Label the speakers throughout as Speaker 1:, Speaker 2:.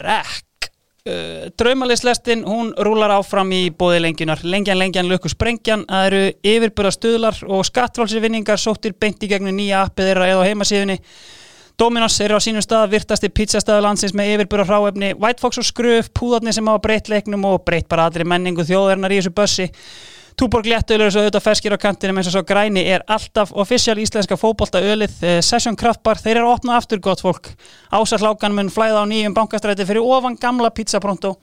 Speaker 1: rekk uh, Draumalislestin, hún rúlar áfram í bóði lengjunar, lengjan, lengjan, lukku sprengjan það eru yfirburða stuðlar og skattfrálsirvinningar sóttir beint í gegnum nýja appið þeirra eða á heimasíðunni Dominos eru á sínum stað, virtasti pizzastæðu landsins með yfirburða hráefni, White Fox og Skröf, púðarnir sem hafa breytt leiknum og breytt bara aðri menningu þjóðarinnar í þessu bössi. Túborg léttöl eru svo auðvitað ferskir á kantinum eins og svo græni er alltaf offisjál íslenska fótbolta ölið, eh, Session Kraftbar, þeir eru að opna aftur gott fólk. Ásarlákan mun flæða á nýjum bankastræti fyrir ofan gamla pizzapronto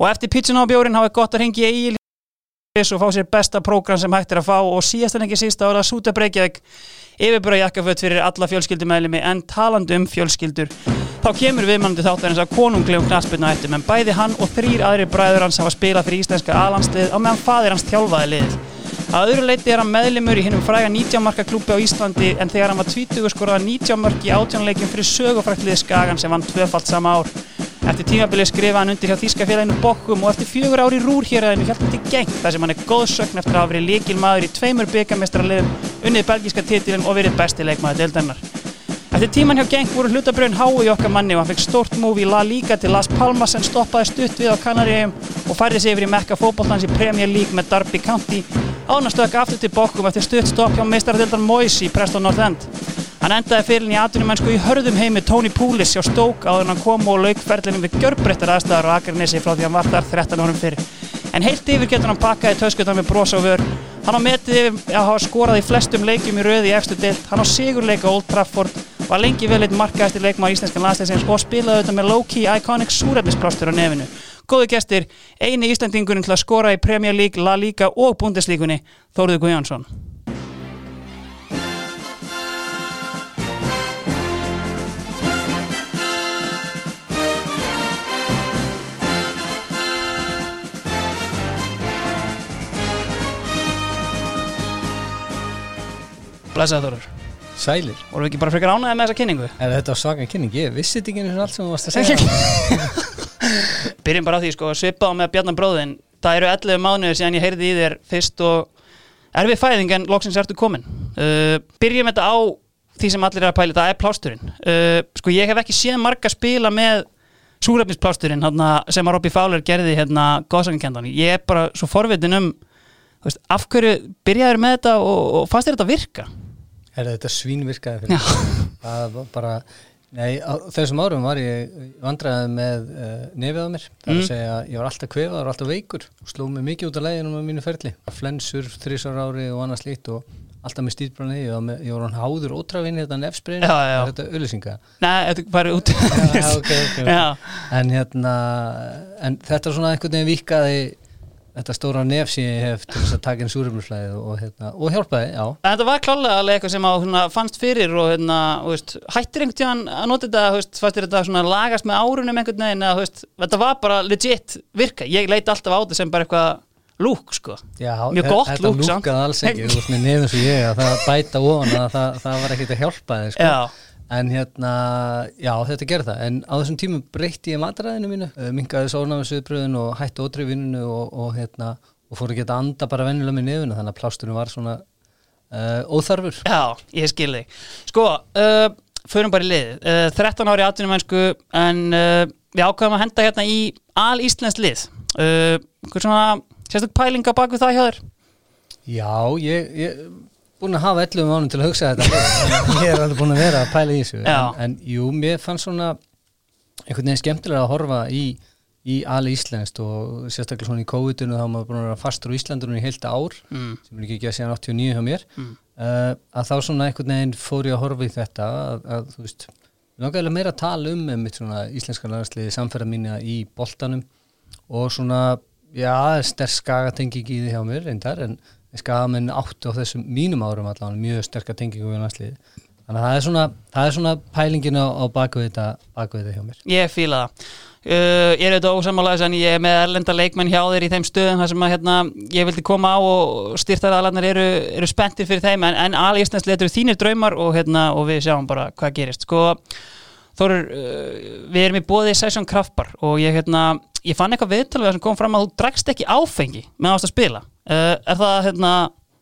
Speaker 1: og eftir pizzun á bjórin hafa gott að ringi í Egil Chris og fá sér besta prógram sem hægt er að fá og síðast en ekki síst þá er það Súta Breykjavík yfirbúra jakkaföt fyrir alla fjölskyldumeðlimi en talandi um fjölskyldur þá kemur viðmannandi þáttarins að konunglegum knaspirna eftir menn bæði hann og þrýr aðri bræður hans hafa spilað fyrir íslenska alanslið á meðan faðir hans þjálfaði liðið að öðru leiti er hann meðlimur í hinnum fræga 19 marka klúpi á Íslandi en þegar hann var 20 skoraði 19 mörk í átjónleikin fyrir sögufræktliði Skagan sem vann tvöfalt sama ár Eftir tímabilið skrifa hann undir hjá Þískafélaginu Bokkum og eftir fjögur ári rúrhjeraðinu hjálpum til geng þar sem hann er góðsögn eftir að hafa verið líkilmaður í tveimur byggamestrarliðum, unnið belgíska titilum og verið besti leikmaður deildarnar. Eftir tíman hjá geng voru hlutabröðin háu í okkar manni og hann fekk stórt múf í La Liga til Las Palmas en stoppaði stutt við á Kanaríum og færði sig yfir í mekka fótbollans í Premier League með Derby County ánastökk aftur til Bokkum eftir stutt stopp hjá meistaradeildar Moise í Preston North End. Hann endaði fyrirlin í atvinnumennsku í hörðum heimi Tony Poulis hjá Stoke áður en hann kom og lauk ferðlinum við gjörbreyttar aðstæðar á Akranesi frá því hann var þar 13 árum fyrir. En heilt yfir getur hann pakkaði töskutan með brosa og vör. Hann á metið yfir að hafa skorað í flestum leikjum í röði í efstu deilt. Hann á sigurleika Old Trafford, var lengi vel eitt markaðist í leikmaður íslenskan landsleisins og spilaði auðvitað með low-key iconic súrefnisplástur á nefinu. Góðu gestir, eini Íslandingurinn til að skora í Premier League, La Liga og Bundeslíkunni, Þóruður Guðjónsson. Blessaði Þóruður.
Speaker 2: Sælir
Speaker 1: Vorum við ekki bara frekar ánæði með þessa kynningu?
Speaker 2: En þetta var svaka kynning, ég vissi þetta ekki einu sinni allt sem þú varst að segja
Speaker 1: Byrjum bara á því sko, svipað á með Bjarnar bróðin Það eru 11 mánuðir síðan ég heyrði í þér fyrst og erfið fæðing en loksins ertu komin uh, Byrjum þetta á því sem allir er að pæla, það er plásturinn uh, Sko ég hef ekki séð marga spila með súrefnisplásturinn hana, sem að Robby Fowler gerði hérna góðsakankendan Ég er bara svo forvitin um þú veist, af hverju byrjaður með þetta og, og fannst þér þetta virka?
Speaker 2: Er þetta svínvirkaði fyrir mig. Það var bara Nei, á þessum árum var ég vandræði með uh, nefið á mér það
Speaker 1: Mm.
Speaker 2: er að segja, að ég var alltaf kvefaður og alltaf veikur og sló mig mikið út af læginum á mínu ferli flensur, þrísar ári og annað slíkt og alltaf með stýtbrann ég var, með, ég var hann háður ótrafinn í þetta nefsbreyn
Speaker 1: Já, já.
Speaker 2: þetta auðlýsinga
Speaker 1: Nei, þetta bara út
Speaker 2: Já, ok, ok, ok.
Speaker 1: Já.
Speaker 2: en hérna en þetta er svona einhvern veginn vikaði þetta stóra nef sem ég hef til þess að taka inn súrumlisflæðið og, hérna, og hjálpaði, já
Speaker 1: En þetta var klálega alveg eitthvað sem á, svona, fannst fyrir og hérna, þú veist, hættir einhvern tíðan að nota þetta, þú veist, fannst þér þetta svona lagast með árunum einhvern veginn eða þú veist, þetta var bara legit virka, ég leit alltaf á þetta sem bara eitthvað lúk sko,
Speaker 2: Já,
Speaker 1: mjög
Speaker 2: þe-
Speaker 1: gott
Speaker 2: þetta
Speaker 1: lúk samt.
Speaker 2: lúkaði alls ekki út með nefn sem ég að það bæta ofan að það, það var ekkert að hjálpa þið sko.
Speaker 1: Já.
Speaker 2: en hérna, já þetta gerði það en á þessum tímum breytti ég matræðinu mínu mingaði sónafisuðbröðun og hætti ótrifvinninu og, og hérna og fór ekki að anda bara venjulega með nefnu þannig að plásturinn var svona uh, óþarfur
Speaker 1: Já, ég skil þig. Sko, uh, förum bara í lið. Uh, 13 ári atvinnum mennsku en uh, við ákvæðum að henda hérna í al Íslands lið. Uh, Hvað svona, sérstök pælinga bak við það hjá þér?
Speaker 2: Já, ég, ég búin að hafa 11 mánum til að hugsa þetta Þannig að ég er alveg búin að vera að pæla í þessu
Speaker 1: Já.
Speaker 2: en, en jú, mér fannst svona einhvern veginn skemmtilega að horfa í í alveg íslenskt og sérstaklega svona í COVID-unu þá var maður búin að vera fastur á Íslandunum í heilt ár,
Speaker 1: Mm.
Speaker 2: sem er ekki ekki að segja 89 hjá mér, mm. að þá svona einhvern veginn fór ég að horfa í þetta að, að þú veist, langaðilega meira að tala um einmitt svona íslenska landsliði samferða mína í boltanum og svona, já, sterk skagatengingi í því hjá mér reyndar en skagamenn áttu á þessum mínum árum allan mjög sterka tengingu við landslið þannig að það er svona, það er svona pælingin á, á bakvið þetta, bakvið þetta hjá mér
Speaker 1: Ég fíla það. Uh, ég er auðvitað ósamálaðis en ég er með erlenda leikmenn hjá þér í þeim stöðum þar sem að hérna, ég vildi koma á og styrtaraðalarnar eru, eru spenntir fyrir þeim en, en alveg íslensk letur þínir draumar og, hérna, og við sjáum bara hvað gerist. Sko, Þorur, uh, við erum í bóði Session Kraftbar og ég, hérna, ég fann eitthvað viðtalvega sem kom fram að þú drakst ekki áfengi með ást að spila. Uh, er það, hérna,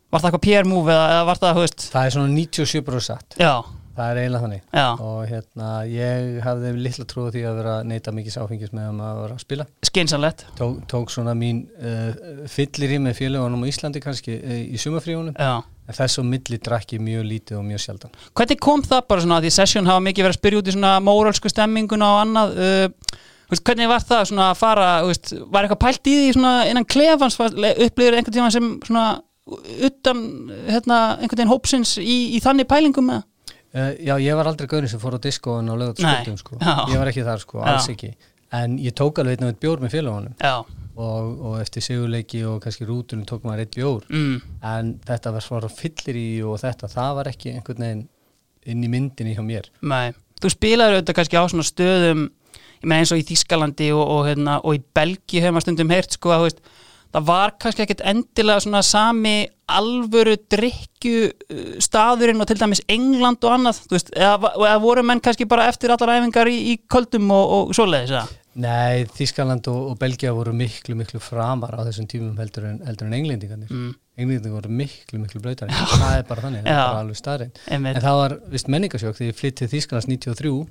Speaker 1: var það eitthvað PR move eða, eða var það, þú veist,
Speaker 2: það er svona 97% satt
Speaker 1: já,
Speaker 2: það er eiginlega þannig
Speaker 1: Já.
Speaker 2: og hérna, ég hafði litla trú á því að vera að neyta mikið áfengis meðan maður var að spila
Speaker 1: Skynsanlegt
Speaker 2: tók, tók svona mín uh, fyllir í með félagunum á Íslandi kannski uh, í sumafríunum
Speaker 1: Já
Speaker 2: en þess og milli drakk ég mjög lítið og mjög sjaldan
Speaker 1: Hvernig kom það bara svona að því session hafa mikið verið að spyrja út í svona móralsku stemminguna og annað uh, veist, hvernig var það svona að fara veist, var eitthvað pælt í því svona innan klefans upplýður einhvern tíma sem svona utan hérna, einhvern veginn hópsins í, í þannig pælingum með
Speaker 2: uh, Já, ég var aldrei gaurinn sem fór á diskóin og lögat
Speaker 1: Nei.
Speaker 2: skuldum sko,
Speaker 1: Já.
Speaker 2: ég var ekki þar sko,
Speaker 1: Já.
Speaker 2: alls ekki en ég tók alveg einn og einn bjór með félagunum
Speaker 1: Já,
Speaker 2: og, og eftir sigurleiki og kannski rútunum tók maður einn bjór
Speaker 1: mm,
Speaker 2: en þetta var svona fyllir í og þetta, það var ekki einhvern veginn inn í myndinni hjá mér
Speaker 1: nei Þú spilaður auðvitað kannski á svona stöðum ég meina eins og í Þískalandi og, og, hérna, og í Belgi hefur maður stundum heyrt sko að þú veist, það var kannski ekkert endilega svona sami alvöru drikju uh, staðurinn og til dæmis England og annað, þú veist, eða, va- eða voru menn kannski bara eftir allar æfingar í, í köldum og, og svoleiðis, eða?
Speaker 2: Nei, Þískaland og, og Belgia voru miklu, miklu framar á þessum tímum heldur en, heldur en englendingarnir. Mm. Englendingarnir voru miklu, miklu blöytari. Það er bara þannig, það
Speaker 1: Já.
Speaker 2: er bara alveg starinn.
Speaker 1: Einmitt.
Speaker 2: En það var vist menningasjók þegar ég flytt til Þískalands 93 uh,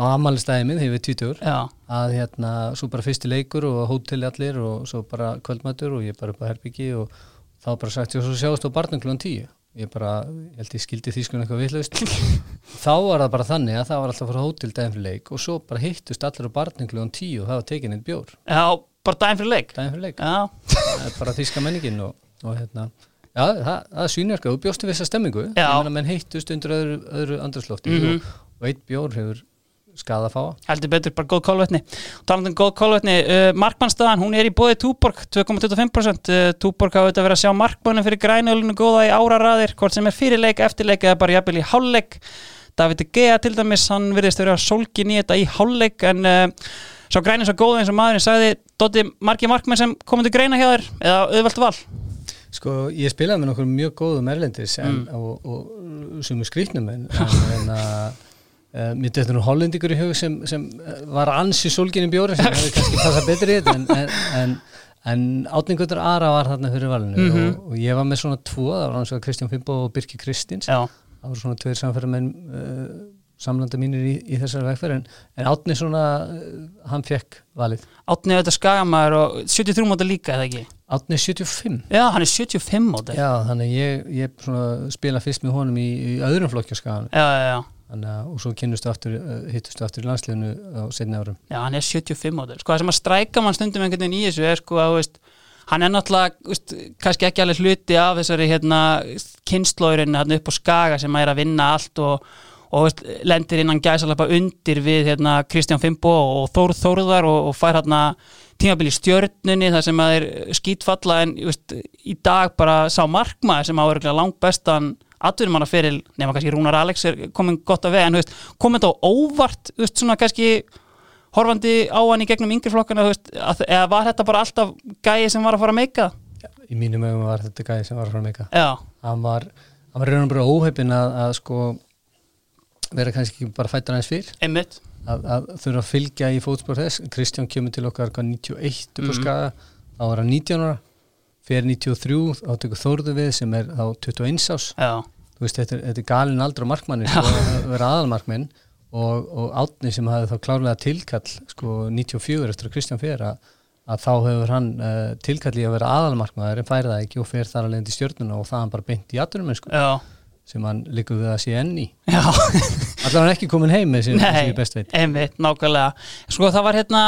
Speaker 2: á amalistæði minn þegar ég við 20 ár
Speaker 1: Já,
Speaker 2: að hérna, svo bara fyrsti leikur og hóteli allir og svo bara kvöldmætur og ég bara upp á herbyggi og þá var bara sagt, já, svo sjáumst á barnum klón 10 ég bara, ég held ég skildi þýskun eitthvað vitlaust þá var það bara þannig að það var alltaf að fara á hótel daginn fyrir leik og svo bara hittust allir á barnum klón 10 og það var tekin einn bjór
Speaker 1: já, bara daginn fyrir leik
Speaker 2: daginn fyrir leik,
Speaker 1: Já,
Speaker 2: það er bara þýska menningin og, og hérna Já, það, það er svínverka, þú bjóstu við þessa stemmingu Ég
Speaker 1: Já.
Speaker 2: meina, menn hittust undir öðru, öðru andrslofti og, og eitt bjór hefur skaða að fá
Speaker 1: heldur betur, bara góð kólvetni talandum um góð kólvetni, uh, markmannstaðan hún er í bóði Túborg, 2,25% uh, Túborg hafa auðvitað verið að sjá markmannum fyrir grænölinu góða í áraraðir, hvort sem er fyrirleik eftirleik eða bara jafnvel í hálfleik David De Gea til dæmis, hann virðist að vera sólgin í þetta í hálfleik en uh, sá grænin svo góða eins og maðurinn sagði Dotti, margir markmann sem komið til greina hjá þér eða auðvelt val
Speaker 2: Sko, ég spilaði með nokkur mjög góðum erlendis en, og, og sem er skrýtnum en, en, en að Uh, mér dættur nú hollendingur í hug sem, sem eh, var ansi sólginni bjóri sem hefði kannski passað betri í þetta en, en, en, en átningundur Ara var þarna fyrir valinu og, og ég var með svona tvo, það var hans og Kristján Fimbo og Birki Kristins
Speaker 1: Já,
Speaker 2: það voru svona tveir samferðamenn uh, samlanda mínir í, í þessari vegferð en, en átni svona, uh, hann fekk valið
Speaker 1: átni auðvitað skagamæður og 73 móta líka eða ekki
Speaker 2: átni er 75
Speaker 1: Já, hann er 75 móta Já,
Speaker 2: Já, þannig að ég, ég svona spila fyrst með honum í, í öðrum flokkjaskaðan
Speaker 1: já, já, já.
Speaker 2: og svo kynnustu aftur, eh, hittustu aftur í landsliðinu á setni árum.
Speaker 1: Já, hann er 75 mótur. Sko það sem að stræka mann stundum einhvern veginn í þessu er sko að, þú veist, hann er náttúrulega, þú veist, kannski ekki alveg hluti af þessari hérna kynnslóðurinn hann upp á skaga sem að er að vinna allt og, og þú veist, lendir innan gæsalappa undir við hérna Kristján Fimbo og Þór Þórðar og, og fær hérna tímabili stjörnunni þar sem að er skítfalla en þú veist, í dag bara sá markmaður sem á örgulega langt bestan atvinnum hann að feril, nema kannski Rúnar Alex er komin gott að vega en þú veist, komin þetta á óvart, þú veist, svona kannski horfandi á hann í gegnum yngri flokkana þú veist, að, eða var þetta bara alltaf gæi sem var að fara að meika það?
Speaker 2: Í mínum ögum var þetta gæði sem var frá meika.
Speaker 1: Já,
Speaker 2: Hann var, hann var raunum bara óheppin að, að sko vera kannski ekki bara fættur aðeins fyrr
Speaker 1: einmitt
Speaker 2: að, að þurfa að fylgja í fótspor þess. Kristján kemur til okkar hvað 91 upp á skaga, þá var hann 19 ára, fyrir 93, þá tekur Þórðu við sem er þá 21 ás.
Speaker 1: Já,
Speaker 2: þú veist, þetta er, þetta er galin aldrei markmanni sko, að vera aðalmarkminn og, og átni sem hafði þá klárlega tilkall sko 94 eftir að Kristján fer að, að þá hefur hann uh, tilkall í að vera aðalmarkmaður en færi það ekki og fer þar alveg til stjörnuna og það hann bara beint í aðurum sko,
Speaker 1: já,
Speaker 2: sem hann liggur við að sé enn í
Speaker 1: já
Speaker 2: allar hann ekki komin heim með sem, sem ég best veit
Speaker 1: einmitt, nákvæmlega Sko það var hérna,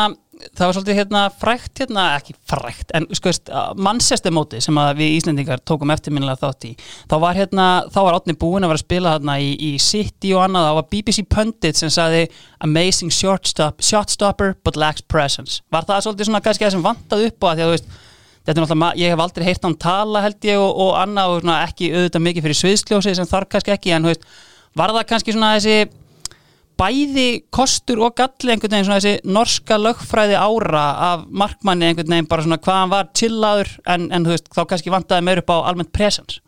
Speaker 1: það var svolítið hérna frækt hérna, ekki frækt en sko veist, mannsestemóti sem að við Íslendingar tókum eftirminnilega þátt í þá var hérna, þá var Átni búinn að vera að spila hérna í, í City og annað, þá var BBC Pundit sem sagði Amazing shortstop, shotstopper but lacks presence Var það svolítið svona kannski það sem vantaði upp á að því að þú veist þetta er náttúrulega, ma- ég hef aldrei heyrt hann tala held ég og, og annað og svona, ekki auðvitað mikið fyrir sviðsljósið sem þarf kannski ekki en þú veist, var það kannski svona þessi bæði kostur og galli einhvern veginn svona þessi norska lögfræði ára af markmanni einhvern veginn bara svona hvað hann var tillaður en, en þú veist, þá kannski vantaði meir upp á almennt presens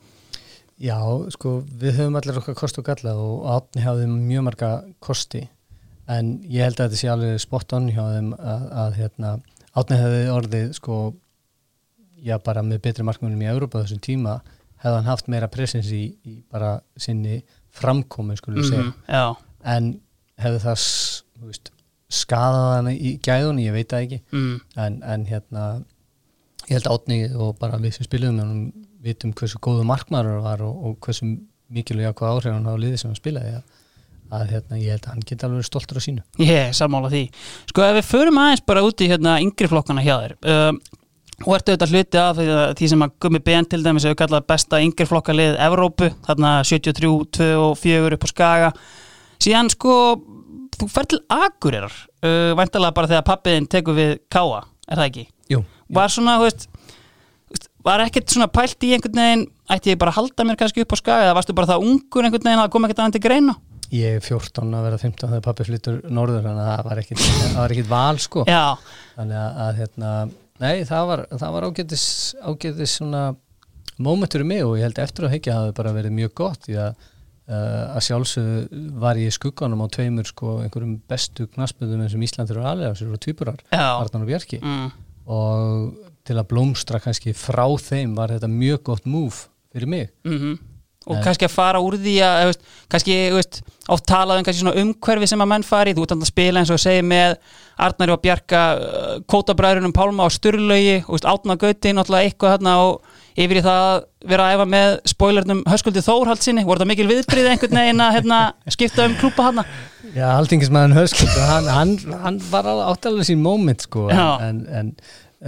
Speaker 2: Já, sko, við höfum allir okkar kost og galla og Átni hafði mjög marga kosti en ég held að þetta sé alveg spot on hjá þeim að, að hérna, Átni hefði orðið sko, já bara með betri markmennum í Európa á þessum tíma hefði hann haft meira presens í, í bara sinni framkomin skulum við segja
Speaker 1: Mhm, já,
Speaker 2: en hefði það s- þú veist, skadað hana í gæðunni ég veit það ekki
Speaker 1: mm,
Speaker 2: en, en hérna ég held átni og bara við sem spiluðum með honum vitum hversu góðu markmaður hann var og, og hversu mikilvæg jákvæð áhrif hann á liði sem hann spilaði að, að hérna, ég held að hann geti alveg verið stoltur á sínu
Speaker 1: ég er sammála því sko ef við förum aðeins bara út í hérna yngri flokkana hjá þér um, og ertu auðvitað hluti af því að- því sem að Gummi BN til dæmis hefur kallað besta yngri flokkalið Evrópu, þarna 73, 2 og 4 upp á Skaga síðan sko, þú fer til Akureyrar uh, væntalega bara þegar pappiðin tekur við Káa, er það ekki?
Speaker 2: Jú,
Speaker 1: var svona, þú veist þú veist, var ekkert svona pælt í einhvern veginn ætti ég bara að halda mér kannski upp á skaga eða varstu bara það ungur einhvern veginn að það kom ekkert aðeins til greina
Speaker 2: ég er 14 að vera 15 þegar pappi flyttur norður þannig að það var ekkit, það var ekkit val sko
Speaker 1: já,
Speaker 2: þannig að, að hérna, nei það var, það var ágætis, ágætis svona momentur í mig og ég held eftir að hekja hafi bara verið mjög gott því að uh, að sjálfsögðu var ég í skugganum á tveimur sko einhverjum bestu knaspöðum eins og Íslandur og Alega sér og tvíburar,
Speaker 1: já
Speaker 2: Arnar og Bjarki
Speaker 1: mm,
Speaker 2: og til að blómstra kannski frá þeim var þetta mjög gott múf fyrir mig
Speaker 1: mm og
Speaker 2: Nei.
Speaker 1: kannski að fara úr því að þú veist, kannski, þú veist, oft talað um kannski svona umhverfi sem að menn fari, þú ert þarna að spila eins og segir með Arnari og Bjarka uh, kótabræðurinn Pálma og Sturlaugi og veist, Átna Gauti, náttúrulega eitthvað þarna og yfir í það að vera að æfa með spoilernum Höskuldi Þórhald sinni, voru það mikil viðbrið einhvern veginn að hérna, skipta um klúpa hana
Speaker 2: Já, haldingismæðan Hörskild Sko, hann, hann, hann var alveg áttalega sín moment sko
Speaker 1: Já.
Speaker 2: en, en,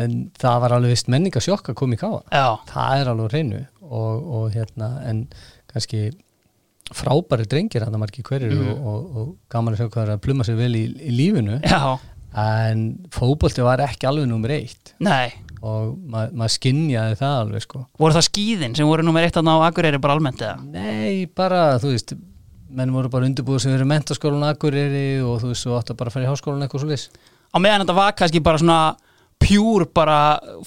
Speaker 2: en það var alveg vist menningasjokk að koma í káa
Speaker 1: Já,
Speaker 2: það er alveg á hreinu og, og hérna en kannski frábæri drengir hann að margir hverjir
Speaker 1: Mm.
Speaker 2: og, og, og gaman að sjá hvað er að pluma sér vel í, í lífinu
Speaker 1: já,
Speaker 2: en fótbolti var ekki alveg nummer eitt
Speaker 1: nei
Speaker 2: og ma- maður skinjaði það alveg sko
Speaker 1: Voru það skýðin sem voru nummer eitt að ná Akureyri bara almennt eða?
Speaker 2: nei bara þú veist menn voru bara undirbúið sem verið mentaskólan Akureyri og þú veist þú átt að bara fara í háskólan eitthvað svo lis
Speaker 1: Á meðan þetta var kannski bara svona pjúr bara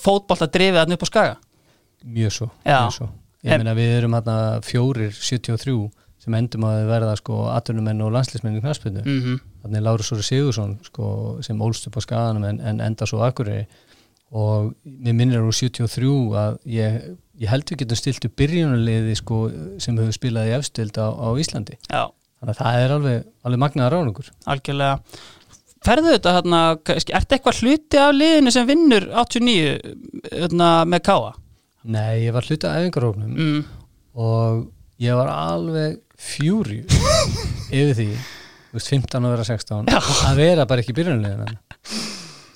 Speaker 1: fótbolta drifið hann upp á skaga
Speaker 2: mjög svo,
Speaker 1: Já.
Speaker 2: mjög svo. ég
Speaker 1: En-
Speaker 2: meina við erum hérna fjórir 73 sem endum að verða sko atvinnumenn og landslýsmenn í knarspindu
Speaker 1: mm -hmm.
Speaker 2: þannig Lárus Óri Sigursson sko, sem ólst upp á skaganum en, en enda svo akkurri og mér minnir úr 73 að ég, ég held við getum stilt upp byrjunarliði sko, sem hefur spilað í efstild á, á Íslandi
Speaker 1: Já,
Speaker 2: þannig að það er alveg, alveg magnaðar ráningur
Speaker 1: algjörlega Ferðu þetta hérna, kannski, ertu eitthvað hluti af liðinu sem vinnur 89 hérna, með Káa?
Speaker 2: Nei, ég var hluta af æfingarhóknum
Speaker 1: Mm.
Speaker 2: og ég var alveg fjúri yfir því þú veist, 15 að vera 16 að vera bara ekki í byrjunarliðina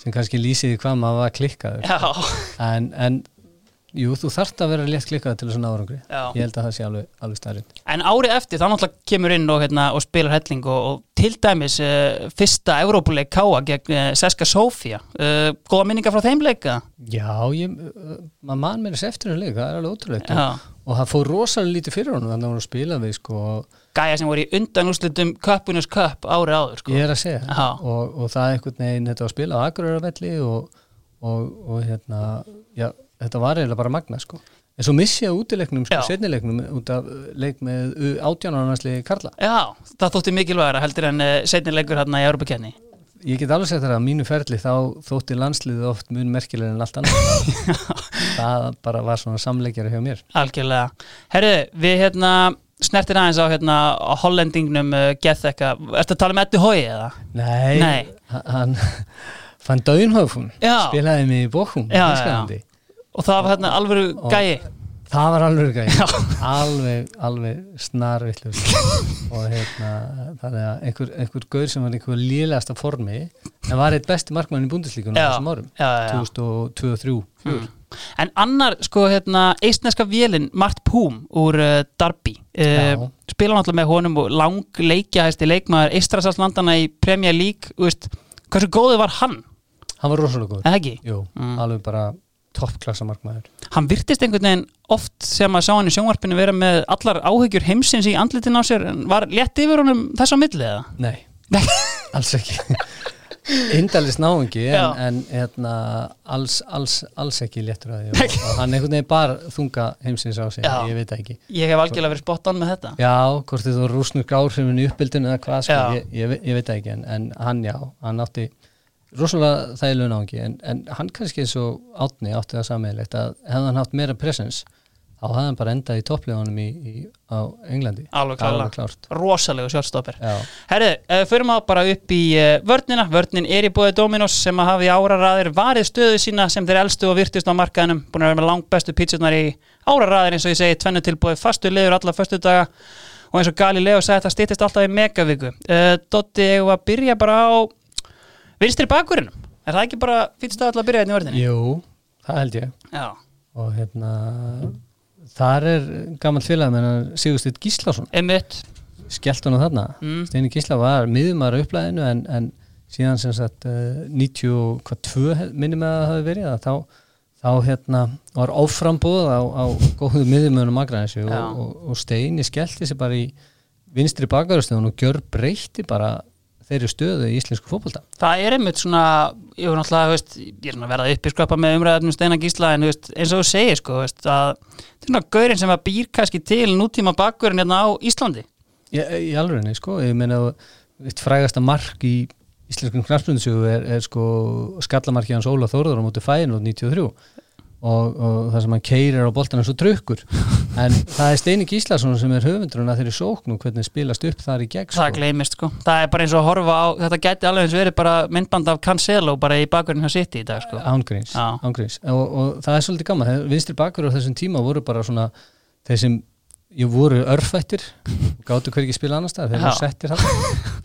Speaker 2: sem kannski lýsiði hvað maður var klikkaður
Speaker 1: Já,
Speaker 2: en, en jú, þú þarft að vera létt klikkað til þess að árangri
Speaker 1: Já.
Speaker 2: ég held að það sé alveg, alveg starrið
Speaker 1: en árið eftir þá náttúrulega kemur inn og, hérna, og spilar helling og, og til dæmis uh, fyrsta Evrópuleik Káa gegn uh, Seska Sofía uh, Góða minningar frá þeim leika?
Speaker 2: já, ég, uh, maður mann mér þess eftir þennan leik, það er alveg ótrúlegt
Speaker 1: Já.
Speaker 2: og það fór rosalega lítið fyrir honum þannig að hún spila við sko,
Speaker 1: Gæja sem voru í undanúslitum Köpunus Köp árið áður sko.
Speaker 2: ég er að segja
Speaker 1: Já.
Speaker 2: og, og það er einhvern veginn þetta að spila á agraravelli og, og, og hérna já, þetta var eiginlega bara magna sko en svo missi ég á útileiknum, sko,
Speaker 1: Já.
Speaker 2: setnileiknum út af uh, leik með átjánarnarslegi Karla
Speaker 1: Já, það þótti mikilvægara heldur en uh, seinni leikur hérna í Europakenni
Speaker 2: Ég get alveg sagt það að á mínu ferli þá þótti landsliðið oft mun merkilegir en allt annað. það bara var svona samleikjari hjá mér.
Speaker 1: Algjörlega Herru, við hérna snertir aðeins á hérna á hollendingnum uh, Getheka Ertu að tala um Eddi Hói eða?
Speaker 2: Nei,
Speaker 1: Nei.
Speaker 2: h- hann fann Dauðinhofum,
Speaker 1: Já.
Speaker 2: spilaði mig í Bochum,
Speaker 1: Já, já,
Speaker 2: Þýskalandi.
Speaker 1: Og það var hérna alvöru gæi
Speaker 2: Það var alveg
Speaker 1: Já.
Speaker 2: gæði, alveg, alveg snarvillus og hérna, þannig að einhver, einhver gaur sem var í einhver lélegasta formi, en var eitt besti markmann í búndislíkunum
Speaker 1: Já,
Speaker 2: þessum árum,
Speaker 1: já, já.
Speaker 2: 2002 og 3.
Speaker 1: mm. En annar, sko, hérna eistneska vélin Mart Púm úr uh, Darby uh,
Speaker 2: Já.
Speaker 1: Spila náttúrulega með honum og lang leikjahæsti leikmaður Eistrasalslandana í Premier League Þú veist, Hversu góðið var hann?
Speaker 2: Hann var rosalega góð,
Speaker 1: Eða ekki?
Speaker 2: jú,
Speaker 1: Mm.
Speaker 2: alveg bara toppklassa markmann.
Speaker 1: hann virtist einhvern veginn oft sem að sá hann í sjónvarpinu vera með allar áhyggjur heimsins í andlitin á sér en var létt yfir honum þess á milli eða?
Speaker 2: Nei,
Speaker 1: Nei.
Speaker 2: alls ekki Indalist náungi en,
Speaker 1: Já.
Speaker 2: en hérna, alls, alls, alls ekki léttur að því og, og hann einhvern veginn bara þunga heimsins á sig,
Speaker 1: Já.
Speaker 2: ég veit það ekki
Speaker 1: Ég hef algjörlega verið spott án með þetta
Speaker 2: Já, hvort þið þú rúsnur gárfimmin í uppbyldun eða hvað, sko,
Speaker 1: Já.
Speaker 2: ég, ég, ve- ég veit það ekki en, en hann já, hann átti rosalega þægilega náungi en, en hann kannski eins og átni átti það sammeðilegt að hefði hann haft meira presens þá hafði hann bara endað í topplegunum í, í, á Englandi
Speaker 1: Alveg klálega.
Speaker 2: klárt
Speaker 1: rosalegu sjálfstopper
Speaker 2: Já.
Speaker 1: Herðu, uh, förum að bara upp í uh, vörnina Vörnin er í bóði Dominos sem að hafi áraraðir varið stöðu sína sem þeir elstu og virtist á markaðinum búin að vera með langbæstu pítsurnar í áraraðir eins og ég segi, tvennu tilbúið fastu liður alla föstu daga og eins og Gali Leo sagði þetta stýttist alltaf í megaviku uh, Dotti, ég var að byrja bara á vinstri bakurinnum er það ekki bara fyrst stöð alltaf að byrja hérna í vörninni?
Speaker 2: Jú, það held ég
Speaker 1: Já,
Speaker 2: og hérna þar er gammal félag menn Sigursteinn Gíslason
Speaker 1: einmitt
Speaker 2: skellt hann á þarna
Speaker 1: Mm.
Speaker 2: Steini Gísla var miðumar upplæðinu en, en síðan sem sagt eh, 92 minnum að það hafi verið að þá, þá hérna var áframbúð á, á góðu miðumönum Akranessu og,
Speaker 1: Já.
Speaker 2: og, og Steini skellti sér bara í vinstri bakarustöðun og gjör breytti bara þeirri stöðu í íslensku fótbolta
Speaker 1: Það er einmitt svona, ég er náttúrulega, þú veist, ég er svona að verða uppi skrapa með umræðum Steinar Gísla en þú veist, eins og þú segir sko, þú veist, að þetta er svona gaurinn sem að býr kannski til nútíma bakgurinn hérna á Íslandi.
Speaker 2: Já, í alvegni, sko, ég meina að eitt frægasta mark í íslenskum knarspunnsögu er, er sko skallamarki hans Óla Þórður á móti fæðin og 93 og, og það sem hann keirir á boltan eins og trukkur en það er Steini Gíslason sem er höfundurinn að þeirri sókn og hvernig spilast upp þar í gegn
Speaker 1: Það
Speaker 2: sko.
Speaker 1: gleymist sko. Það er bara eins og að horfa á, þetta gæti alveg eins verið bara myndband af Cancelo bara í bakgurinn hjá City í dag sko.
Speaker 2: ángríns,
Speaker 1: Já.
Speaker 2: ángríns. Og, og það er svolítið gaman, Þeir- vinstri bakur á þessum tíma voru bara svona þeir sem ég voru örfættir og gátu hver ekki spila annars staðar, þeir
Speaker 1: Já.
Speaker 2: voru settir hann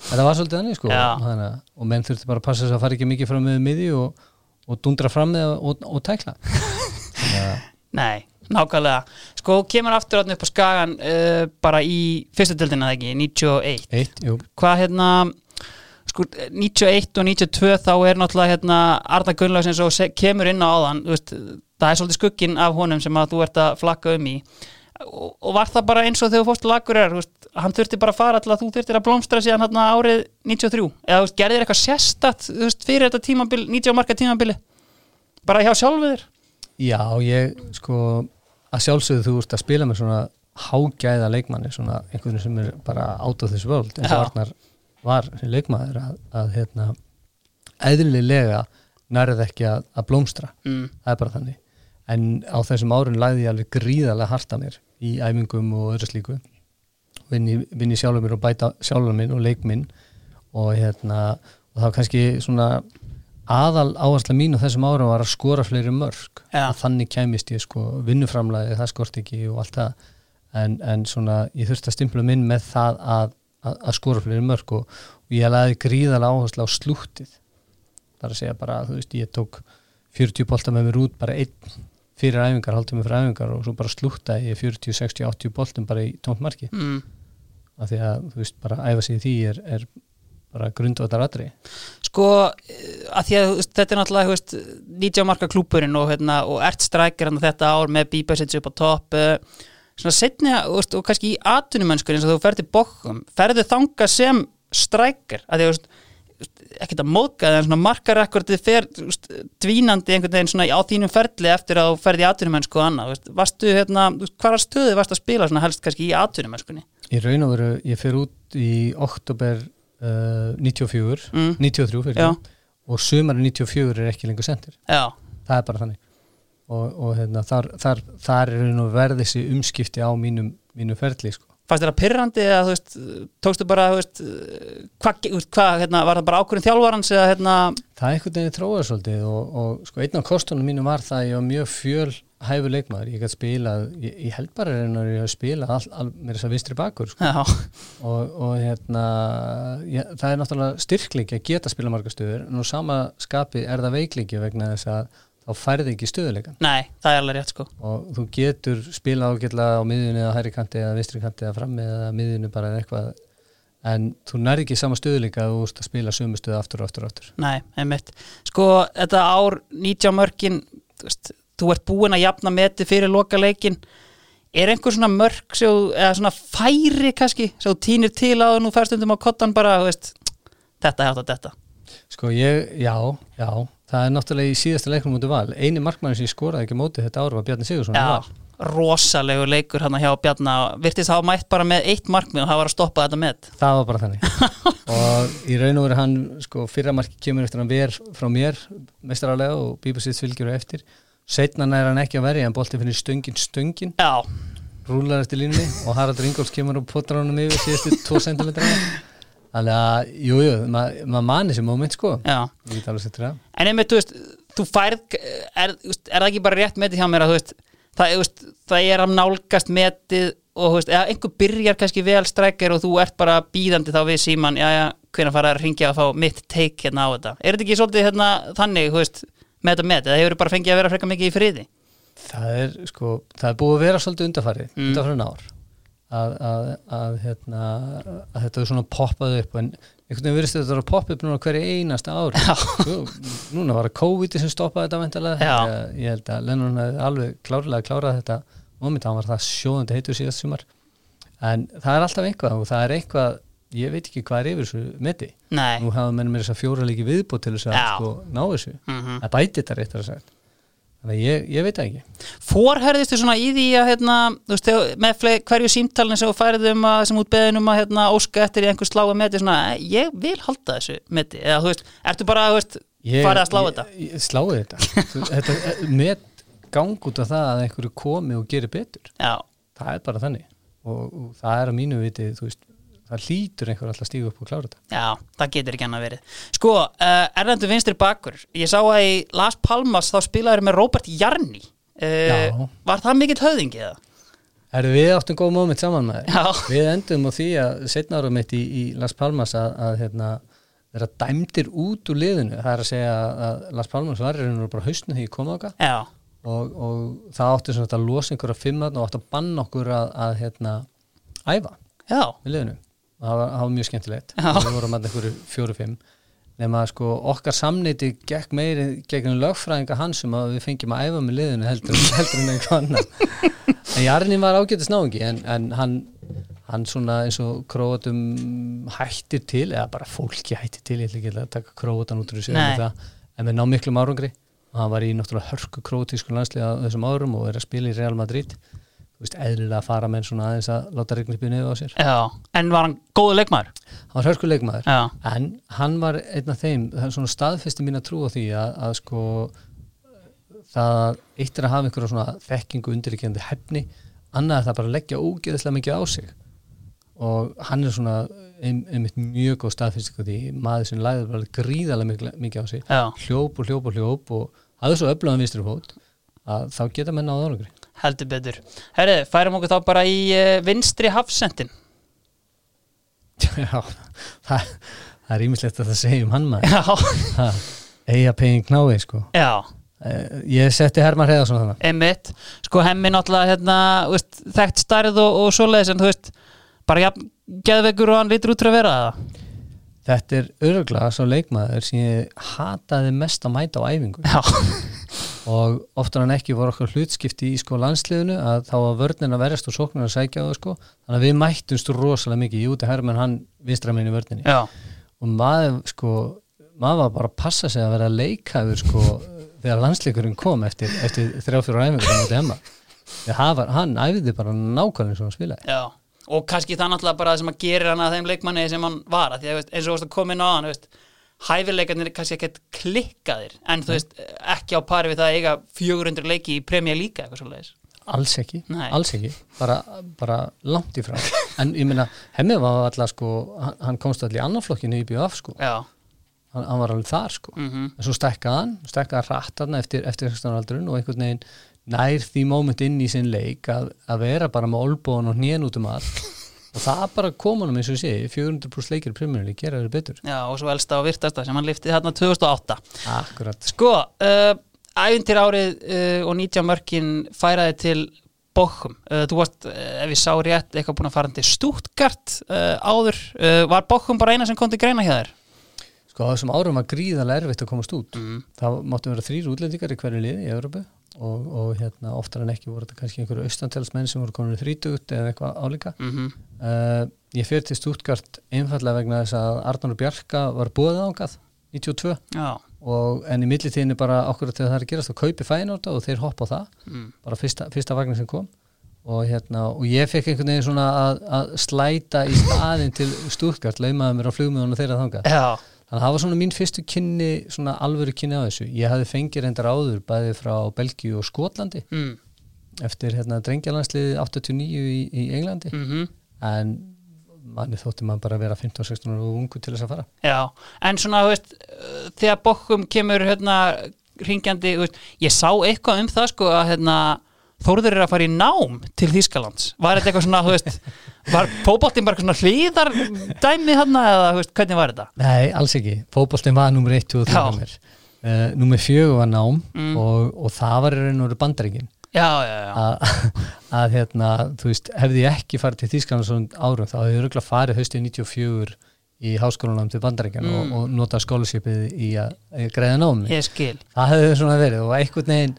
Speaker 2: þetta var svolítið annir sko
Speaker 1: Já.
Speaker 2: Þannig að- og menn þurfti bara að passa þess að fara ekki mikið fram með miði og, og dundra fram með það og, og tækla Þannig að-
Speaker 1: Nei, nákvæmlega. Sko, kemur aftur átni upp á skagan uh, bara í fyrstu dildina það ekki, 91.
Speaker 2: eitt, jú,
Speaker 1: hvað hérna sko, 91 og 92 þá er náttúrulega hérna Arna Gunnlaugs eins og se- kemur inn á áðan þú veist, það er svolítið skugginn af honum sem að þú ert að flakka um í og, og var það bara eins og þegar þú fórst lagur er veist, hann þurfti bara að fara til að þú þurftir að blómstra síðan hérna árið 93 eða þú veist, gerðir eitthvað sérstætt þú veist, fyrir þetta tímabil, 90 marka tímabili bara hjá sjálfu þér
Speaker 2: já, ég sko að sjálfsögðu þú ert að spila með svona hágæða leikmanni, svona einhvern sem er bara out of this world eins og
Speaker 1: Já.
Speaker 2: Arnar var sem leikmaður að, að hérna, eðlilega nærið ekki að, að blómstra
Speaker 1: mm.
Speaker 2: það er bara þannig en á þessum árun læði ég alveg gríðarlega harta mér í æfingum og öðru slíku vinni, vinni sjálfur mér og bæta sjálfur minn og leik minn og hérna og það var kannski svona aðal áhersla mín á þessum árum var að skora fleiri mörg
Speaker 1: Já.
Speaker 2: að þannig kæmist ég sko vinnuframlæði, það skort ekki og allt það en, en svona ég þurfti að stimpla minn með það að, að, að skora fleiri mörg og, og ég laði gríðarlega áhersla á slúttið það er að segja bara, þú veist, ég tók 40 bolta með mér út, bara einn fyrir æfingar, haldið mér fyrir æfingar og svo bara slúttaði ég 40, 60, 80 boltum bara í tómt marki,
Speaker 1: Mm.
Speaker 2: af því að þú veist, bara æfa sig í því er, er bara grundvöldar atri
Speaker 1: sko, eh, að því að þú veist, þetta er náttúrulega þú veist, 90 marka klúpurinn og, hérna, og ert strækir hann þetta ár með bíbæsins upp á topp eh, svona setni veist, og kannski í atunumönskur eins og þú ferði bókum, ferðu þanga sem strækir, að því að þú veist, ekkert að móðga það en svona markar ekkert þið fer þú veist, dvínandi einhvern veginn svona á þínum ferli eftir að þú ferði í atunumönsku og annað, þú veist, varstu hérna, þú veist, hvaða stöðu varstu að spila svona helst kannski í atunumönskunni
Speaker 2: Í raun og veru, ég fer út í oktober uh, 94
Speaker 1: Mm.
Speaker 2: 93 fyrir
Speaker 1: Já.
Speaker 2: og sumar 94 er ekki lengur sendir
Speaker 1: já,
Speaker 2: það er bara þannig og, og hérna, þar, þar, þar er raun og verði þessi umskipti á mínum, mínum ferli sko.
Speaker 1: fannst þér það pyrrandi eða þú veist, tókstu bara þú veist, hvað, ge- þú veist, hvað hérna, var það bara ákvörðin þjálfarans eða hérna,
Speaker 2: það er einhvern veginn þróað svolítið og, og sko, einn af kostunum mínum var það að ég var mjög fjölhæfur leikmaður, ég gæti spilað ég, ég held bara raun og veru að spila all, all, mér þess að vinstri bakur sko.
Speaker 1: já,
Speaker 2: og, og hérna ég, það er náttúrulega styrkleiki að geta spila marga stöður en á sama skapi er það veikleiki vegna þess að þá færði ekki stöðuleikan
Speaker 1: nei, það er alveg rétt sko
Speaker 2: og þú getur spila ágætlega á miðjunni eða hæri kanti eða vinstri kanti eða frammi eða miðjunni bara eða eitthvað en þú nærði ekki sama stöðuleika að þú ert að spila sömu stöðu aftur og aftur og aftur
Speaker 1: nei, einmitt, sko þetta ár 90 mörkin þú, veist, þú ert búin að jafna meti fyrir loka leikin er einhver svona mörk sem, þú- eða svona færi kannski sem þú týnir til að nú ferst undum á kottan bara, þú veist, þetta er þetta, þetta
Speaker 2: Sko ég, já, já það er náttúrulega í síðasta leikum mútu val eini markmann sem ég skoraði ekki á móti þetta ára var Bjarni Sigursson
Speaker 1: já, rosalegu leikur hérna hjá Bjarna, virtist hafa mætt bara með eitt markmið og hafa var að stoppa þetta met
Speaker 2: það var bara þannig og í raun og veru hann sko, fyrra marki kemur eftir að hann ver frá mér mestrarálega og Bíbusins fylgjur á eftir Seinna nær hann ekki að verja en bolti finnir stöngin stöngin
Speaker 1: Já,
Speaker 2: rúlar eftir línni og Haraldur Ingolfs kemur og potar honum yfir síðustu 2 cm þannig að, jújú, jú, maður ma mani þessi moment sko
Speaker 1: já
Speaker 2: ég get alveg sér til það
Speaker 1: En einmitt, þú veist, þú færð er, þú veist, er það ekki bara rétt metið hjá mér að þú veist, það, þú veist, það er að nálgast metið og þú veist, eða einhver byrjar kannski vel strækir og þú ert bara býðandi þá við síman, já, já, hvenær fara að ringja að fá mitt take hérna á þetta. Er þetta ekki svolítið hérna, þannig, þú veist, með þetta metið, það hefur bara fengið að vera frekar mikið í friði?
Speaker 2: það er sko, það er búið að vera svolítið undarfærið,
Speaker 1: Mm.
Speaker 2: mm. undarfærin ár að, að, að, hérna, að þetta er svona poppað upp en einhvern veginn virðist þetta að vera poppað upp núna hverja einasta ári Svo, núna var það COVID sem stoppaði þetta væntalega
Speaker 1: Já.
Speaker 2: ég, ég held að Lennon hefði alveg klárlega klárað þetta moment, hann var það sjóðandi heitur síðast sumar en það er alltaf einhvað og það er eitthvað ég veit ekki hvað er yfir þessu meti
Speaker 1: Nei.
Speaker 2: nú hafa menn mér þess að fjóra leiki viðbútt til þess að
Speaker 1: Já.
Speaker 2: sko, ná þessu
Speaker 1: Mhm.
Speaker 2: að bæti þetta réttar að segja þannig að ég, ég veit það ekki
Speaker 1: Forherðistu svona í því að hérna, þú veist, þegar- með fle- hverju símtalinu sem þú færið um að, sem út beðin um að hérna, óska eftir í einhver sláa meti svona, "Eh, ég vil halda þessu meti eða þú veist, ertu bara, þú veist, farið að slá
Speaker 2: ég,
Speaker 1: þetta
Speaker 2: Ég, sláði þetta, Þú- þetta eh, Met gang út af það að einhverju komi og geri betur,
Speaker 1: Já,
Speaker 2: það er bara þannig og, og það er að mínu viti þú veist, það hlýtur einhver alltaf að stíga upp og klára þetta
Speaker 1: já, það getur ekki annað verið Sko, uh, Erlendur Vinstri Bakur ég sá að í Las Palmas þá spilaður með Robert Jarni uh,
Speaker 2: Já.
Speaker 1: Var það mikill höfðingi eða?
Speaker 2: Herru, við áttum góð moment saman með
Speaker 1: Já.
Speaker 2: Við endum á því að setna ára mitt í, í Las Palmas að, að hérna, vera dæmdir út úr liðinu. Það er að segja að Las Palmas var reynur bara haustinu því ég kom áka
Speaker 1: Já,
Speaker 2: og, og það átti svona þetta að losa einhverja fimmarn og átti að banna okkur að, að hérna, æfa
Speaker 1: já,
Speaker 2: með liðinu. Og Það var, það var mjög skemmtilegt.
Speaker 1: Já.
Speaker 2: Við vorum að einhverju fjóru-fimm. Nefna að sko okkar samneiti gekk meiri gegn lögfræðinga hans um að við fengjum að æfa með liðinu heldur, heldur en einhver annar. En Jarni var ágætið snáðingi en, en hann, hann svona eins og króatum hættir til eða bara fólki hættir til, ég ætla ekki að taka króatan út úr þessu
Speaker 1: Nei.
Speaker 2: en það, en með ná miklum árangri og hann var í náttúrulega hörku króatísku landslið á þessum árum og er að spila í Real Madrid þú veist, eðlilega fara menn svona aðeins að láta regnirbyðu niður á sér
Speaker 1: já En var hann góðu leikmaður?
Speaker 2: hann var hörku leikmaður
Speaker 1: Já,
Speaker 2: en hann var einn af þeim það er svona staðfesti mín að trúa því að, að sko það eitt er að hafa einhverja svona þekkingu undirrikjandi hefni, annað er það bara að leggja ógeðslega mikið á sig og hann er svona ein, einmitt mjög góð staðfestingu á því maður sem læður bara gríðarlega mikið, mikið á sig
Speaker 1: já
Speaker 2: hljóp og hljóp og hljóp og hafði svo öflöðan vinstri fót að þá geta menn á árangri
Speaker 1: Heldur betur. Herri, færum okkur þá bara í uh, vinstri hafsendin.
Speaker 2: Já, það, það er ímislegt að það segja um hann maður
Speaker 1: Já,
Speaker 2: eiga pegin knái sko
Speaker 1: já,
Speaker 2: Eh, Ég setti Herman Hreðarsson þannig
Speaker 1: einmitt. Sko hemmi náttúrulega hérna, þú veist, þekkt stærð og, og svoleiðis en þú veist, bara jafn, geðveikur og hann lítur út fyrir að vera það.
Speaker 2: Þetta er öruglega svo leikmaður sem ég hataði mest að mæta á æfingu
Speaker 1: Já,
Speaker 2: og oftar en ekki voru okkur hlutskipti í sko landsliðinu að þá var vörnin að verjast og sóknin að sækja á það sko þannig að við mættumst rosalega mikið ég úti Herman hann vinstra minn í vörninni
Speaker 1: já,
Speaker 2: og maður sko maður var bara að passa sig að vera leikaður sko þegar landsleikurinn kom eftir, eftir þrjá-fjóra æfingu á móti Emma Þegar hann var- hann æfði bara nákvæmlega eins og hann spilaði
Speaker 1: já. Og kannski það náttúrulega bara það sem að gerir hann að þeim leikmanni sem hann var. af Því að þú veist, eins og þú veist að koma inn á hann, þú veist, hæfileikarnir er kannski ekkert klikkaðir en þú veist, ekki á pari við það að eiga 400 leiki í premja líka eitthvað svoleiðis.
Speaker 2: alls ekki,
Speaker 1: Nei.
Speaker 2: alls ekki bara, bara langt í frá en ég meina, hemmið var alltaf sko hann, hann komst allir í annan flokkinu í BF sko
Speaker 1: Já,
Speaker 2: hann, hann var alveg þar sko
Speaker 1: mhm.
Speaker 2: en svo stekkaði hann, stekkaði rætt hann eftir, eftir 16 ára aldrun og einhvern veginn nær því moment inn í sinn leik að, að vera bara með olbóðan og hnén út um allt og það bara kom hann eins og ég segi, 400 pluss leikir í premjörnli gera þeir betur
Speaker 1: Já, og svo elsta og virtasta sem hann liftið hérna 2008.
Speaker 2: Akkurat,
Speaker 1: Sko, uh, æfintir árið uh, og 19 mörkin færaði til Bochum. Uh, þú varst, uh, ef ég sá rétt, eitthvað búin að fara hann til Stuttgart uh, áður. Uh, var Bochum bara eina sem kom til greina hjá þér?
Speaker 2: sko á þessum árum var gríðarlega erfitt að komast út
Speaker 1: Mm.
Speaker 2: það máttu vera þrýr útlendingar í hverju liði í Európu og, og hérna, oftar en ekki voru þetta kannski einhverju austantelsmenn sem voru konur þrítugt eða eitthvað álíka
Speaker 1: Mm
Speaker 2: uh, ég fyrir til Stuttgart einfallega vegna þess að Arnur Bjarka var búið ángað 92
Speaker 1: Já,
Speaker 2: og, en í millitíðinu bara okkur til það er að gerast og kaupi fæinóta og þeir hoppa á það
Speaker 1: mm.
Speaker 2: bara fyrsta, fyrsta vagnin sem kom og, hérna, og ég fekk einhvern veginn svona að, að slæta í staðin til Stuttgart laumaði mér á flugmiðunum þeirra þangað
Speaker 1: já,
Speaker 2: Þannig að það var svona mín fyrstu kynni, svona alvöru kynni á þessu. Ég hafði fengið reyndar áður bæði frá Belgíu og Skotlandi
Speaker 1: mm.
Speaker 2: eftir hérna drengjalandsliði 89 í, í Englandi
Speaker 1: Mm
Speaker 2: en manni þótti mann bara að vera 15-16 ára og ungu til þess að fara.
Speaker 1: Já, en svona, þú veist, uh, þegar bókum kemur hérna ringjandi, þú veist, ég sá eitthvað um það sko að hérna Þórður er að fara í nám til Þýskalands. Var þetta eitthvað svona, þú veist, var fótboltinn bara eitthvað svona hlýðar dæmi hérna eða, þú veist, hvernig var þetta?
Speaker 2: Nei, alls ekki. Fótboltin var nummer 1 og 3
Speaker 1: Já. Mm.
Speaker 2: hjá mér. Uh, nummer 4 var nám og, og það var í raun og veru bandaríkin.
Speaker 1: Já, já, já.
Speaker 2: Ah, að, að hérna, þú veist, hefði ég ekki farið til Þýskaland svona árum þá hefði ég röglega farið haustið 94 í háskólanum til bandarækjan og, og notað skólusjöpið í að, að greiða námi.
Speaker 1: Ég skil.
Speaker 2: Það hefði svona verið og einhvern veginn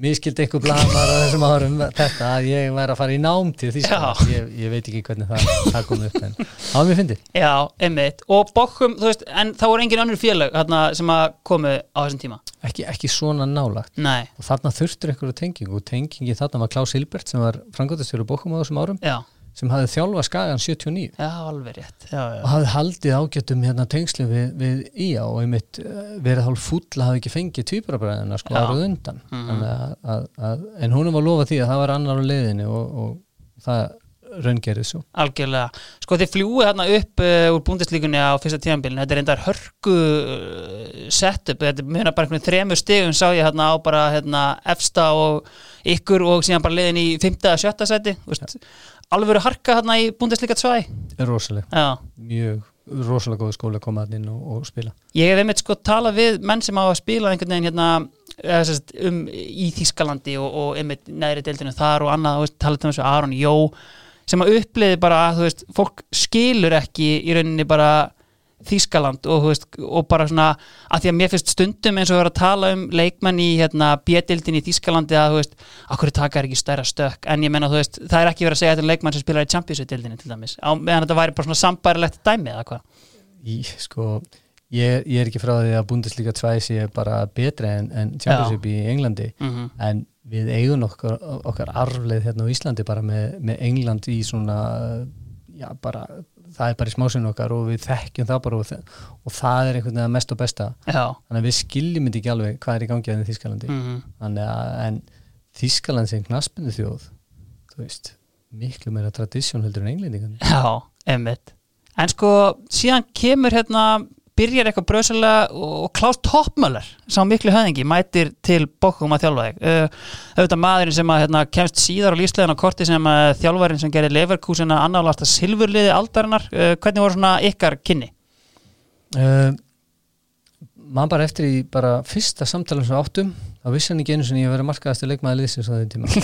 Speaker 2: miskildi einhver blamar á þessum árum þetta að ég væri að fara í nám til Þýskaland. Ég, ég veit ekki hvernig það, það kom upp en það var mér fyndið.
Speaker 1: Já, einmitt. Og bókum, þú veist, en þá voru engin önnur félag hérna sem að komu á þessum tíma.
Speaker 2: Ekki, ekki svona nálagt.
Speaker 1: Nei,
Speaker 2: Og þarna þurftur einhverju tengingu og tengingi þarna var Klaus Hilbert sem var frangotastjóru bókum á þessum árum
Speaker 1: já,
Speaker 2: sem hafði þjálfa skagan 79.
Speaker 1: já, alveg rétt. Já, já.
Speaker 2: og hafði haldið ágjötum hérna tengslu við, við IA og einmitt eh, verið hálf fúll að hafa ekki fengið tvíburabræðina sko
Speaker 1: Já.
Speaker 2: árað undan mm. að, að, að, en hún var lofað því að það var annar á leiðinni og, og það raungerið svo
Speaker 1: Algjörlega. Sko þið fljúið hérna upp uh, úr búndislíkunni á fyrsta tíðanbílinu. Þetta er reyndar hörku uh, setup. Þetta munar bara einhvern þremur stigum sá ég hérna á bara hérna, efsta og ykkur og síðan bara liðin í fymta að sjötta seti. Ja. Alvöru harka hérna í búndislíka 2.
Speaker 2: er rosaleg,
Speaker 1: Já.
Speaker 2: mjög rosalega góð skóla að koma að inn og, og spila
Speaker 1: Ég hef einmitt sko talað við menn sem hafa spilað einhvern veginn hérna eða sem sagt, um í Þýskalandi og, og einmitt neðri deildinu þar og annað, þú veist, talað um þessu Aron Jó sem að uppliði bara að þú veist, fólk skilur ekki í rauninni bara Þýskaland og, þú veist, og bara svona að því að mér finnst stundum eins og vera að tala um leikmenn í hérna, B-deildin í Þýskalandi að þú veist, akkur taka er ekki stærra stökk en ég menna þú veist, það er ekki verið að segja þetta um leikmann sem spilar í Champions League-deildinu til dæmis á meðan þetta væri bara svona sambærilegt dæmi eða hvað
Speaker 2: í, sko, ég, ég er ekki frá því að Bundesliga 2 sé bara betra en, en Championship í Englandi
Speaker 1: mm
Speaker 2: en við eigum okkar, okkar arfleð hérna á Íslandi bara með, með England í svona já bara, það er bara í smásinn okkar og við þekkjum það bara og, þe- og það er einhvern veginn að mest og besta
Speaker 1: Já,
Speaker 2: þannig að við skiljum þetta ekki alveg hvað er í gangi að Þískalandi
Speaker 1: mm
Speaker 2: þannig að en Þískaland sem knaspinu þjóð þú veist, miklu meira tradísjón heldur en englendingan
Speaker 1: Já, einmitt En sko, síðan kemur hérna byrjar eitthvað bröðslega og Klaus Toppmöller, sá miklu höfðingi mætir til Bokkum að þjálfa þig uh, auðvitað maðurinn sem að hérna, kemst síðar á lífsleðan á korti sem að þjálfarinn sem gerir Leverkusen að annálasta silfurliði aldarinnar, uh, hvernig voru svona ykkar kynni?
Speaker 2: uh, mann bara eftir í bara fyrsta samtala sem við áttum þá vissi hann ekki einu sinni að ég verið markaðast í leikmaði liðsins á þeim tíma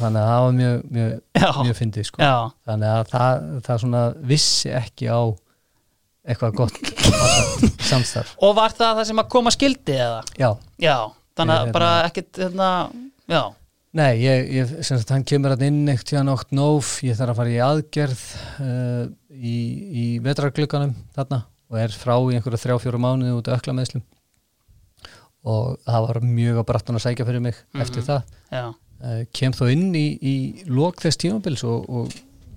Speaker 2: þannig að það var mjög, mjög
Speaker 1: Já,
Speaker 2: mjög fyndið sko.
Speaker 1: já,
Speaker 2: þannig að það, það svona vissi ekki á eitthvað gott samstarf
Speaker 1: og var það það sem að koma skildi eða?
Speaker 2: já,
Speaker 1: Já, þannig
Speaker 2: Ég,
Speaker 1: að
Speaker 2: hérna-
Speaker 1: bara ekkit hérna, já,
Speaker 2: nei, ég, ég sem sagt hann kemur hann inn eitt tíðan 8 nóf ég þarf að fara í aðgerð uh, í, í vetrarglugganum þarna og er frá í einhverja þrjá fjóra mánuði út af ökla meðslum og það var mjög að brattan að sækja fyrir mig eftir það
Speaker 1: já,
Speaker 2: uh, kem þó inn í, í lok þess tímabils og, og,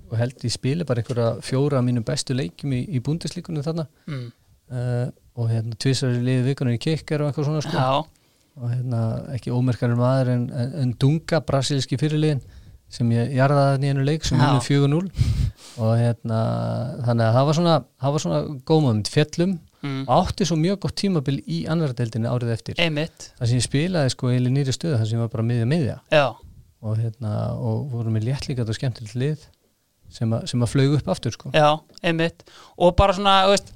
Speaker 2: og held ég spili bara einhverja fjóra af mínum bestu leikjum í, í búndislíkunum þarna
Speaker 1: mm,
Speaker 2: uh, og hérna tvisar í liði vikunar í kikkar og eitthvað svona sko
Speaker 1: já,
Speaker 2: og hérna ekki ómerkarinn maður en, en, en Dunga, brasilíski fyrirliðin sem ég jarðaði hann í einu leik sem
Speaker 1: Já.
Speaker 2: húnum 4-0 og hérna þannig að það var svona, það var svona gómaðum fjallum
Speaker 1: mm,
Speaker 2: og átti svo mjög gott tímabil í anvardeldinni árið eftir
Speaker 1: einmitt,
Speaker 2: það sem ég spilaði sko eða nýri stöðu það sem ég var bara miðja miðja
Speaker 1: já,
Speaker 2: og hérna og vorum við léttlíkat og skemmtilegt lið sem að, sem að flög upp aftur sko
Speaker 1: Já, einmitt og bara svona, þú veist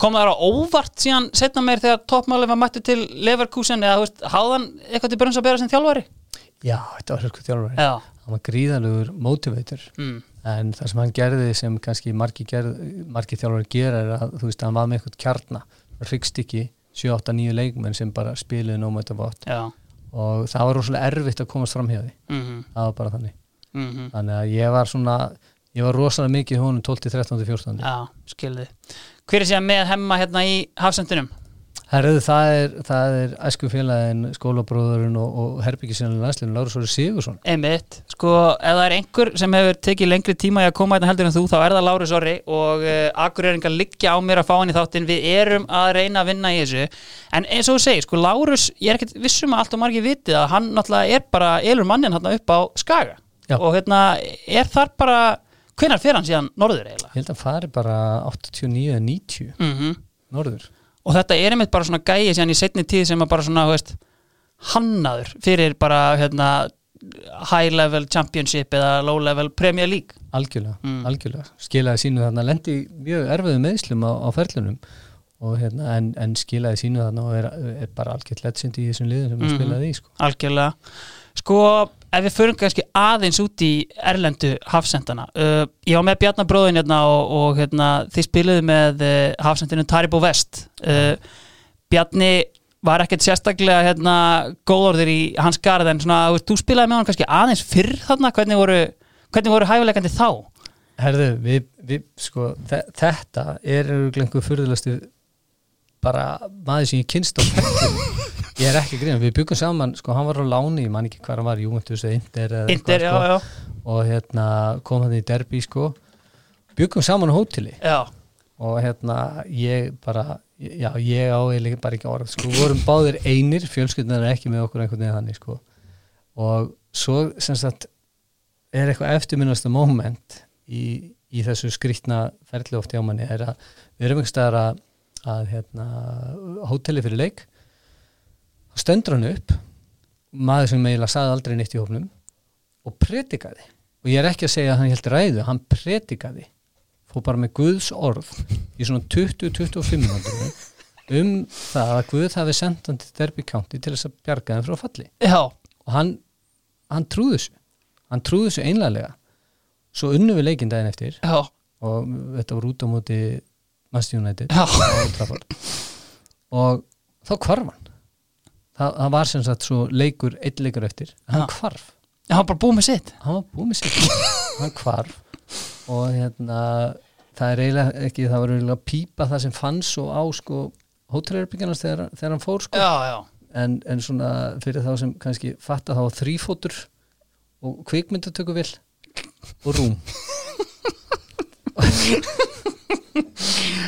Speaker 1: kom það á óvart síðan setna meir þegar toppmálið var mættu til Leverkusen eða, þú veist, háðan eitthvað til brunns að bera sem þjálfari
Speaker 2: já, þetta var hörku þjálfari
Speaker 1: Já,
Speaker 2: hann var gríðalugur motivator
Speaker 1: mm,
Speaker 2: en það sem hann gerði sem kannski margi, gerð, margi þjálfur gera er að þú veist hann var með eitthvað kjarna hryggstikki, 7-8-9 leikmenn sem bara spiluði nóma þetta vott
Speaker 1: já
Speaker 2: og það var rosalega erfitt að komast fram hjá því
Speaker 1: mm -hmm,
Speaker 2: það var bara þannig
Speaker 1: mhm.
Speaker 2: þannig að ég var svona ég var rosalega mikið í honum 12-13-14
Speaker 1: Já, skilði Hver er síðan með hemma hérna í hafsendunum?
Speaker 2: Herðu, það er, það er æskufélagin, skólabróðurinn og, og herbyggisjónin landslinn, Lárus Óri Sigursson.
Speaker 1: Einmitt, sko, ef það er einhver sem hefur tekið lengri tíma í að koma hérna heldur en þú þá er það Lárus Orri og uh, akureyringar liggja á mér að fá hann í þáttinn við erum að reyna að vinna í þessu en eins og þú segir, sko, Lárus, ég er ekkert vissum að allt og margir vitið að hann náttúrulega er bara elur mannin hérna upp á Skaga
Speaker 2: Já.
Speaker 1: og hérna, er þar bara hvenar fer hann síðan norður eiginlega?
Speaker 2: Ég held að hann fari bara 89-90
Speaker 1: Mm
Speaker 2: norður.
Speaker 1: og þetta er einmitt bara svona gæi síðan í setni tíð sem að bara svona, þú veist, hannaður fyrir bara, hérna, high level championship eða low level Premier League
Speaker 2: Algjörlega,
Speaker 1: Mm.
Speaker 2: algjörlega. Skilaði sínu þarna, lendi í mjög erfiðu meðslum á, á ferlunum og hérna, en, en skilaði sínu þarna og er, er bara algjört legend í þessum liðum sem hann
Speaker 1: Mhm.
Speaker 2: spilaði í, sko.
Speaker 1: Algjörlega Sko, ef við förum kannski aðeins út í erlendu hafsendana uh, Ég var með Bjarnar bróðin hérna og, og hérna, þið spiluðu með uh, hafsendinu Taribo Vest uh, Bjarni var ekkert sérstaklega hérna, góðorðir í hans garð en svona, þú veist, þú spilaði með hann kannski aðeins fyrr þarna, hvernig voru, hvernig voru hæfileikandi þá?
Speaker 2: Herðu, við, við sko, þe þetta er einhver fyrðulegastu bara maður sem ég kynst á ferlinum. ég er ekki gríðan, við byggum saman sko, hann var á láni, ég man ekki hvað hann var Júmentus eða Inder, eða
Speaker 1: Inter,
Speaker 2: eitthvað,
Speaker 1: já, já,
Speaker 2: sko, og hérna kom hann í derbi sko, byggum saman á hóteli
Speaker 1: já
Speaker 2: og hérna ég bara já, ég á eiginlega bara ekki orð sko, við vorum báðir einir, fjölskyldunar er ekki með okkur einhvern veginn þannig sko og svo sem sagt er eitthvað eftirminnasta moment í, í þessu skrýtna ferli oft hjá manni er að við erum einhvers staðar að, að hérna, hóteli fyrir leik þá stöndur hann upp maður sem eiginlega sagði aldrei neitt í hófnum og predikaði og ég er ekki að segja að hann held ræðu hann predikaði fór bara með Guðs orð í svona 20-25 minútur um það að Guð hafi sendt hann til Derby County til þess að bjarga þeim frá falli
Speaker 1: Já,
Speaker 2: og hann, hann trúði þessu hann trúði þessu einlega svo unnum við leikinn daginn eftir
Speaker 1: já,
Speaker 2: og þetta var út á móti Master United
Speaker 1: já,
Speaker 2: á Old Trafford. og þá hvarf hann það, það var sem sagt svo leikur einn leikur eftir, hann
Speaker 1: Já.
Speaker 2: hvarf
Speaker 1: já, bara búið með sitt
Speaker 2: hann var búið með sig hann hvarf og hérna það er eiginlega ekki, það var eiginlega pípa það sem fann svo á sko hótelherbyggarnas þegar, þegar hann fór sko
Speaker 1: Já, já,
Speaker 2: en, en svona fyrir þá sem kannski fatta þá þrýfótur og kvikmyndatöku vil og rúm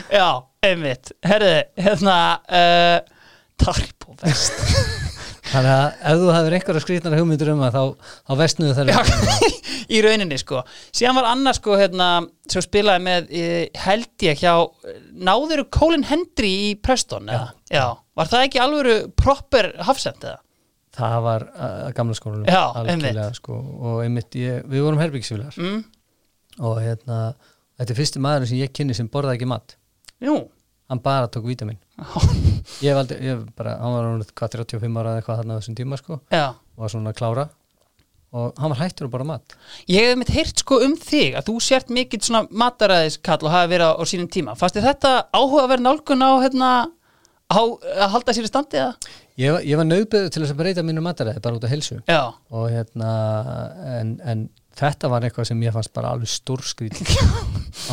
Speaker 1: Já, einmitt Herðu, hérna uh, Taribo Vest
Speaker 2: þannig að ef þú hafður einhverja skrýtnar hugmyndur um það þá, þá vestnuðu þar
Speaker 1: Já, Í rauninni sko Síðan var annars sko hérna sem spilaði með eh, held ég hjá náðuru Colin Hendry í Preston eða? Já, var það ekki alvöru proper hafsend eða?
Speaker 2: það var að að gamla skólanum
Speaker 1: Já,
Speaker 2: algjörlega,
Speaker 1: einmitt.
Speaker 2: sko, og einmitt ég, við vorum herbyggsvílar
Speaker 1: Mm?
Speaker 2: og hérna, þetta er fyrsti maður sem ég kynni sem borðaði ekki mat
Speaker 1: Jú
Speaker 2: hann bara tók vítamin ég hef aldrei, ég hef bara, hann var orðinn hvað 35 ára eða eitthvað þarna á þessum tíma sko
Speaker 1: Já
Speaker 2: og var svona að klára og hann var hættur að bara mat
Speaker 1: Ég hef mitt heyrt sko um þig að þú sért mikill svona mataræðiskall og hafi verið á, á sínum tíma Fasti þetta áhugaverð nálgun á hérna á, að halda sér í standi eða?
Speaker 2: ég, var- ég var nöðböð til þess að breyta mínu mataræði bara út af helsu
Speaker 1: Já
Speaker 2: og hérna en, en þetta var eitthvað sem ég fannst bara alveg stórskrýt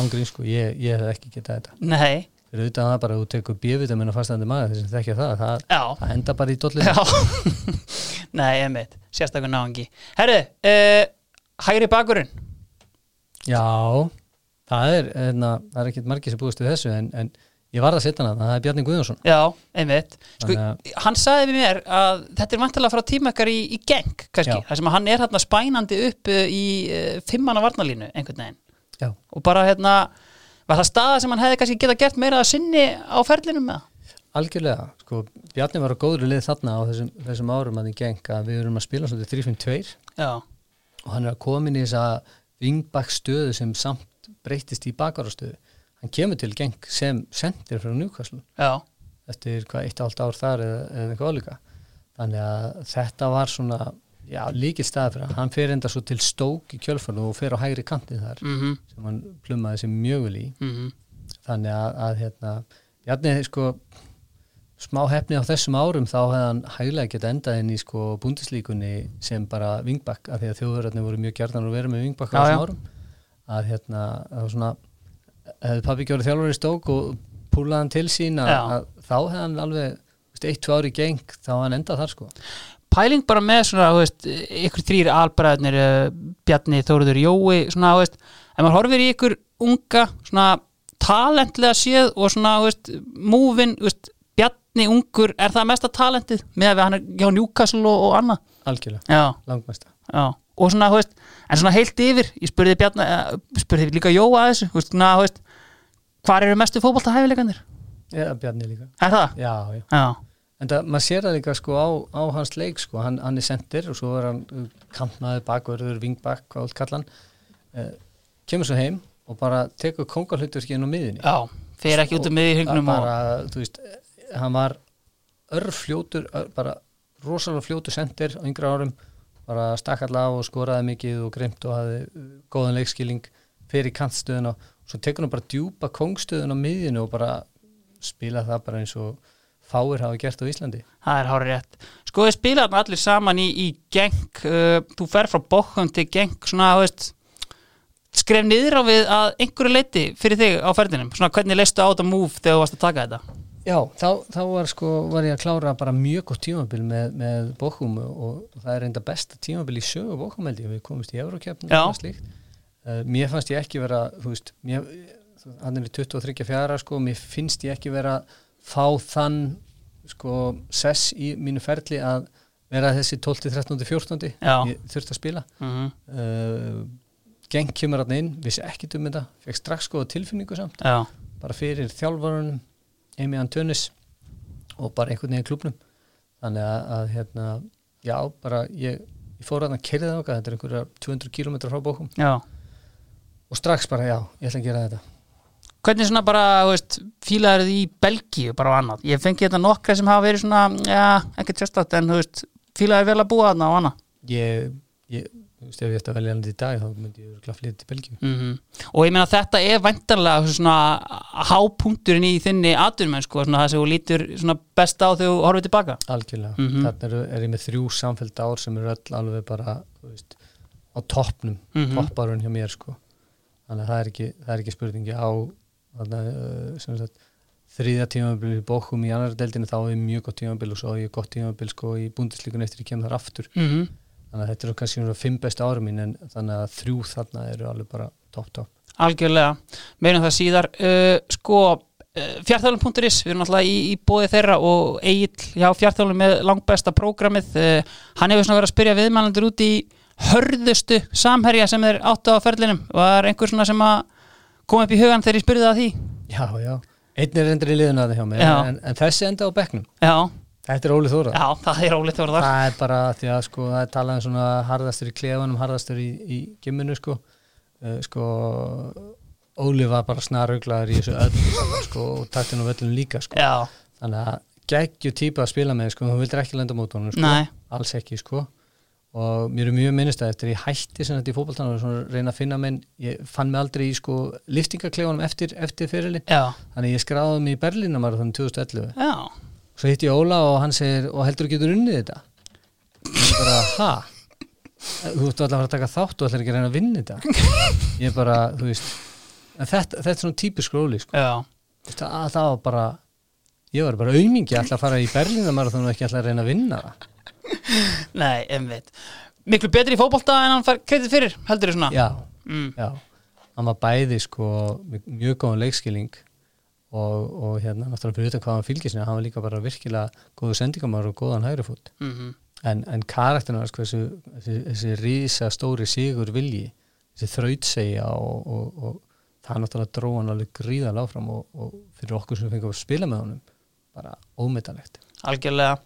Speaker 2: ángrín sko, ég, ég hef ekki getað þetta
Speaker 1: Nei
Speaker 2: fyrir utan það bara að þú tekur bjöfitamin og fastandi maður þess að þekkja það, það,
Speaker 1: Já
Speaker 2: það enda bara í dollinu
Speaker 1: Já, nei, einmitt, sérstakur náðungi Herru, uh, hægri bakurinn
Speaker 2: Já, það er, hérna, það er ekkert margir sem búist við þessu en, en ég varð að setja hana, það er Bjarni Guðjónsson
Speaker 1: Já, einmitt sko,
Speaker 2: Þannig
Speaker 1: Hann sagði við mér að þetta er vantilega frá tíma ykkar í, í geng, kannski
Speaker 2: Já.
Speaker 1: Það sem að hann er hérna spænandi upp eh, í uh, fimmana varnalínu einhvern veginn
Speaker 2: Já.
Speaker 1: Og bara hérna, var það staða sem hann hefði kannski geta gert meira að sinni á ferlinum með
Speaker 2: Algjörlega, sko, Bjarni var á góðri lið þarna á þessum, þessum árum að þið geng að við erum að spila svolítið 3-5-2
Speaker 1: Já,
Speaker 2: og hann er að koma inn í þessa vingbakk stöðu sem samt breytist í bakarastöðu. Hann kemur til geng sem sendir frá Newcastle
Speaker 1: já,
Speaker 2: eftir hvað eitt og halvt ár þar eða, eða eitthvað álíka. Þannig að þetta var svona, já, líkil staði fyrir hann. Hann fer enda svo til stók í kjölfarnu og fer á hægri kanti þar
Speaker 1: mhm, mm
Speaker 2: sem hann plummaði sér mjög vel í.
Speaker 1: mhm
Speaker 2: þannig að, að hérna, Bjarni sko smá hefni á þessum árum þá hefði hann hæglega geta endað inn í sko búndislíkunni sem bara vingbakk af því að þjóðverðarnir voru mjög gjarnan að vera með vingbakk á
Speaker 1: Já,
Speaker 2: þessum
Speaker 1: já.
Speaker 2: árum að hérna, það var svona hefði pappi gjórið þjálfur í stók og púlaðan til sín að,
Speaker 1: Já.
Speaker 2: að þá hefði hann alveg þú veist, eitt, tvö ári geng þá hefði hann endað þar sko
Speaker 1: pæling bara með svona, þú veist, ykkur þrýr albræðnir, uh, Bjarni, Þóruður, Jói, svona, þú veist, ef maður horfir í ykkur unga, svona, talentlega séð og svona, þú veist, múvin, þú veist, Bjarni ungur, er það mesta talentið með að hann er hjá Newcastle og, og annað?
Speaker 2: algjörlega,
Speaker 1: Já,
Speaker 2: langmesta
Speaker 1: já, og svona, þú veist, en svona heilt yfir, ég spurði Bjarni, uh, spurði líka Jóa að þessu, þú veist, svona, þú veist, hvar eru mestu fótboltahæfileikandir?
Speaker 2: eða Bjarni líka,
Speaker 1: Er það?
Speaker 2: já, já
Speaker 1: Já,
Speaker 2: en það, maður sér það líka sko á, á hans leik sko, hann, hann er sendir og svo er hann uh, kantmaður, bakverður, vingbak hvað allt kallan uh, kemur svo heim og bara tekur kongahluturkinn á miðinni
Speaker 1: já, fer ekki út um miðið í hringnum og,
Speaker 2: bara, þú veist, hann var örfljótur, ör, bara rosalega fljótur sendir á yngra árum bara stakk alla á og skoraði mikið og grimt og hafði uh, góðan leikskilning fyrir kantstöðuna og svo tekur hann bara djúpa kongstöðuna á miðinu og bara spila það bara eins og fáir hafa gert á Íslandi
Speaker 1: Það er hárið rétt. Sko þið spilaðan allir saman í, í geng, uh, þú fer frá bókum til geng, svona, þú veist, skref niður á við að einhverju leiti fyrir þig á ferðinum, svona hvernig leistu á þetta move þegar þú varst að taka þetta?
Speaker 2: Já, þá, þá var, sko, var ég að klára bara mjög gott tímabil með, með Bochum og, og það er reynda besta tímabil í sögu Bochum held ég, við komumst í Eurokeppni
Speaker 1: Já.
Speaker 2: og það slíkt. Uh, mér fannst ég ekki vera, þú veist, mér, hann er í 23-4 sko, mér finnst ég ekki vera fá þann sko sess í mínu ferli að vera þessi 12, 13, 14
Speaker 1: Já.
Speaker 2: ég þurfti að spila
Speaker 1: Mm
Speaker 2: uh, geng kemur hann inn, vissi ekki um þetta fekk strax sko tilfinningu samt
Speaker 1: Já,
Speaker 2: bara fyrir þjálfarunum Amy Antunis og bara einhvern veginn í klubnum þannig að, að hérna, já, bara ég, ég fór að hann kerðið þangað þetta er einhverja 200 km frá bókum
Speaker 1: já.
Speaker 2: og strax bara, já, ég ætla að gera þetta
Speaker 1: Hvernig svona bara, þú veist, fílaður þið í Belgíu bara og annað? Ég fengi þetta nokkra sem hafa verið svona, já, ekkert sérstætt, en þú veist, fílaður vel að búa þarna og annað?
Speaker 2: ég, ég, þú veist, ef ég ætti að velja hann í dag þá myndi ég örugglega flytja til Belgíu
Speaker 1: Mm Og ég meina þetta er væntanlega svona hápunkturinn í þinni atvinnmenn sko, svona það sem þú lítur svona best á þegar þú horfið tilbaka.
Speaker 2: algjörlega,
Speaker 1: Mhm.
Speaker 2: þarna er, er ég með þrjú samfélg ár sem eru öll alveg bara þú veist, á toppnum
Speaker 1: Mhm.
Speaker 2: topparun hjá mér sko þannig að það er ekki, það er ekki spurningi á þarna, uh, sem sagt þriðja tímabil í bókum í annar deildinu þá er mjög gott tímabil og svo er ég gott tímabil sko í búndislíkun eftir ég kem þar aftur
Speaker 1: Mm
Speaker 2: þannig að þetta eru kannski svona fimm bestu ára mín en þannig að þrjú þarna eru alveg bara topp topp
Speaker 1: Algjörlega, meina það síðar uh, sko, uh, fjartálum.is við erum alltaf í, í bóði þeirra og Egil hjá fjartálum með langbesta prógramið, uh, hann hefur svona verið að spyrja viðmælandur út í hörðustu samherja sem þeir áttu á ferlinum var einhver svona sem að kom upp í hugan þegar ég spurði að því
Speaker 2: já já, einn er endur í liðun að það hjá mér
Speaker 1: Já.
Speaker 2: en, en þessi enda á bekknum
Speaker 1: Já,
Speaker 2: þetta er Óli Þóra
Speaker 1: já það er ólítið voru þar
Speaker 2: Það er bara því að sko, það er talað um svona harðastur í klefanum, harðastur í, í gimminu sko. Uh, sko, Óli var bara snaruglaður í þessu öll sko, og taktin á völlum líka sko.
Speaker 1: Já,
Speaker 2: Þannig að geggju típa að spila með sko, hún vildir ekki lenda á mót honum sko.
Speaker 1: Nei.
Speaker 2: Alls ekki sko. Og mér er mjög minnist að eftir ég hætti sem þetta í fótboltanum og svona reyna að finna minn, ég fann mig aldrei í sko liftingaklefanum eftir, eftir fyrirli.
Speaker 1: já, þannig.
Speaker 2: Þannig að ég skráði mig í Berlínamarathon 2011
Speaker 1: já
Speaker 2: svo hitti ég Óla og hann segir og heldur þú getur unnið þetta ég bara, ha? þú ættu allar að fara að taka þátt og ætlar ekki að reyna að vinna þetta ég bara, þú veist en þetta, þetta er svona típisk Óli sko.
Speaker 1: Já,
Speaker 2: Þú veist, að það var bara ég var bara aumingi að ætla að fara í Berlínamarathon og ekki ætla að reyna að vinna það
Speaker 1: nei, einmitt Miklu betri í fótbolta en hann fær kredið fyrir, heldur þið svona?
Speaker 2: já,
Speaker 1: Mm.
Speaker 2: já hann var bæði sko með mjög góðan leikskilning og, og hérna náttúrulega fyrir utan hvað hann fylgir sinni hann var líka bara virkilega góðu sendingamar og góðan hægri fót
Speaker 1: Mm
Speaker 2: en, en karakterinn hans hversu, þessi, þessi rísa stóri sigur vilji þessi þrautsegja og, og, og það náttúrulega dró hann alveg gríðal áfram og, og fyrir okkur sem fengið að spila með honum bara ómetanlegt
Speaker 1: Algjörlega.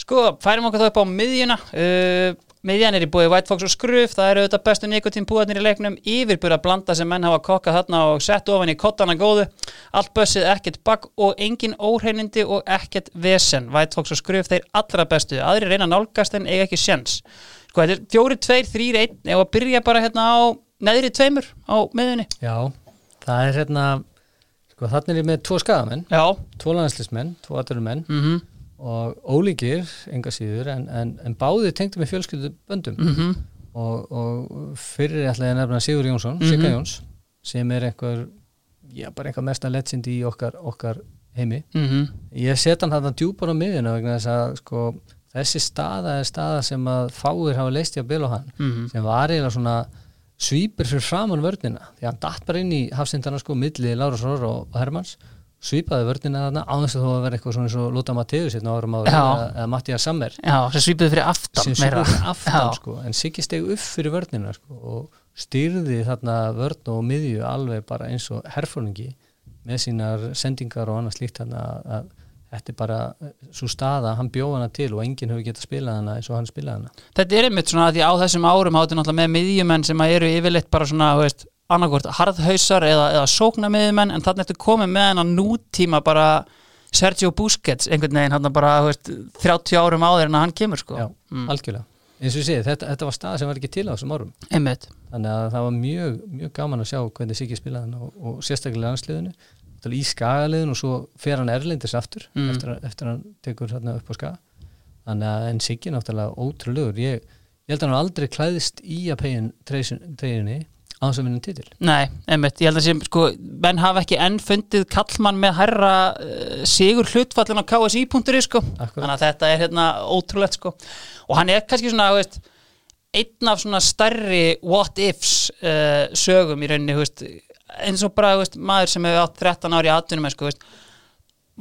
Speaker 1: Sko, færum okkur þá upp á miðjuna. Uh, miðjan er í búið White Fox og Skruf. Það eru auðvitað bestu nikotínpúðarnir í leiknum. Yfirbúra blanda sem menn hafa kokkað þarna og sett ofan í kottana góðu. Allt bössið, ekkert bakk og engin óhreinindi og ekkert vesen. White Fox og Skruf, þeir allra bestu. Aðri reyna að nálgast en eiga ekki sjens. Sko, þetta er fjóri, tveir, þrýr, einn. Ef að byrja bara hérna á neðri tveimur á miðjunni.
Speaker 2: já, það er hérna sko þarna er ég með tvo skagamenn
Speaker 1: Já.
Speaker 2: tvo landslísmenn, tvo aðdurumenn
Speaker 1: Mm
Speaker 2: og ólíkir, enga síður en, en, en báði tengdu með fjölskylduböndum og, og fyrir ætlaði að nefna Sigur Jónsson, mm
Speaker 1: Mhm.
Speaker 2: Jóns sem er einhver já, bara einhver mesta legend í okkar, okkar heimi
Speaker 1: mm -hmm.
Speaker 2: ég set hann þarna djúpar á miðjuna vegna þess að sko, þessi staða er staða sem að fáir hafa leist í að bila hann
Speaker 1: Mhm.
Speaker 2: sem var eiginlega svona svýpir fyrir framann vörnina því að hann datt bara inn í hafsindana sko milli Lárus Rór og, og Hermanns svýpaði vörnina þarna á þess að þú að vera eitthvað svona eins og Lóta Matteus hérna á árum ári
Speaker 1: Já.
Speaker 2: eða, eða Mattia Sammer
Speaker 1: Já, sem svipuðu fyrir aftan
Speaker 2: sem
Speaker 1: meira.
Speaker 2: svýpaði aftan
Speaker 1: Já.
Speaker 2: sko en Siggi steg upp fyrir vörnina sko og styrði þarna vörn og miðju alveg bara eins og herfóringi með sínar sendingar og annað slíkt þarna að- að þetta er bara svo staða, hann bjóð hana til og enginn hefur getað spilað hana eins og hann spilað hana
Speaker 1: Þetta er einmitt svona að því á þessum árum hátti náttúrulega með miðjumenn sem að eru yfirleitt bara svona, þú veist, annarkvort harðhausar eða, eða sókna miðjumenn en þannig ertu komið með hennar nútíma bara Sergio Busquets einhvern veginn hann bara, þú veist, 30 árum áður en að hann kemur sko.
Speaker 2: Já, algjörlega. Eins og ég segi, þetta, þetta var stað sem var ekki til á þessum árum.
Speaker 1: Einmitt.
Speaker 2: Þannig að það var mjög, mjög gaman að sjá hvernig Siggi spilaði hann og, og sérstaklega landsliðinu, Náttúrulega í skagaliðinu og svo fer hann erlendis aftur
Speaker 1: Mm.
Speaker 2: eftir, að, eftir að hann tekur þarna upp á skaga. Þannig að en Siggi náttúrulega ótrúlegur. Ég, ég held að hann hafi aldrei klæðist í að pegin treyjunni á þess að vinna titil.
Speaker 1: Nei, einmitt, ég held að sem sko, menn hafa ekki enn fundið kallmann með herra uh, sigur hlutfallin á KSI.ri sko.
Speaker 2: Akkurat.
Speaker 1: þannig að þetta er hérna ótrúlegt sko. og hann er kannski svona þú veist, einn af svona stærri what ifs uh, sögum í rauninni þú veist, eins og bara þú veist, maður sem hefur átt 13 ári í atvinnum sko, þú veist,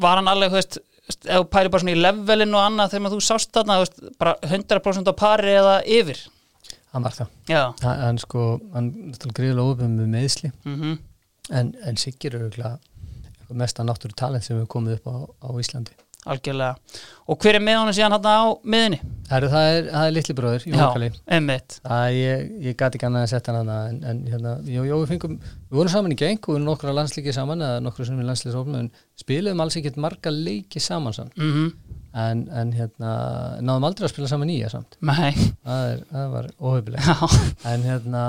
Speaker 1: var hann alveg þú veist, þú veist, ef þú pæri bara svona í levelin og annað þegar maður þú sást þarna þú veist, bara 100% á pari eða yfir
Speaker 2: Hann var það.
Speaker 1: Já,
Speaker 2: Hann, hann sko, hann náttúrulega gríðlega óöfum með meðsli.
Speaker 1: mhm
Speaker 2: En, en Siggi er auðvitað mesta náttúru talent sem hefur komið upp á, á Íslandi.
Speaker 1: algjörlega og hver er með honum síðan hann á miðinni
Speaker 2: Herru, það er, það er litli bróður, Jókali.
Speaker 1: einmitt
Speaker 2: Það ég, ég gati ekki annað að setja hann hana, en, en hérna, jú, jú, við fengum, við vorum saman í geng og við vorum nokkra landslíki saman eða nokkra sem við landslíksófnum en spiluðum alls ekkert marga leiki saman saman
Speaker 1: mm
Speaker 2: en, en hérna, náðum aldrei að spila saman nýja samt.
Speaker 1: nei
Speaker 2: Það, er, það var óhefilegt
Speaker 1: já,
Speaker 2: en hérna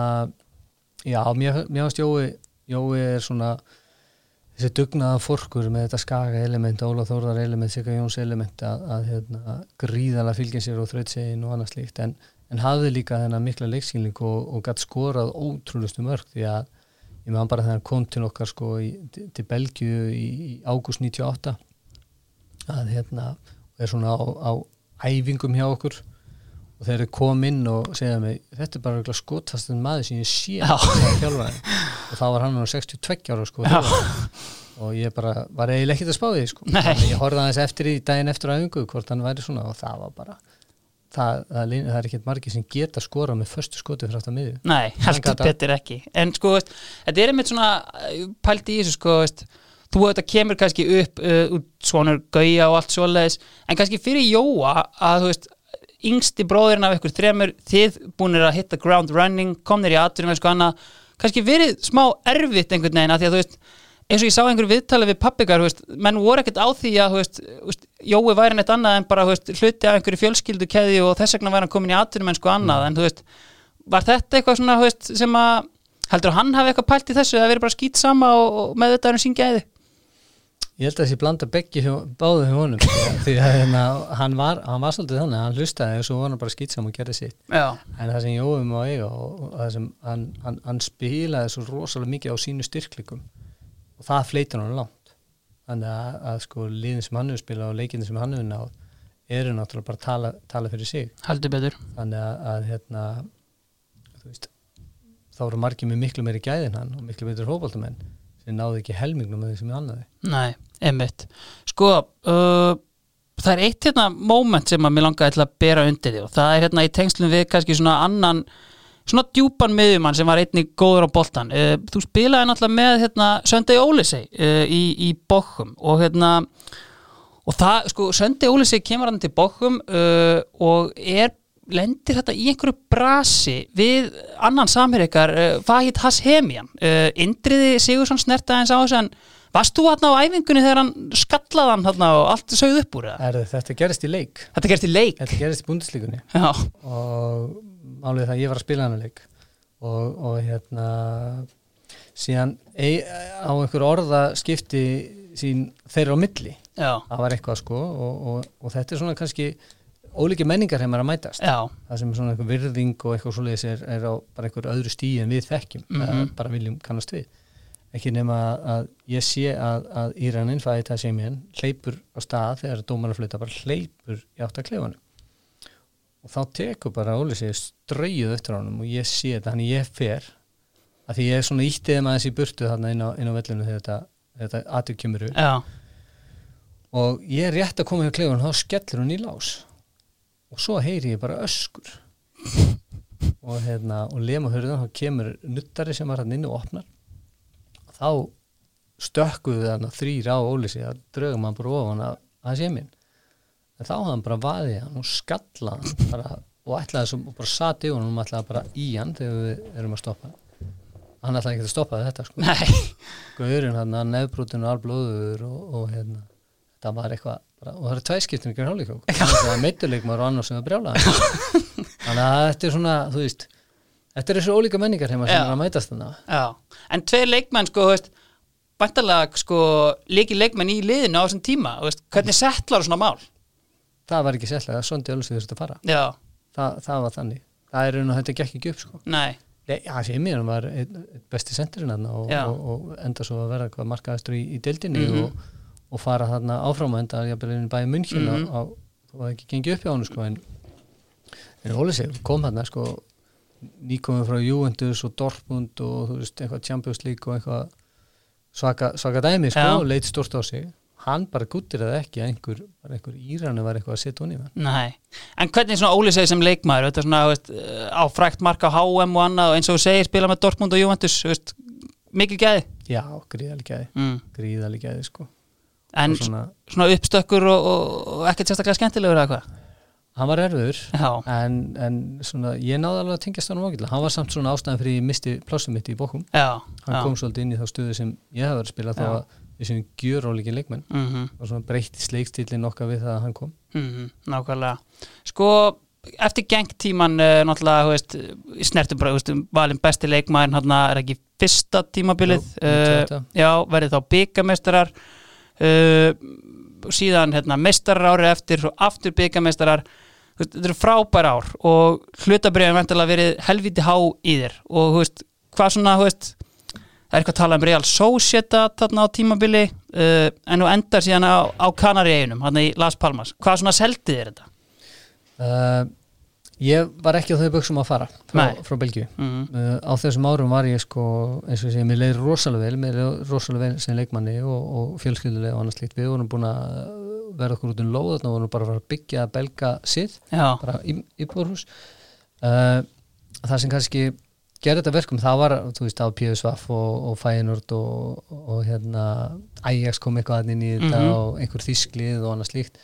Speaker 2: já, mér, mér finnst Jói Jói er svona þessi dugnaða fórkur með þetta skaga element Óla Þórðar element, Sigga Jóns element að, að hérna, gríðala fylgja sér og þrautsegin og annað slíkt en, en hafði líka þennan mikla leikskilning og, og gatt skorað ótrúlustu mörg því að ég meðan bara þegar hann kom til okkar sko í, til- til Belgíu í, í ágúst 98 að hérna er svona á, á æfingum hjá okkur og þegar þau kom inn og segja mig þetta er bara örugglega skotfastin maður sem ég sé
Speaker 1: Já.
Speaker 2: sagði þjálfarinn. og þá var hann nú 62 ára sko
Speaker 1: Já.
Speaker 2: þjálfarinn. og ég bara var eiginlega ekkert að spá því sko
Speaker 1: Nei.
Speaker 2: Þannig að ég horfði aðeins eftir í daginn eftir á æfingu hvort hann væri svona og það var bara það, það, lin- það er ekkert margir sem geta skorað með förstu skoti fyrir aftan miðju
Speaker 1: nei, heldur
Speaker 2: gat það.
Speaker 1: betur ekki en sko, veist, þetta er einmitt svona eh, pælt í þessu sko, veist þú þetta kemur kannski upp uh, út svonur gauja og allt svoleiðis en kannski fyrir Jóa að þú veist yngsti bróðurinn af ykkur þremur þið búinir að hitta ground running komnir í aðturum eða sko annað kannski verið smá erfitt einhvern veginn að því að þú veist eins og ég sá einhver viðtali við pappikar veist, menn voru ekkert á því að þú veist, þú veist, Jói væri neitt annað en bara þú veist, hluti af einhverju fjölskyldu keði og þess vegna væri hann komin í atvinnum en sko annað en þú veist, var þetta eitthvað svona þú veist, sem að heldur hann hafi eitthvað pælt í þessu eða verið bara skýt sama og, og með þetta erum sín gæði
Speaker 2: Ég held að þessi blanda beggi hjá, báðu hjá honum því að hérna, hann, var, hann var svolítið þannig að hann hlustaði og svo var hann bara skýtsam og gerði sitt
Speaker 1: Já,
Speaker 2: en það sem Jóum á eiga og, og það sem hann, hann, hann spilaði svo rosalega mikið á sínu styrklikum og það fleitir hann langt þannig að, að sko liðin sem hann hefur spilað og leikinni sem hann hefur náð eru náttúrulega bara að tala, tala fyrir sig
Speaker 1: heldur betur
Speaker 2: þannig að, að hérna þú veist, þá voru margir með miklu meiri gæðin hann og miklu betur hópaldamenn sem náðu ekki helmingnum með því sem hann hefði
Speaker 1: Nei, einmitt Sko, uh, það er eitt hérna moment sem að mér langaði til að bera undir því og það er hérna í tengslum við kannski svona annan svona djúpan miðjumann sem var einnig góður á boltan uh, Þú spilaði náttúrulega með hérna Söndegi Ólisei uh, í, í Bochum og hérna og það, sko, Söndegi Ólisei kemur hann til Bochum uh, og er lendir þetta í einhverju brasi við annan samherikar uh, Fahit Hashemian uh, Indriði Sigursson snerta eins á þessu en varst þú hann á æfingunni þegar hann skallaði hann hann og allt sögð upp úr það?
Speaker 2: Er þetta gerist í leik?
Speaker 1: Þetta gerst í leik
Speaker 2: Þetta gerist í búndislíkunni
Speaker 1: Já,
Speaker 2: og málið er það að ég var að spila hann leik og, og hérna síðan ei, á einhver orða skipti sín þeirra á milli
Speaker 1: já,
Speaker 2: það var eitthvað sko og, og, og þetta er svona kannski ólíki menningar heimar að mætast
Speaker 1: já,
Speaker 2: það sem er svona einhver virðing og eitthvað svoleiðis er, er á bara einhver öðru stíi en við þekkjum mm
Speaker 1: Mhm.
Speaker 2: bara viljum kannast við ekki nema að, að ég sé að, að Íranin fæði það sem henn hleypur á stað þegar dómarinn fluta bara hleypur í átt að klefanum og þá tekur bara Óli sig ströyjuð eftir honum og ég sé þetta þannig ég fer að því ég er svona íttið maður þessi burtu þarna inn á, inn á vellinu þegar þetta, þetta atvik kemur upp
Speaker 1: já,
Speaker 2: og ég er rétt að koma hjá klefanum þá skellur hún í lás og svo heyri ég bara öskur og hérna og lema hörðan þá kemur nuttari sem var hann inni og opnar og þá stökkuðu þannig þrýr á Óli sig að draugum hann bara ofan að, að sé minn en þá hafði hann bara vaðið hann og skallaði hann bara, og ætlaði sem, og bara sati og hann ætlaði bara í hann þegar við erum að stoppa hann. hann ætlaði ekki að stoppa þetta sko
Speaker 1: nei
Speaker 2: Guðurinn hann, hann nefbrotinn og alblóður og, og hérna, það var eitthvað bara, og það eru tvæskiptum ekki hálfleik það er meittuleik maður og annar sem er brjála þannig að þetta er svona, þú veist þetta er þessu ólíka menningar heima sem
Speaker 1: Já.
Speaker 2: er að mætast þannig
Speaker 1: Já, en tveir leikmenn sko, þú veist, bæntalega sko líki leikmenn í liðinu á þessum tíma, þú veist, hvernig settlar svona mál?
Speaker 2: það var ekki sérlega, það er svona djálfsvið þurfti að fara
Speaker 1: Já,
Speaker 2: Þa, það var þannig, það er einu að þetta gekk ekki upp sko.
Speaker 1: nei,
Speaker 2: Nei, það sé mér, hann var einn- einn besti senturinn hann og,
Speaker 1: Já. Mhm.
Speaker 2: og, og enda svo að verða hvað markaðastur í, í deildinni og, og fara þarna áfram og enda jafnvel inn í bæði munnkjum mm
Speaker 1: Mhm.
Speaker 2: -hmm. og það ekki gengið upp hjá hann sko, en, en Óli sig kom þarna sko, nýkomið frá Juventus og Dortmund og þú veist, eitthvað Champions League og eitthvað svaka, svaka dæmi sko,
Speaker 1: Já.
Speaker 2: og leit stort á sig hann bara guttir það ekki að einhver, bara einhver Íranu var eitthvað að setja hún í hann
Speaker 1: nei. En hvernig svona Óli segir sem leikmaður, þetta svona, þú veist, eh, á frækt marka á HM og annað og eins og þú segir spila með Dortmund og Juventus, þú veist, mikið gæði.
Speaker 2: já, gríðalega
Speaker 1: Mm.
Speaker 2: gríðalega sko.
Speaker 1: En
Speaker 2: Og svona,
Speaker 1: svona uppstökkur og, og, og ekkert sérstaklega skemmtilegur eða hvað?
Speaker 2: hann var erfiður
Speaker 1: Já,
Speaker 2: en, en svona, ég náði alveg að tengjast hann ágætlega, hann var samt svona ástæðan fyrir ég misti plássum mitt í bókum,
Speaker 1: já,
Speaker 2: hann
Speaker 1: já.
Speaker 2: kom svolítið inn í þá stöðu sem ég hef verið að spila þá
Speaker 1: Já.
Speaker 2: að við séum gjör ólíkin leikmenn
Speaker 1: Mm -hmm.
Speaker 2: og svona breytti sleikstillin okkar við það að hann kom
Speaker 1: Mm nákvæmlega sko eftir gengtíman uh, náttúrulega þú veist, snertum bara þú veist, um valin besti leikmaður hann er ekki fyrsta tímabilið
Speaker 2: Jú, 98.
Speaker 1: uh, já, verið þá byggamestrar uh, síðan hérna, mestarar árið eftir og aftur byggamestrar þetta eru frábær ár og hlutabriðin vantilega verið helviti há í þér og þú veist, hvað svona þú veist, það er eitthvað að tala um Real Sociedad þarna á tímabili uh, en þú endar síðan á, á Kanariðinum hann í Las Palmas, hvað svona seldið er þetta?
Speaker 2: uh, ég var ekki á þau buksum að fara frá,
Speaker 1: Nei.
Speaker 2: frá Belgíu
Speaker 1: Mm.
Speaker 2: uh, á þessum árum var ég sko eins og ég segi, mér leiði rosalega vel mér leiði rosalega vel sem leikmanni og, og fjölskyldulega og annars slíkt, við vorum búin að verða okkur út um lóð, þannig vorum bara að fara að byggja belga sið
Speaker 1: Já,
Speaker 2: bara í- íbúðarhús uh, það sem kannski gerði þetta verkum, það var, þú veist, á PSVF og, og Feyenoord og, og hérna, Ajax kom eitthvað þarna inn í þetta
Speaker 1: Mhm.
Speaker 2: og einhver þýsklið og annað slíkt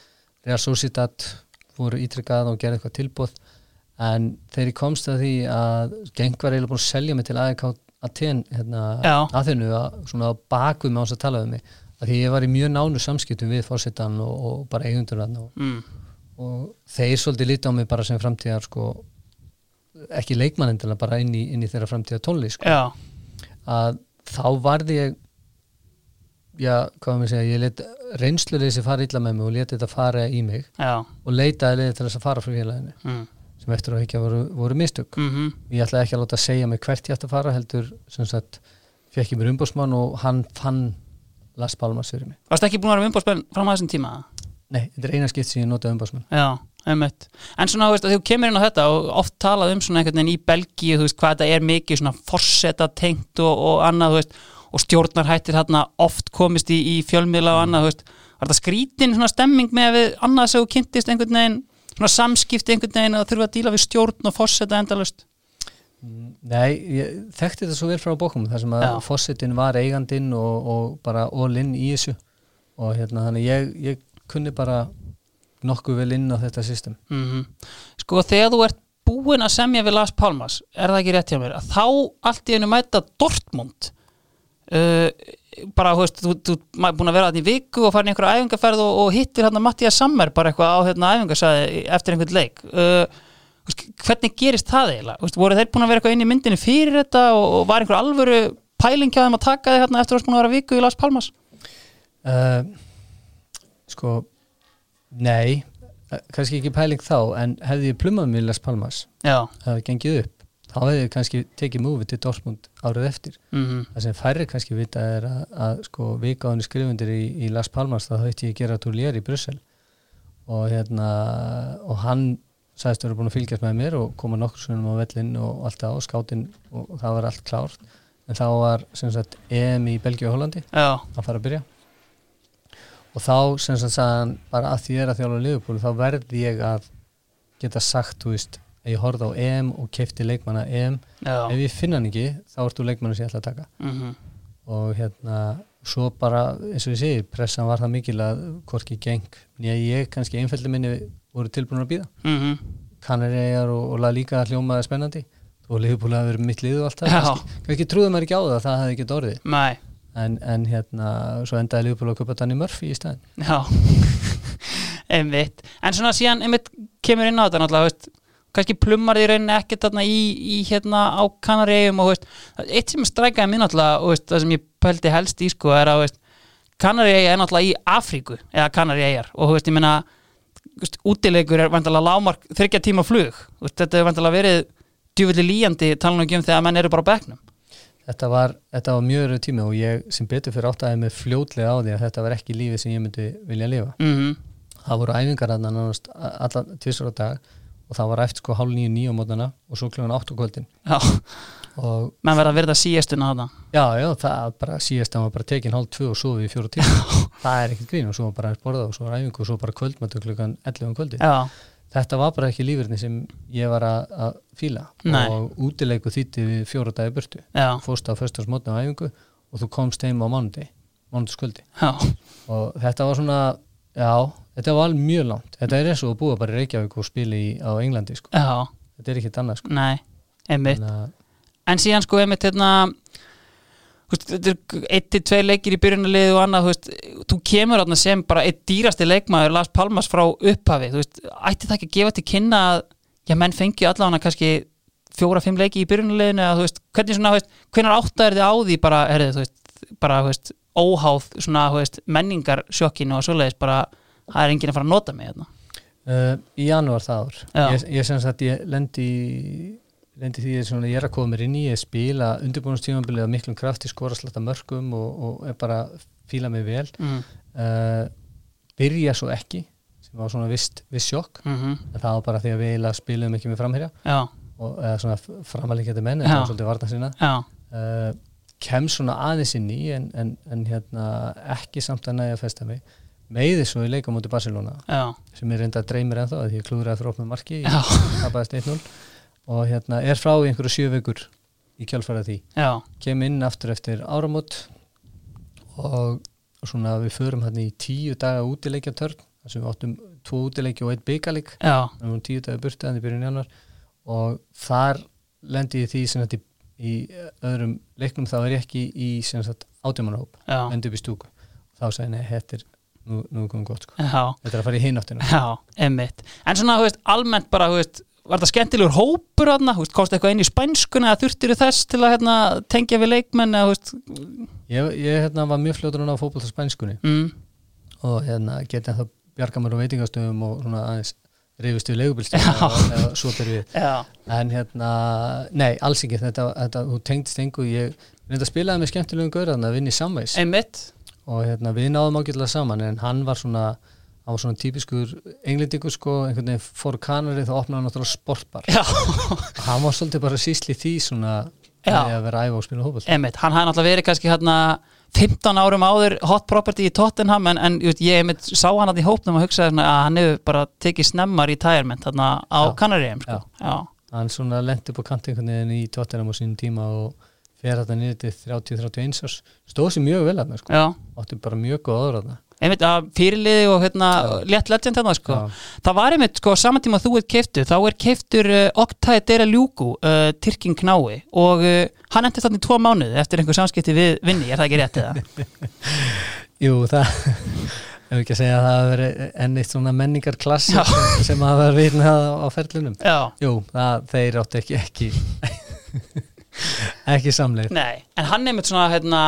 Speaker 2: Real Sociedad voru ítrykkað og gerði eitthvað tilbúð en þegar ég komst að því að geng var eiginlega búin að selja mig til AEK Aten, hérna,
Speaker 1: Já.
Speaker 2: Athenu að, svona á baku með hans að tala um mig að því ég var í mjög nánu samskiptum við fórsetan og, og bara eigundurna og,
Speaker 1: mm.
Speaker 2: og þeir svolítið líti á mig bara sem framtíðar sko, ekki leikmannendilega bara inn í, inn í þeirra framtíðar tónlist sko.
Speaker 1: já,
Speaker 2: að þá varði ég já, hvað maður segja, ég let reynsluleysi fara illa með mig og leti þetta fara í mig
Speaker 1: já
Speaker 2: og leitaði leiði til þess að fara frá félaginu
Speaker 1: mm.
Speaker 2: sem eftir að ekki voru, voru mistök
Speaker 1: Mm
Speaker 2: ég ætlaði ekki að láta segja mig hvert ég ætti að fara heldur sem sagt, fekk ég mér umbósmann og hann fann Las Palmas fyrir mig
Speaker 1: Varst ekki búin að vera um umbóðspenn fram að þessum tíma?
Speaker 2: nei, þetta er eina skipt sem ég notaði umbósmann
Speaker 1: Já, einmitt. En svona, þú veist, að þú kemur inn á þetta og oft talað um svona einhvern veginn í Belgíu, þú veist, hvað þetta er mikið svona forseta tengt og, og annað, þú veist, og stjórnarhættir hérna oft komist í, í fjölmiðla og annað, þú veist, var þetta skrítin svona stemming með að við annað sem þú kynntist einhvern veginn, svona samskipti einhvern veginn að þurfa að díla við stjórn og forseta endalust?
Speaker 2: Nei, ég þekkti þetta svo vel frá bókum þar sem að
Speaker 1: Já.
Speaker 2: fósittin var eigandinn og, og bara all in í þessu og hérna þannig ég, ég kunni bara nokkuð vel inn á þetta system
Speaker 1: Mm Sko, þegar þú ert búin að semja við Las Palmas, er það ekki rétt hjá mér, að þá allt í einu mæta Dortmund uh, bara, þú veist, þú, þú maður búin að vera þarna í viku og farin í einhverja æfingarferð og, og hittir hérna Mattias Sammer bara eitthvað á hérna æfingarsæði eftir einhvern leik uh, þú veist, hvernig gerist það eiginlega, Þú veist, voru þeir búin að vera eitthvað inn í myndinni fyrir þetta og, og var einhver alvöru pæling hjá þeim að taka þig hérna eftir að þú varst búin að vera viku í Las Palmas
Speaker 2: uh, Sko, nei e, eh, kannski ekki pæling þá en hefði ég plumað mig í Las Palmas
Speaker 1: Já,
Speaker 2: það hefði gengið upp þá hefði ég kannski tekið múfið til Dortmund árið eftir
Speaker 1: Mhm.
Speaker 2: það sem færri kannski vita er að, að sko vikáðinu skrifundir í, í Las Palmas þá hætti ég gera túlér í Brussel og hérna og hann sagðist vera búin að fylgjast með mér og koma nokkur sunnum á vellinn og allt það og skátinn og það var allt klárt en þá var sem sagt EM í Belgíu og Hollandi
Speaker 1: Já,
Speaker 2: að fara að byrja og þá sem sagt sagði hann bara að því ég er að þjálfa liðbúlu þá verð ég að geta sagt þú veist að ég horfði á EM og keipti leikmanna EM
Speaker 1: já
Speaker 2: ef ég finna hann ekki þá ert þú leikmanna sem ég ætla að taka
Speaker 1: Mhm.
Speaker 2: og hérna svo bara eins og ég segir pressan var það mikil að hvorki geng nýja ég kannski einfeldi minni voru tilbúin að býða
Speaker 1: Mhm.
Speaker 2: kannareyjar og, og laga líka hljómaði spennandi og liðbúlu að vera mitt liðu alltaf
Speaker 1: Já.
Speaker 2: kannski, kannski trúðum maður ekki á það að það hefði ekki orðið
Speaker 1: Nei,
Speaker 2: en, en hérna svo endaði Liverpool að köpa Danny Murphy í staðin
Speaker 1: já Einmitt En svona síðan, einmitt, kemur inn á þetta náttúrulega, veist kannski plummar því rauninni ekkert þarna í, í hérna á kanaregjum og veist, eitt sem strækaði mér náttúrulega og veist, það sem ég pældi helst í sko er að veist, kanaregja er náttúrulega í Afríku eða kanarregjar og þú veist, ég meina veist, útilegur er vandalega lámark þryggja tíma flug, Þú veist, þetta er vandalega verið djúvillig líjandi talan ekki um þegar menn eru bara á bekknum
Speaker 2: þetta var, þetta var mjög rauð tími og ég sem betur fyrir áttaði með fljótlega á því að þetta var ekki lífið sem ég myndi vilja lifa
Speaker 1: mm
Speaker 2: það voru æfingar þarna nánast alla tvisur á dag og það var eftir sko hálf nýju nýju mótana og svo kljóðan áttu kvöldin
Speaker 1: Já,
Speaker 2: og
Speaker 1: menn verða að verða síðastuna þarna
Speaker 2: já, já, það bara síðast að maður bara tekin hálf tvö og svo við fjóru tíma það er ekkert grín og svo var bara aðeins borða og svo var æfingu og svo bara kvöldmættu klukkan 11 um kvöldi
Speaker 1: Já,
Speaker 2: þetta var bara ekki lífurni sem ég var að, að fíla
Speaker 1: Nei.
Speaker 2: og útileiku þýtti við fjóra dagi burtu
Speaker 1: já,
Speaker 2: fórst á föstarsmótni á æfingu og þú komst heim á mánundi, mánundskvöldi
Speaker 1: já
Speaker 2: og þetta var svona, já þetta var alveg mjög langt, þetta er eins og að búa bara í Reykjavík og spila í, á Englandi sko.
Speaker 1: Já,
Speaker 2: þetta er ekkert annað sko.
Speaker 1: nei, einmitt
Speaker 2: Þannig að-
Speaker 1: en síðan sko einmitt hérna þú veist, þetta er eitt til tvei leikir í byrjunarliði og annað, þú veist, þú kemur þarna sem bara eitt dýrasti leikmaður Lars Palmas frá upphafi, þú veist, ætti það ekki að gefa til kynna að, já menn fengi allavega kannski fjóra-fimm leiki í byrjunarliðinu eða þú veist, hvernig svona, þú veist, hvenar áttaður þið á því bara, herrið, þú veist, bara, þú veist óháð svona, þú veist, menningar sjokkinu og svoleiðis, bara, það er enginn að fara að nota mig hérna.
Speaker 2: Uh, í janúar það ár
Speaker 1: Já.
Speaker 2: ég, ég sem sagt ég lendi í- lendi því að svona, ég er að koma mér inn í ég spila undirbúinustífambilið af miklum krafti skora slatta mörgum og, og er bara að fíla mig vel
Speaker 1: Mm.
Speaker 2: uh, byrja svo ekki sem var svona vist, vist sjokk
Speaker 1: Mm
Speaker 2: en það var bara því að við eiginlega spilum ekki með framherja
Speaker 1: Já,
Speaker 2: og eða svona framalíkjandi menn
Speaker 1: Já.
Speaker 2: eða svolítið varna sína
Speaker 1: já,
Speaker 2: uh, kem svona aðeins inn í en, en, en hérna ekki samt að næja að festa mig meiði svo í leikum múti Barcelona
Speaker 1: já,
Speaker 2: sem ég reynda að dreymir ennþá að ég klúðraði fyrir opnum marki
Speaker 1: Já.
Speaker 2: ég tapaðist 1-0 og hérna er frá í einhverju sjö vikur í kjálfæra því
Speaker 1: já,
Speaker 2: kem inn aftur eftir áramót og svona við förum hérna í tíu daga útileikjartörn þar sem við áttum tvo útileiki og eitt byggalík
Speaker 1: já,
Speaker 2: við vorum tíu daga burtið en í byrjun januar og þar lendi ég því sem þetta í öðrum leiknum þá er ég ekki í sem sagt átjumanahóp,
Speaker 1: já,
Speaker 2: endi upp í stúku þá sagði ég, nei, þetta er nú, nú er komum gott sko.
Speaker 1: já.
Speaker 2: þetta er að fara í hináttina
Speaker 1: Já, emmitt. En svona, þú veist, almennt bara, þú veist, var það skemmtilegur hópur þarna, þú veist, komst eitthvað inn í spænskuna eða þurftir þess til að hérna, tengja við leikmenn eða, þú veist,
Speaker 2: ég, ég hérna, var mjög fljótur núna á fótbolta spænskunni
Speaker 1: mm,
Speaker 2: og hérna, geti ennþá bjarga mér á veitingastöðum og svona aðeins rifist við leigubilstöðum
Speaker 1: Já.
Speaker 2: eða- eða svo byrju við
Speaker 1: já,
Speaker 2: en hérna, nei, alls ekki þetta, þetta þú tengdist engu ég reynda að spilaði með skemmtilegum gauraðan að vinni samvegs
Speaker 1: emmitt,
Speaker 2: og hérna, við náðum ágætlega saman en hann var svona hann var svona típiskur englendingur sko, einhvern veginn fór kanarið þá opnaði hann náttúrulega sportbar
Speaker 1: já,
Speaker 2: hann var svolítið bara sýsli því svona
Speaker 1: Já.
Speaker 2: með að vera að æfa og spila hópað
Speaker 1: emmitt. Hann hafði náttúrulega verið kannski hérna 15 árum áður hot property í Tottenham en, en þú veist, ég einmitt sá hann að í hópnum og hugsaði svona að hann hefur bara tekið snemmar í tærment þarna á
Speaker 2: Já.
Speaker 1: Kanaríum, sko.
Speaker 2: Já.
Speaker 1: Já,
Speaker 2: hann svona lendi upp á kant einhvern veginn í Tottenham á sínum tíma og fer þetta niður til 30-31 árs stóð sér mjög vel að mér sko
Speaker 1: já.
Speaker 2: átti bara mjög góð aðra þarna
Speaker 1: Einmitt að fyrirliði og hérna létt legend þarna, sko.
Speaker 2: Já.
Speaker 1: Það var einmitt sko saman tíma að þú ert keiftur þá er keiftur uh, Oktay Dera Ljúku uh, Tyrking Knái og uh, hann endur þarna í tvo mánuði eftir einhver samskipti við vinni, er það ekki rétt eða?
Speaker 2: Jú, það ef ekki að segja að það hafa verið enn eitt svona menningar
Speaker 1: Já.
Speaker 2: sem, sem hafa verið vitnað á ferlunum
Speaker 1: Já,
Speaker 2: Jú, það, þeir átti ekki ekki, ekki samleið
Speaker 1: nei, en hann einmitt svona hérna,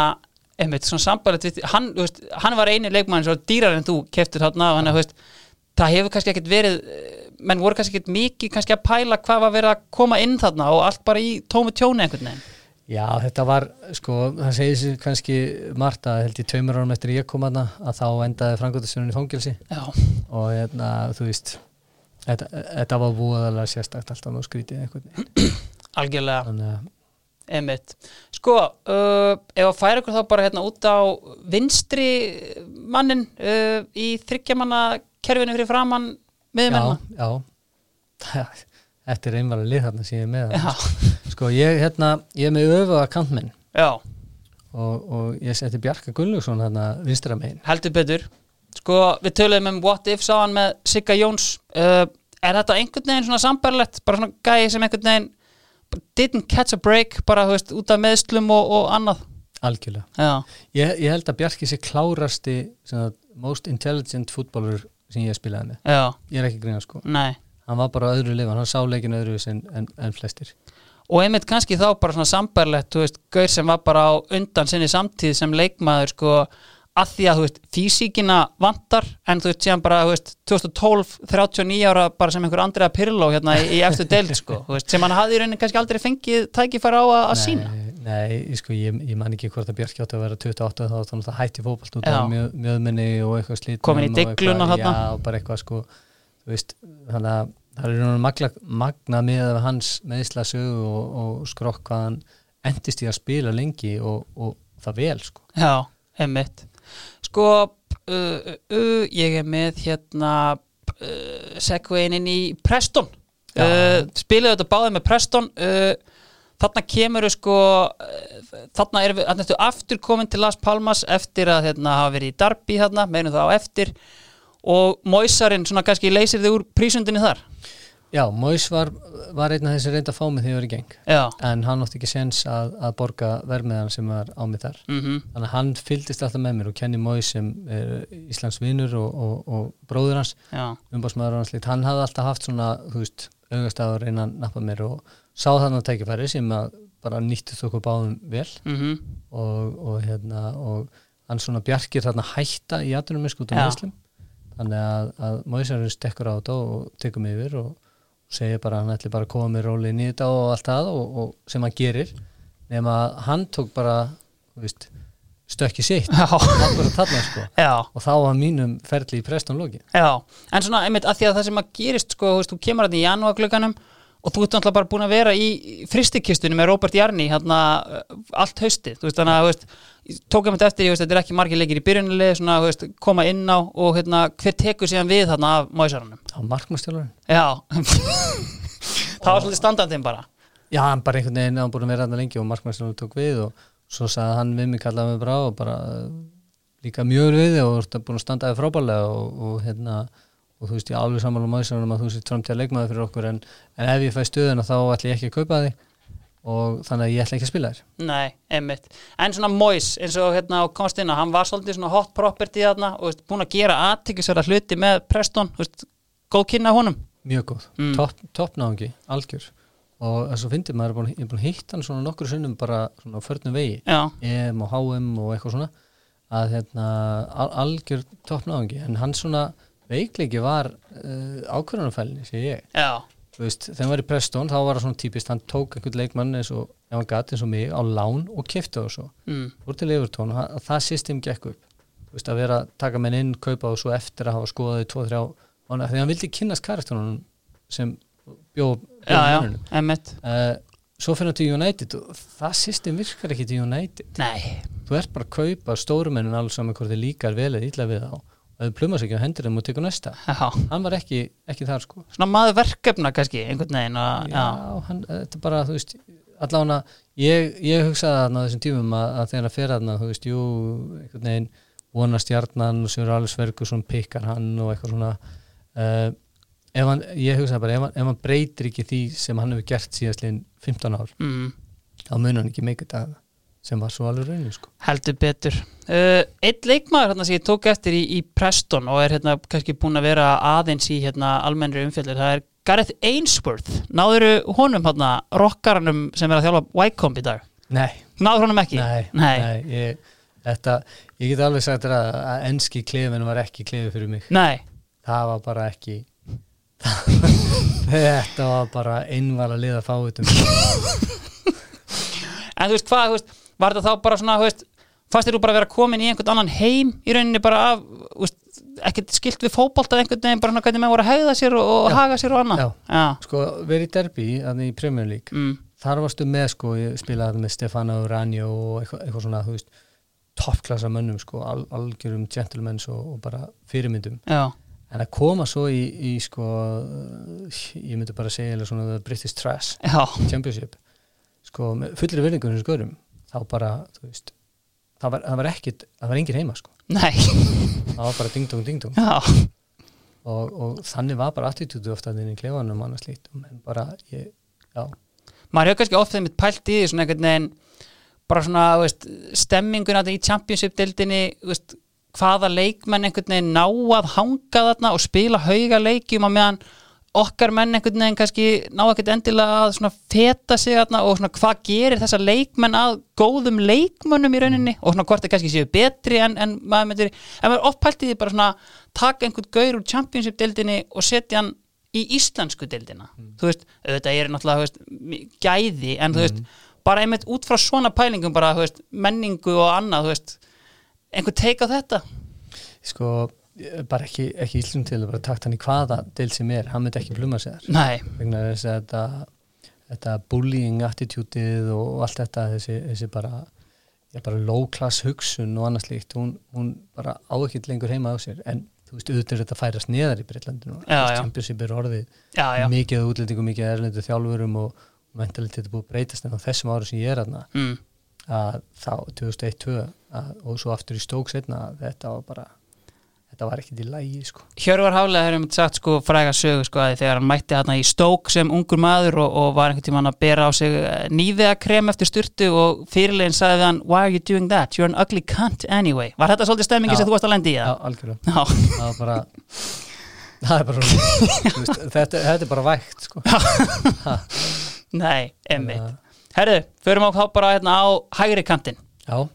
Speaker 1: einmitt svona sambarlegt við, hann, þú veist, hann var eini leikmann svo dýrar en þú keiftur þarna og hann, þú veist, það hefur kannski ekkit verið eh, menn voru kannski ekki mikið kannski að pæla hvað var verið að koma inn þarna og allt bara í tómu tjóni einhvern veginn
Speaker 2: Já, þetta var, sko, það segir sér kannski Marta, held ég tveimur árum eftir ég kom hana, að þá endaði frangöndastunum í fangelsi
Speaker 1: Já,
Speaker 2: og hérna, þú veist, þetta, þetta var búðalega sérstakt alltaf nú skrítið einhvern veginn.
Speaker 1: algjörlega,
Speaker 2: Þannig að,
Speaker 1: emitt Sko, uh, ef að færa ykkur þá bara hérna út á vinstri mannin uh, í þryggjamanna kerfinu fyrir framann miðmennina
Speaker 2: já, já, þetta er einvarlega lið þarna sem ég er með. þarna,
Speaker 1: Já,
Speaker 2: sko. Sko, ég, hérna, ég er með öfuga kantmenn
Speaker 1: já,
Speaker 2: og, og ég seti Bjarka Gunnlaugsson þarna vinstra megin.
Speaker 1: heldur betur Sko, við töluðum um What If sáðan með Sigga Jóns uh, Er þetta einhvern veginn svona sambarlegt bara svona gæi sem einhvern veginn didn't catch a break, bara þú veist út af meðslum og, og annað
Speaker 2: Algjörlega.
Speaker 1: Já,
Speaker 2: Ég, ég held að Bjarki sé klárasti, sem það, most intelligent fútbolur sem ég spilaði með.
Speaker 1: já,
Speaker 2: Ég er ekki að grínast sko.
Speaker 1: nei
Speaker 2: hann var bara á öðru lifan, hann sá leikin öðru en, en, en flestir
Speaker 1: og einmitt kannski þá bara svona sambarlegt þú veist, gaur sem var bara á undan sinni samtíð sem leikmaður sko að því að þú veist, físíkina vantar en þú veist, síðan bara, þú veist, 2012 39 ára bara sem einhver Andrea Pirlo hérna í, í eftir deild sko, þú veist, sem hann hafði í rauninni kannski aldrei fengið tækifæra á að, að sína
Speaker 2: Nei, nei, sko, ég, ég man ekki hvort að Björk átti að vera 28 þá þannig að hætti fótbalt út
Speaker 1: Já.
Speaker 2: af mjög, mjöðminni og eitthvað slít
Speaker 1: Komin í deigluna þarna.
Speaker 2: Já, og bara eitthvað sko þú veist, þannig að það er núna magla, magna með hans meðsla sögu og, og skrokk hvað hann endist í að spila lengi og, og það vel sko
Speaker 1: Já, einmitt Sko, uh, uh, uh, ég er með hérna uh, segvein inn í Preston
Speaker 2: Já.
Speaker 1: uh, Spilaðu þetta báðið með Preston uh, Þarna kemur sko, uh, þarna er við þarna ertu aftur komin til Las Palmas eftir að hérna, hafa verið í Darby þarna, meðinu það á eftir og Moisarinn svona kannski leysir þig úr prísundinni þar
Speaker 2: Já, Mois var, var einn af þessi reynda að fá mig þegar ég var í geng
Speaker 1: Já,
Speaker 2: en hann átti ekki sens að, að borga vermiðan sem var á mig þar
Speaker 1: mhm,
Speaker 2: Þannig að hann fylgdist alltaf með mér og Kenny Moyes sem er Íslands vinnur og, og, og bróður hans,
Speaker 1: já,
Speaker 2: umbásmaður hans lít, hann hafði alltaf haft svona, þú veist, augast að reyna að nappa mér og sá þannig að tækifæri sem að bara nýttist okkur báðum vel
Speaker 1: mhm,
Speaker 2: og, og hérna, og hann svona bjarkir þarna hætta í aðdurum minn skútum
Speaker 1: Já.
Speaker 2: meðslum. Þannig að, að Moyesarinn stekkur á þetta og tekur mig yfir og segir bara að hann ætli bara að koma mér róli í þetta og allt það og, og sem hann gerir, nema að hann tók bara, þú veist, stökki sitt
Speaker 1: já,
Speaker 2: akkurat þarna sko
Speaker 1: já
Speaker 2: og þá var mínum ferli í prestum loki
Speaker 1: Já, en svona einmitt að því að það sem að gerist sko, þú veist, þú kemur hann í janúarglöganum og þú ert náttúrulega bara búin að vera í fristikistunni með Robert Jarni hérna uh, allt haustið, þú veist, þannig að þú veist, ég tók einmitt eftir, ég veist, þetta er ekki margir leikir í byrjunilegi, svona, þú veist, koma inn á og hérna, hver tekur síðan við þarna af Móisarunum?
Speaker 2: á markmannstjálfarinn
Speaker 1: Já, það var svolítið standandinn bara.
Speaker 2: já hann bara einhvern veginn hann búin að vera hann lengi og markmannstjálfarinn tók við og svo sagði hann við mig kallaði mig brá og bara eh, líka mjög vel við þig og þú ert búin að standaði frábælega og, og hérna og þú veist ég er alveg sammála mæsarunum að þú sétt framtíða leikmaði fyrir okkur en, en ef ég fæ stöðuna þá ætla ég ekki að kaupa þig og þannig að ég ætla ekki að spila þér
Speaker 1: Nei, einmitt. En svona Mois, eins og hérna á Konstina, hann var svolítið svona hot property þarna og veist, búin að gera aðtikisverða hluti með Preston, þú veist, góð kynna honum.
Speaker 2: mjög góð,
Speaker 1: Mm.
Speaker 2: topp top náðungi algjör og þess að fyndi maður er búin, ég er búin að hitta hann svona nokkru sunnum bara svona á förnum vegi
Speaker 1: Já.
Speaker 2: EM og HM og eitthvað svona að hérna, al algjör toppnáðungi, en hann svona veikleiki var uh, ákvörðanfælinni sé ég,
Speaker 1: Já,
Speaker 2: þú veist, þegar hann var í Preston þá var það svona típist, hann tók einhvern leikmann eins og, ef hann gat eins og mig, á lán og kifti það svo,
Speaker 1: mm,
Speaker 2: fór til Evertón og það- það system gekk upp, þú veist, að vera að taka menn inn, kaupa og svo eftir að hafa skoðaði tvo, þrjá, mánuði, þegar hann vildi kynnast karakterunum sem bjó, bjó
Speaker 1: já, já, emmitt
Speaker 2: Uh, svo fyrir hann til United og það system virkar ekki til United
Speaker 1: Nei,
Speaker 2: þú ert bara að kaupa stórumennin alls saman hvort þið líkar vel eða illa við þá og þau plumast ekki á hendur þeim og tekur næsta
Speaker 1: já,
Speaker 2: hann var ekki, ekki þar sko
Speaker 1: svona maður verkefna kannski einhvern veginn að, Ah, já,
Speaker 2: hann, þetta er bara, þú veist allána, ég, ég hugsaði þarna á þessum tímum að, að þegar að fer þarna, þú veist, jú einhvern veginn, vona stjarnan og sér alveg svergu, svona pikkar hann og eitthvað svona uh, ef hann, ég hugsaði bara, ef hann, ef hann breytir ekki því sem hann hefur gert síðastliðin 15 ár,
Speaker 1: mm,
Speaker 2: þá mun hann ekki meika þetta sem var svo alveg raunin sko
Speaker 1: heldur betur uh, Einn leikmaður hérna sem ég tók eftir í, í Preston og er hérna kannski búin að vera aðeins í hérna almennri umfjöldur það er Gareth Ainsworth Náðuru honum hérna, rockaranum sem er að þjálfa Wycombe í dag
Speaker 2: nei,
Speaker 1: Náður honum ekki?
Speaker 2: Nei, nei.
Speaker 1: Nei,
Speaker 2: ég, þetta, ég get alveg sagt þér að, að enski klefin var ekki klefið fyrir mig.
Speaker 1: nei.
Speaker 2: Það var bara ekki, Þetta var bara einvala liða fáutum
Speaker 1: En þú veist hvað, þú veist, var þetta þá bara svona, þú veist, fannst þér þú bara að vera komin í einhvern annan heim í rauninni bara af, þú veist, ekkert skilt við fótbolta einhvern veginn, bara svona hvernig menn voru að hegða sér og, og haga sér og annað.
Speaker 2: Já. Sko, verið í derbi, þannig í Premier League
Speaker 1: Mm.
Speaker 2: Þar varstu með, sko, ég spilaði þarna með Stefano Ranjo og eitthvað, eitthvað svona, þú veist toppklassa mönnum, sko, al algjörum gentlemans og, og bara fyrirmyndum
Speaker 1: Já.
Speaker 2: en að koma svo í, í sko, ég myndi bara segja eiginlega svona the British Trash
Speaker 1: Já.
Speaker 2: Championship sko, með fullir verðingunum skoðurum þá bara, þú veist það var, það var ekkit, það var engin heima sko
Speaker 1: Nei.
Speaker 2: það var bara ding dong ding dong
Speaker 1: Já.
Speaker 2: og, og þannig var bara attitútu ofta þinn í klefanum og annars lít en bara, ég, já,
Speaker 1: Maður hefur kannski oft þeim mitt pælt í því svona einhvern veginn, bara svona, þú veist, stemminguna þarna í Championship-dildinni, þú veist, hvaða leikmenn einhvern veginn ná að hanga þarna og spila hauga leikjum á meðan okkar menn einhvern veginn kannski ná ekkert endilega að svona feta sig þarna og svona hvað gerir þessa leikmenn að góðum leikmönnum í rauninni og svona hvort þeir kannski séu betri en, en maður myndir, en maður opphælti því bara svona taka einhvern gaur úr championship deildinni og setja hann í íslensku deildina þú veist, auðvitað er náttúrulega þú veist, mi- gæði en þú veist bara einmitt út frá svona pælingum bara þú veist, menningu og annað þú veist, einhver teik á þetta
Speaker 2: sko ég- bara ekki, ekki íslum til að bara takt hann í hvaða deil sem er, hann myndi ekki pluma sér
Speaker 1: Nei,
Speaker 2: vegna þess að þetta, þetta bullying attitútið og, og allt þetta þessi, þessi bara, já, bara low class hugsun og annars líkt hún, hún bara á ekkert lengur heima á sér en þú veist, auðvitað er þetta að færast neðar í Breitlandinu
Speaker 1: Já, já.
Speaker 2: Championship er orðið
Speaker 1: já, já
Speaker 2: mikið af útlendingum, mikið af erlendu þjálfurum og mentalitet er búið að breytast en á þessum ára sem ég er aðna
Speaker 1: mm.
Speaker 2: að þá 2001-2 og svo aftur í stók setna þetta var bara þetta var ekkert í lægi sko
Speaker 1: Hjörvar Hálega hefur einmitt sagt sko fræga sögu sko að þegar hann mætti hann í stók sem ungur maður og, og var einhvern tímann að bera á sig nýðeakrem eftir styrtu og fyrirlegin sagði við hann Why are you doing that? You're an ugly cunt anyway Var þetta svolítið stemmingi
Speaker 2: Já.
Speaker 1: sem þú varst að lendi í
Speaker 2: já,
Speaker 1: það?
Speaker 2: algjörlega
Speaker 1: Já,
Speaker 2: það var bara það er bara svona Þú veist, þetta, þetta er bara vægt sko
Speaker 1: nei, einmitt
Speaker 2: Þannig
Speaker 1: Herðu, förum á þá bara hérna á hægri kantinn
Speaker 2: að- já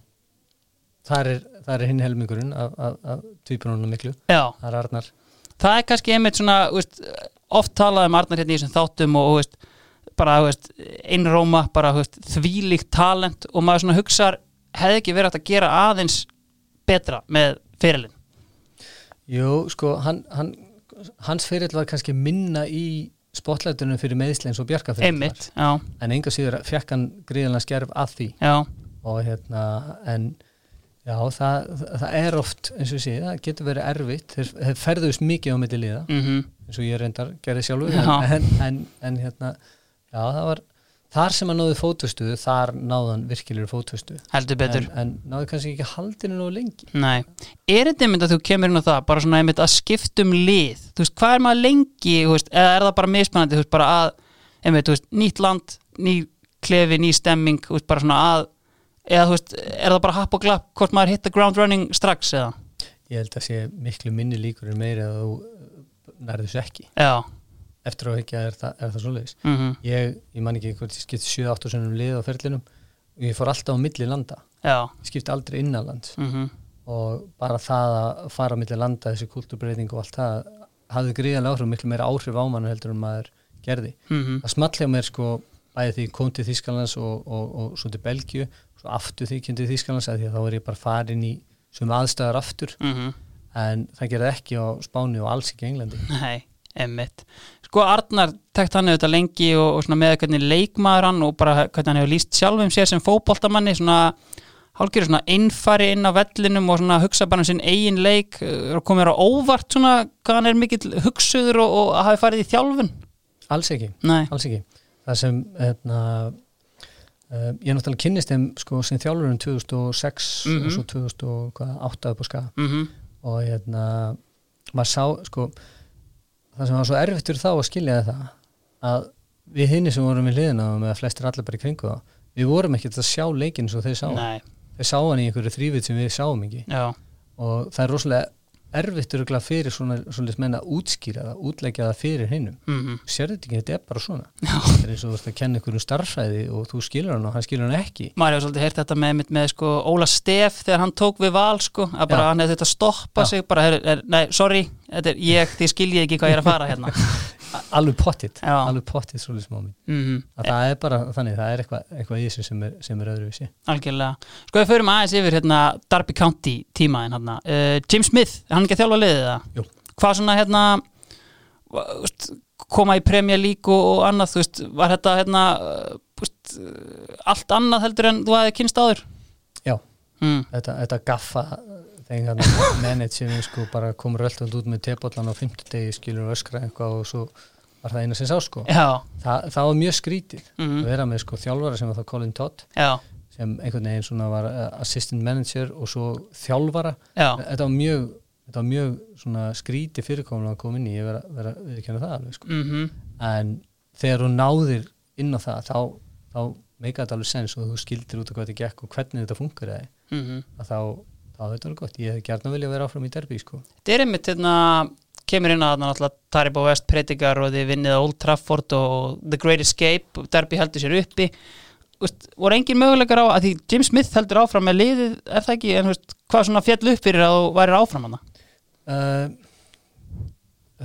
Speaker 2: það er, það er hinn helmingurinn af, af, af tvíbrununum miklu
Speaker 1: Já,
Speaker 2: það er Arnar
Speaker 1: það er kannski einmitt svona þú veist, oft talað um Arnar hérna í þessum þáttum og þú veist, bara þú veist, einróma, bara þú veist, þvílíkt talent og maður svona hugsar hefði ekki verið hægt að gera aðeins betra með fyrirlin
Speaker 2: jú sko hann, hann, hans fyrirl var kannski minna í spotlætunum fyrir meðsli eins og Bjarka fyrirl
Speaker 1: einmitt, já,
Speaker 2: en enga síður fekk hann gríðanlega skerf að því
Speaker 1: já,
Speaker 2: og hérna en já það, það, það er oft eins og ég sé, það getur verið erfitt þeir, þeir ferðust mikið á milli liða
Speaker 1: mhm
Speaker 2: eins og ég reyndar gerði sjálfur
Speaker 1: Já.
Speaker 2: en, en, en, en hérna já það var þar sem hann náði fótustuðu þar náði hann virkilegur fótustuðu
Speaker 1: heldur betur
Speaker 2: en, en náði kannski ekki haldinu nógu lengi
Speaker 1: Nei, er þetta einmitt að þú kemur inn á það bara svona einmitt að skiptum lið þú veist, hvað er maður lengi, þú veist, eða er það bara mismunandi, þú veist, bara að einmitt, þú veist, nýtt land, ný klefi ný stemming, þú veist, bara svona að eða þú veist, er það bara happ og glapp hvort maður hit the ground running strax eða
Speaker 2: ég held að sé miklu minni líkur en meiri að þú uh, nærðu þessu ekki
Speaker 1: Já,
Speaker 2: eftir á ekki að er það, er það svoleiðis
Speaker 1: mhm,
Speaker 2: ég, ég man ekki hvort ég skipti 7-8 sunnum lið á ferlinum og ég fór alltaf á milli landa
Speaker 1: já
Speaker 2: ég skipti aldrei innanlands
Speaker 1: mhm,
Speaker 2: og bara það að fara á milli landa þessi kultúrbreyting og allt það hafði gríðanlega áhrif, miklu meira áhrif á mann heldur en maður gerði.
Speaker 1: mhm,
Speaker 2: Það smallið á mér sko bæði því ég kom til Þýskalands og, og, og svo til Belgíu, svo aftur því ég kom til Þýskalands að því að þá er ég bara farin í sem aðstæðar aftur,
Speaker 1: mhm
Speaker 2: en það gerði ekki á Spáni og alls ekki í Englandi.
Speaker 1: Nei, emmitt. Sko Arnar tekt hann auðvitað lengi og, og svona með hvernig leikmaður hann og bara hvernig hann hefur líst sjálfum sér sem fótboltamanni svona hálfgjörðu svona innfari inn á vellinum og svona hugsa bara um sinn eigin leik eh, og komið þér á óvart svona hvað hann er mikill hugsuður og, og hafi farið í þjálfun.
Speaker 2: Alls ekki,
Speaker 1: Nei,
Speaker 2: alls ekki. Það sem, hérna, uh, ég náttúrulega kynnist þeim sko sem þjálfurinn 2006
Speaker 1: Mhm.
Speaker 2: og svo 2008 upp á skaga.
Speaker 1: mm
Speaker 2: og hérna maður sá sko það sem var svo erfitt fyrir þá að skilja það að við hinni sem vorum í liðina og með að flestir allir bara í kringu þá við vorum ekkert að sjá leikinn svo þeir sá hann.
Speaker 1: nei,
Speaker 2: þeir sá hann í einhverju þrývit sem við sáum ekki
Speaker 1: já,
Speaker 2: og það er rosalega erfitt örugglega fyrir svona, svona menna að útskýra það, útleggja það fyrir hinnum
Speaker 1: mhm,
Speaker 2: sérðu þetta ekki, þetta er bara svona
Speaker 1: já.
Speaker 2: það er eins og þú ert að kenna einhverjum starfræði og þú skilur hann og hann skilur hann ekki
Speaker 1: Maður hefur svolítið heyrt þetta með, einmitt með sko, Óla Stef þegar hann tók við val sko, að bara
Speaker 2: Já.
Speaker 1: hann hefði þetta stoppa
Speaker 2: Já.
Speaker 1: sig bara, her, er, nei, sorry, þetta er ég, þið skiljið ekki hvað ég er að fara hérna.
Speaker 2: alveg pottitt
Speaker 1: Já.
Speaker 2: alveg pottitt svolítið smá mín
Speaker 1: mm
Speaker 2: að það er bara þannig, það er eitthvað, eitthvað í þessu sem er, sem er öðruvísi
Speaker 1: Algjörlega. Sko við förum aðeins yfir hérna Darby County tímaðin hérna. Uh, Jim Smith, er hann ekki að þjálfa liðið það?
Speaker 2: Jú.
Speaker 1: Hvað svona hérna va- þú veist, koma í Premier League og, og annað, þú veist, var þetta hérna uh, þú veist, uh, allt annað heldur en þú hafði kynst áður?
Speaker 2: já,
Speaker 1: Mm.
Speaker 2: þetta, þetta gaffa þegar managing sko bara kom röltald út með tebóllan á fimmtudegi skilur og öskra eitthvað og svo var það eina sem sá sko
Speaker 1: Já,
Speaker 2: Þa, það var mjög skrítið að
Speaker 1: mm.
Speaker 2: vera með sko þjálfara sem var það Colin Todd
Speaker 1: já,
Speaker 2: sem einhvern veginn svona var eh, assistant manager og svo þjálfara
Speaker 1: já,
Speaker 2: þetta var mjög, þetta var mjög svona skríti fyrirkomulega að koma inn í ég vera, vera viðurkenna það alveg sko.
Speaker 1: mm
Speaker 2: en þegar þú náðir inn á það þá, þá meika þetta alveg sens og þú skildir út að hvað þetta gekk og hvernig þetta funkar eða
Speaker 1: Mm-hmm.
Speaker 2: að þá, þá er þetta alveg gott ég hefði gert að vilja vera áfram í derby sko.
Speaker 1: Þetta er einmitt hérna, kemur inn að þarna náttúrulega Taribo West predikar og þið vinnið á Old Trafford og The Great Escape, Derby heldur sér uppi Úst, voru engin möguleikar á að því Jim Smith heldur áfram með liðið ef það ekki, en þú veist, hvað svona fjall upp fyrir að þú værir áfram hana
Speaker 2: uh,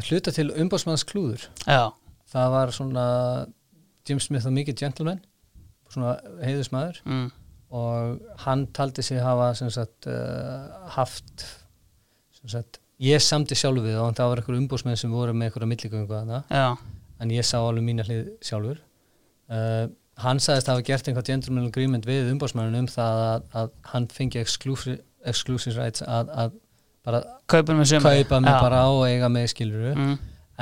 Speaker 2: hluta til umbásmanns klúður
Speaker 1: Já,
Speaker 2: það var svona Jim Smith og mikið gentleman svona heiðismæður
Speaker 1: mm,
Speaker 2: og hann taldi sig hafa sem sagt, uh, haft sem sagt, ég samti sjálfur við og það var einhver umbúsmenn sem voru með einhverja milligöngu að það,
Speaker 1: já,
Speaker 2: en ég sá alveg mína hlið sjálfur uh, hann sagðist hafa gert einhvað gentleman agreement við umbúsmennin um það að, að hann fengi exclusive, exclusive rights að, að bara
Speaker 1: kaupin með sömur
Speaker 2: kaupa mig
Speaker 1: já.
Speaker 2: bara á og eiga mig skiluru
Speaker 1: mm,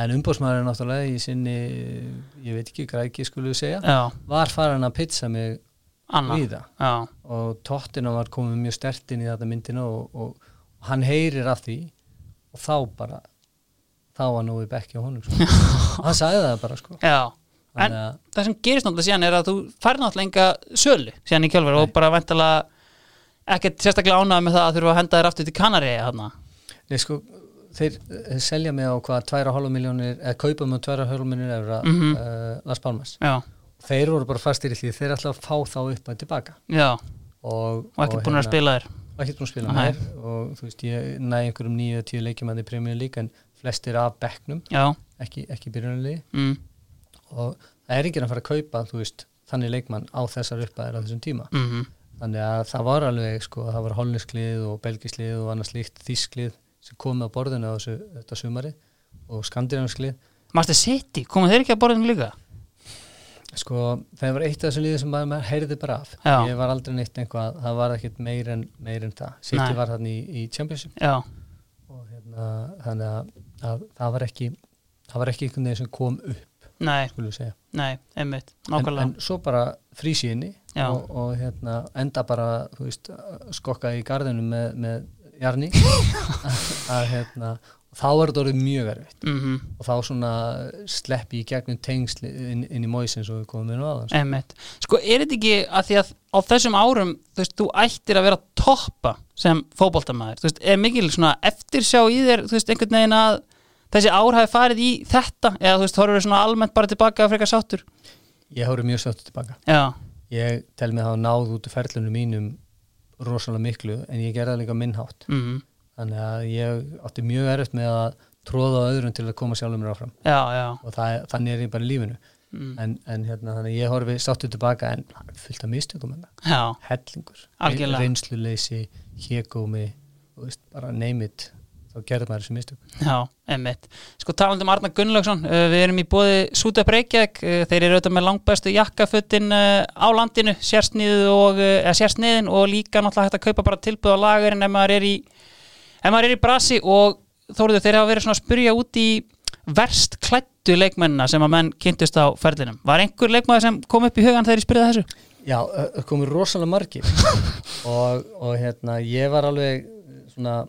Speaker 2: en umbúsmennin náttúrulega í sinni ég veit ekki, græki skulum við segja
Speaker 1: Já,
Speaker 2: var farin að pizza mig
Speaker 1: Anna
Speaker 2: víða
Speaker 1: Já,
Speaker 2: og tóttina var komið mjög stert inn í þetta myndina og, og, og hann heyrir af því og þá bara þá var nógu bekki á honum sko. Og hann sagði það bara sko
Speaker 1: já En
Speaker 2: Þannig að-
Speaker 1: það sem gerist náttúrulega síðan er að þú fær náttúrulega enga sölu síðan í kjálfur og bara væntalega ekkert sérstaklega ánægð með það að þurfa að henda þér aftur til Kanari hana.
Speaker 2: Nei, sko, þeir eh, selja mig á hvað 2,5 miljónir, eða kaupa mig á 2,5 miljónir efra mm
Speaker 1: Mhm.
Speaker 2: Las Palmas
Speaker 1: Já,
Speaker 2: þeir voru bara fastir í því þeir ætla að fá þá upp að tilbaka
Speaker 1: já
Speaker 2: og, hérna-
Speaker 1: og ekkert búin að spila þér
Speaker 2: og ekkert búin að spila
Speaker 1: Nei.
Speaker 2: mér og þú veist ég næ einhverjum 9-10 leikjum að þið premjum líka en flestir af bekknum
Speaker 1: já,
Speaker 2: ekki, ekki byrjunarliði
Speaker 1: mm,
Speaker 2: og það er enginn að fara að kaupa þú veist, þannig leikmann á þessar uppæðir á þessum tíma.
Speaker 1: mm
Speaker 2: Þannig að það var alveg sko, það var holnisklið og belgisklið og annars líkt þísklið sem komið á borðinu á þessu, þetta sumari og skandinavisklið.
Speaker 1: Master City, koma þeir ekki að borðinu líka
Speaker 2: Sko, það var eitt af þessum liðið sem maður maður heyrði bara af.
Speaker 1: Já.
Speaker 2: Ég var aldrei neitt einhvað, það var ekkert meir en, meir en það. Sitt
Speaker 1: Nei.
Speaker 2: var þannig í, í Championship
Speaker 1: já,
Speaker 2: og hérna, þannig að, að það var ekki, það var ekki einhvern veginn sem kom upp,
Speaker 1: nei,
Speaker 2: skulum við segja.
Speaker 1: nei, einmitt
Speaker 2: en,
Speaker 1: nákvæmlega,
Speaker 2: en svo bara frísi inni
Speaker 1: Já.
Speaker 2: og, og hérna, enda bara þú veist, skokka í garðinu með, með jarni að, hérna, þá er þetta orðið mjög erfitt
Speaker 1: mm
Speaker 2: og þá svona sleppi í gegnum tengsl inn, inn í móisin svo við komum inn á aðan
Speaker 1: einmitt sko, er þetta ekki að því að á þessum árum, þú veist, þú ættir að vera toppa sem fótboltamaður þú veist, er mikil svona eftirsjá í þér þú veist, einhvern veginn að þessi ár hafi farið í þetta, eða þú veist, horfur svona almennt bara tilbaka að freka sáttur
Speaker 2: ég hóru mjög sáttu tilbaka
Speaker 1: já,
Speaker 2: ég tel mig að hafa náð út úr ferlunum mínum rosalega miklu en ég gerði það líka minnhátt
Speaker 1: mm,
Speaker 2: þannig að ég átti mjög erfitt með að tróða á öðrum til að koma sjálfum mér áfram
Speaker 1: já, já
Speaker 2: og það, þannig er ég bara í lífinu
Speaker 1: mm,
Speaker 2: en, en hérna, þannig að ég horfi sáttu tilbaka en það er fullt af mistökum en það,
Speaker 1: já,
Speaker 2: hellingur
Speaker 1: Algjörlega.
Speaker 2: reynsluleysi, hégómi þú veist, bara name it þá gerði maður þessi mistök
Speaker 1: Já, emmitt. Sko talandi um Arnar Gunnlaugsson, uh, við erum í bóði Sútep Reykjavík, uh, þeir eru auðvitað með langbæstu jakkafötin uh, á landinu, sérsniðið og, uh, eða sérsniðin og líka náttúrulega hægt að kaupa bara tilbúð á lagurinn ef maður er í, ef maður er í brasi og þóruðu þeir hafa verið svona að spurja út í verst klættu leikmennina sem að menn kynntust á ferlinum. Var einhver leikmaður sem kom upp í hugan þegar ég spyrði þessu?
Speaker 2: já, ö- ö, komu rosalega margir og, og hérna, ég var alveg svona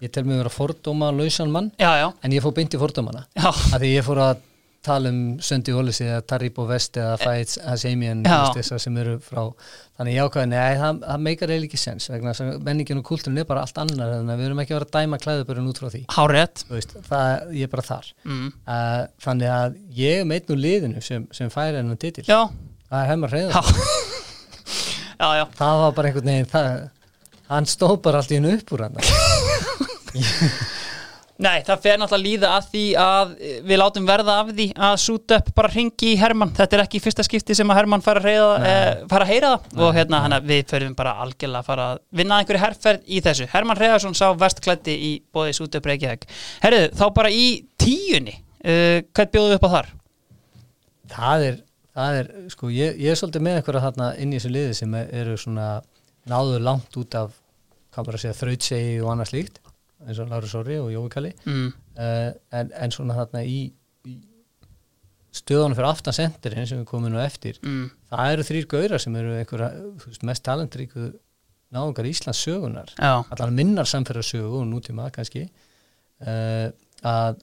Speaker 2: ég tel mig vera fordóma lausan mann
Speaker 1: Já, já,
Speaker 2: en ég fór beint í fordómana
Speaker 1: já,
Speaker 2: af því ég fór að tala um Söndi Ólisi eða Tarip og Vest eða Fights Hasemian
Speaker 1: Eh. Já.
Speaker 2: þessar sem eru frá þannig ég ákvæði, nei, það, það meikar eiginlega ekki sens vegna þess að menningin og kultúrin er bara allt annar þannig að við erum ekki að vera að dæma klæðubörun út frá því
Speaker 1: hárétt.
Speaker 2: Þú veist, það, ég er bara þar
Speaker 1: Mm.
Speaker 2: uh, þannig að ég er meitt nú liðinu sem, sem færi hennan titil
Speaker 1: Já,
Speaker 2: það er hefma
Speaker 1: já,
Speaker 2: hreða,
Speaker 1: já, já.
Speaker 2: það var bara einhvern veginn það, hann stóð bara allt í hennu upp úr hann
Speaker 1: Nei, það fer náttúrulega að líða að því að eh, við látum verða af því að Sútöpp bara ringi í Hermann þetta er ekki fyrsta skipti sem að Hermann fara að, reyða, e, fara að heyra það og hérna hann að við förum bara algjörlega að fara að vinna að einhverju herrferð í þessu Hermann Reyðarsson sá vestklætti í bóði Sútöpp Reykjavík Herðu, þá bara í tíunni uh, hvað bjóðum við upp á þar?
Speaker 2: það er, það er sko, ég, ég er svolítið með einhverja þarna inn í þessu liði sem er- eru svona náður langt út af hvað bara að segja þrautsegi og annað slíkt eins og Láru Sori og Jói Kalli
Speaker 1: Mm.
Speaker 2: uh, en, en svona þarna í, í stöðunum fyrir aftan sendirinn sem við komum nú eftir
Speaker 1: Mm.
Speaker 2: það eru þrýr gaurar sem eru einhverja þú veist, mest talentríku náðungar Íslands sögunar
Speaker 1: Já,
Speaker 2: allan minnar samferðarsögu og nútíma kannski uh, að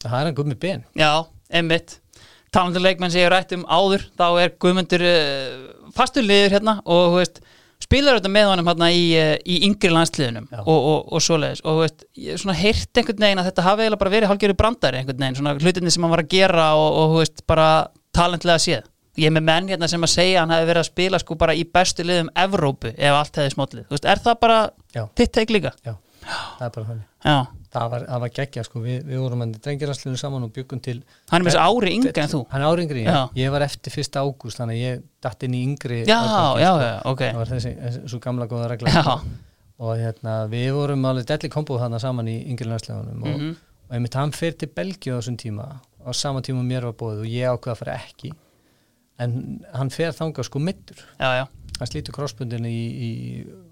Speaker 2: að það er hann gummi ben
Speaker 1: já, einmitt talandur leikmenn sem ég hef rætt um áður þá er Guðmundur uh, fastur liður hérna og þú veist, spilar þetta með honum hérna í, uh, í yngri landsliðunum
Speaker 2: Já.
Speaker 1: og, og, og svoleiðis og þú veist, ég hef svona heyrt einhvern veginn að þetta hafi eiginlega bara verið hálfgerðu brandari einhvern veginn, svona hlutinni sem hann var að gera og, og þú veist, bara talentlega séð ég er með menn hérna sem að segja að hann hafi verið að spila sko bara í bestu liðum Evrópu ef allt hefði smollið, þú veist, er það bara
Speaker 2: Já.
Speaker 1: þitt teik líka?
Speaker 2: já, það er bara þannig
Speaker 1: Já,
Speaker 2: það var, það var geggja sko, við, við vorum henni drengirastlunum saman og byggum til
Speaker 1: hann er með þessi ári yngra en þú
Speaker 2: hann er áringri,
Speaker 1: Já.
Speaker 2: ég, ég var eftir 1. ágúst þannig að ég datt inn í yngri
Speaker 1: Já,
Speaker 2: árganginn,
Speaker 1: já,
Speaker 2: sko.
Speaker 1: já, ok
Speaker 2: það var þessi, þessi svo gamla góða regla
Speaker 1: Já,
Speaker 2: og hérna, við vorum alveg delli komboð þarna saman í yngri landslegunum og,
Speaker 1: Mhm.
Speaker 2: og einmitt hann fer til Belgíu á þessum tíma á sama tíma og mér var bóðið og ég ákveða að fara ekki en hann fer þangað sko middur
Speaker 1: já, já
Speaker 2: hann slítur krossbundinu í, í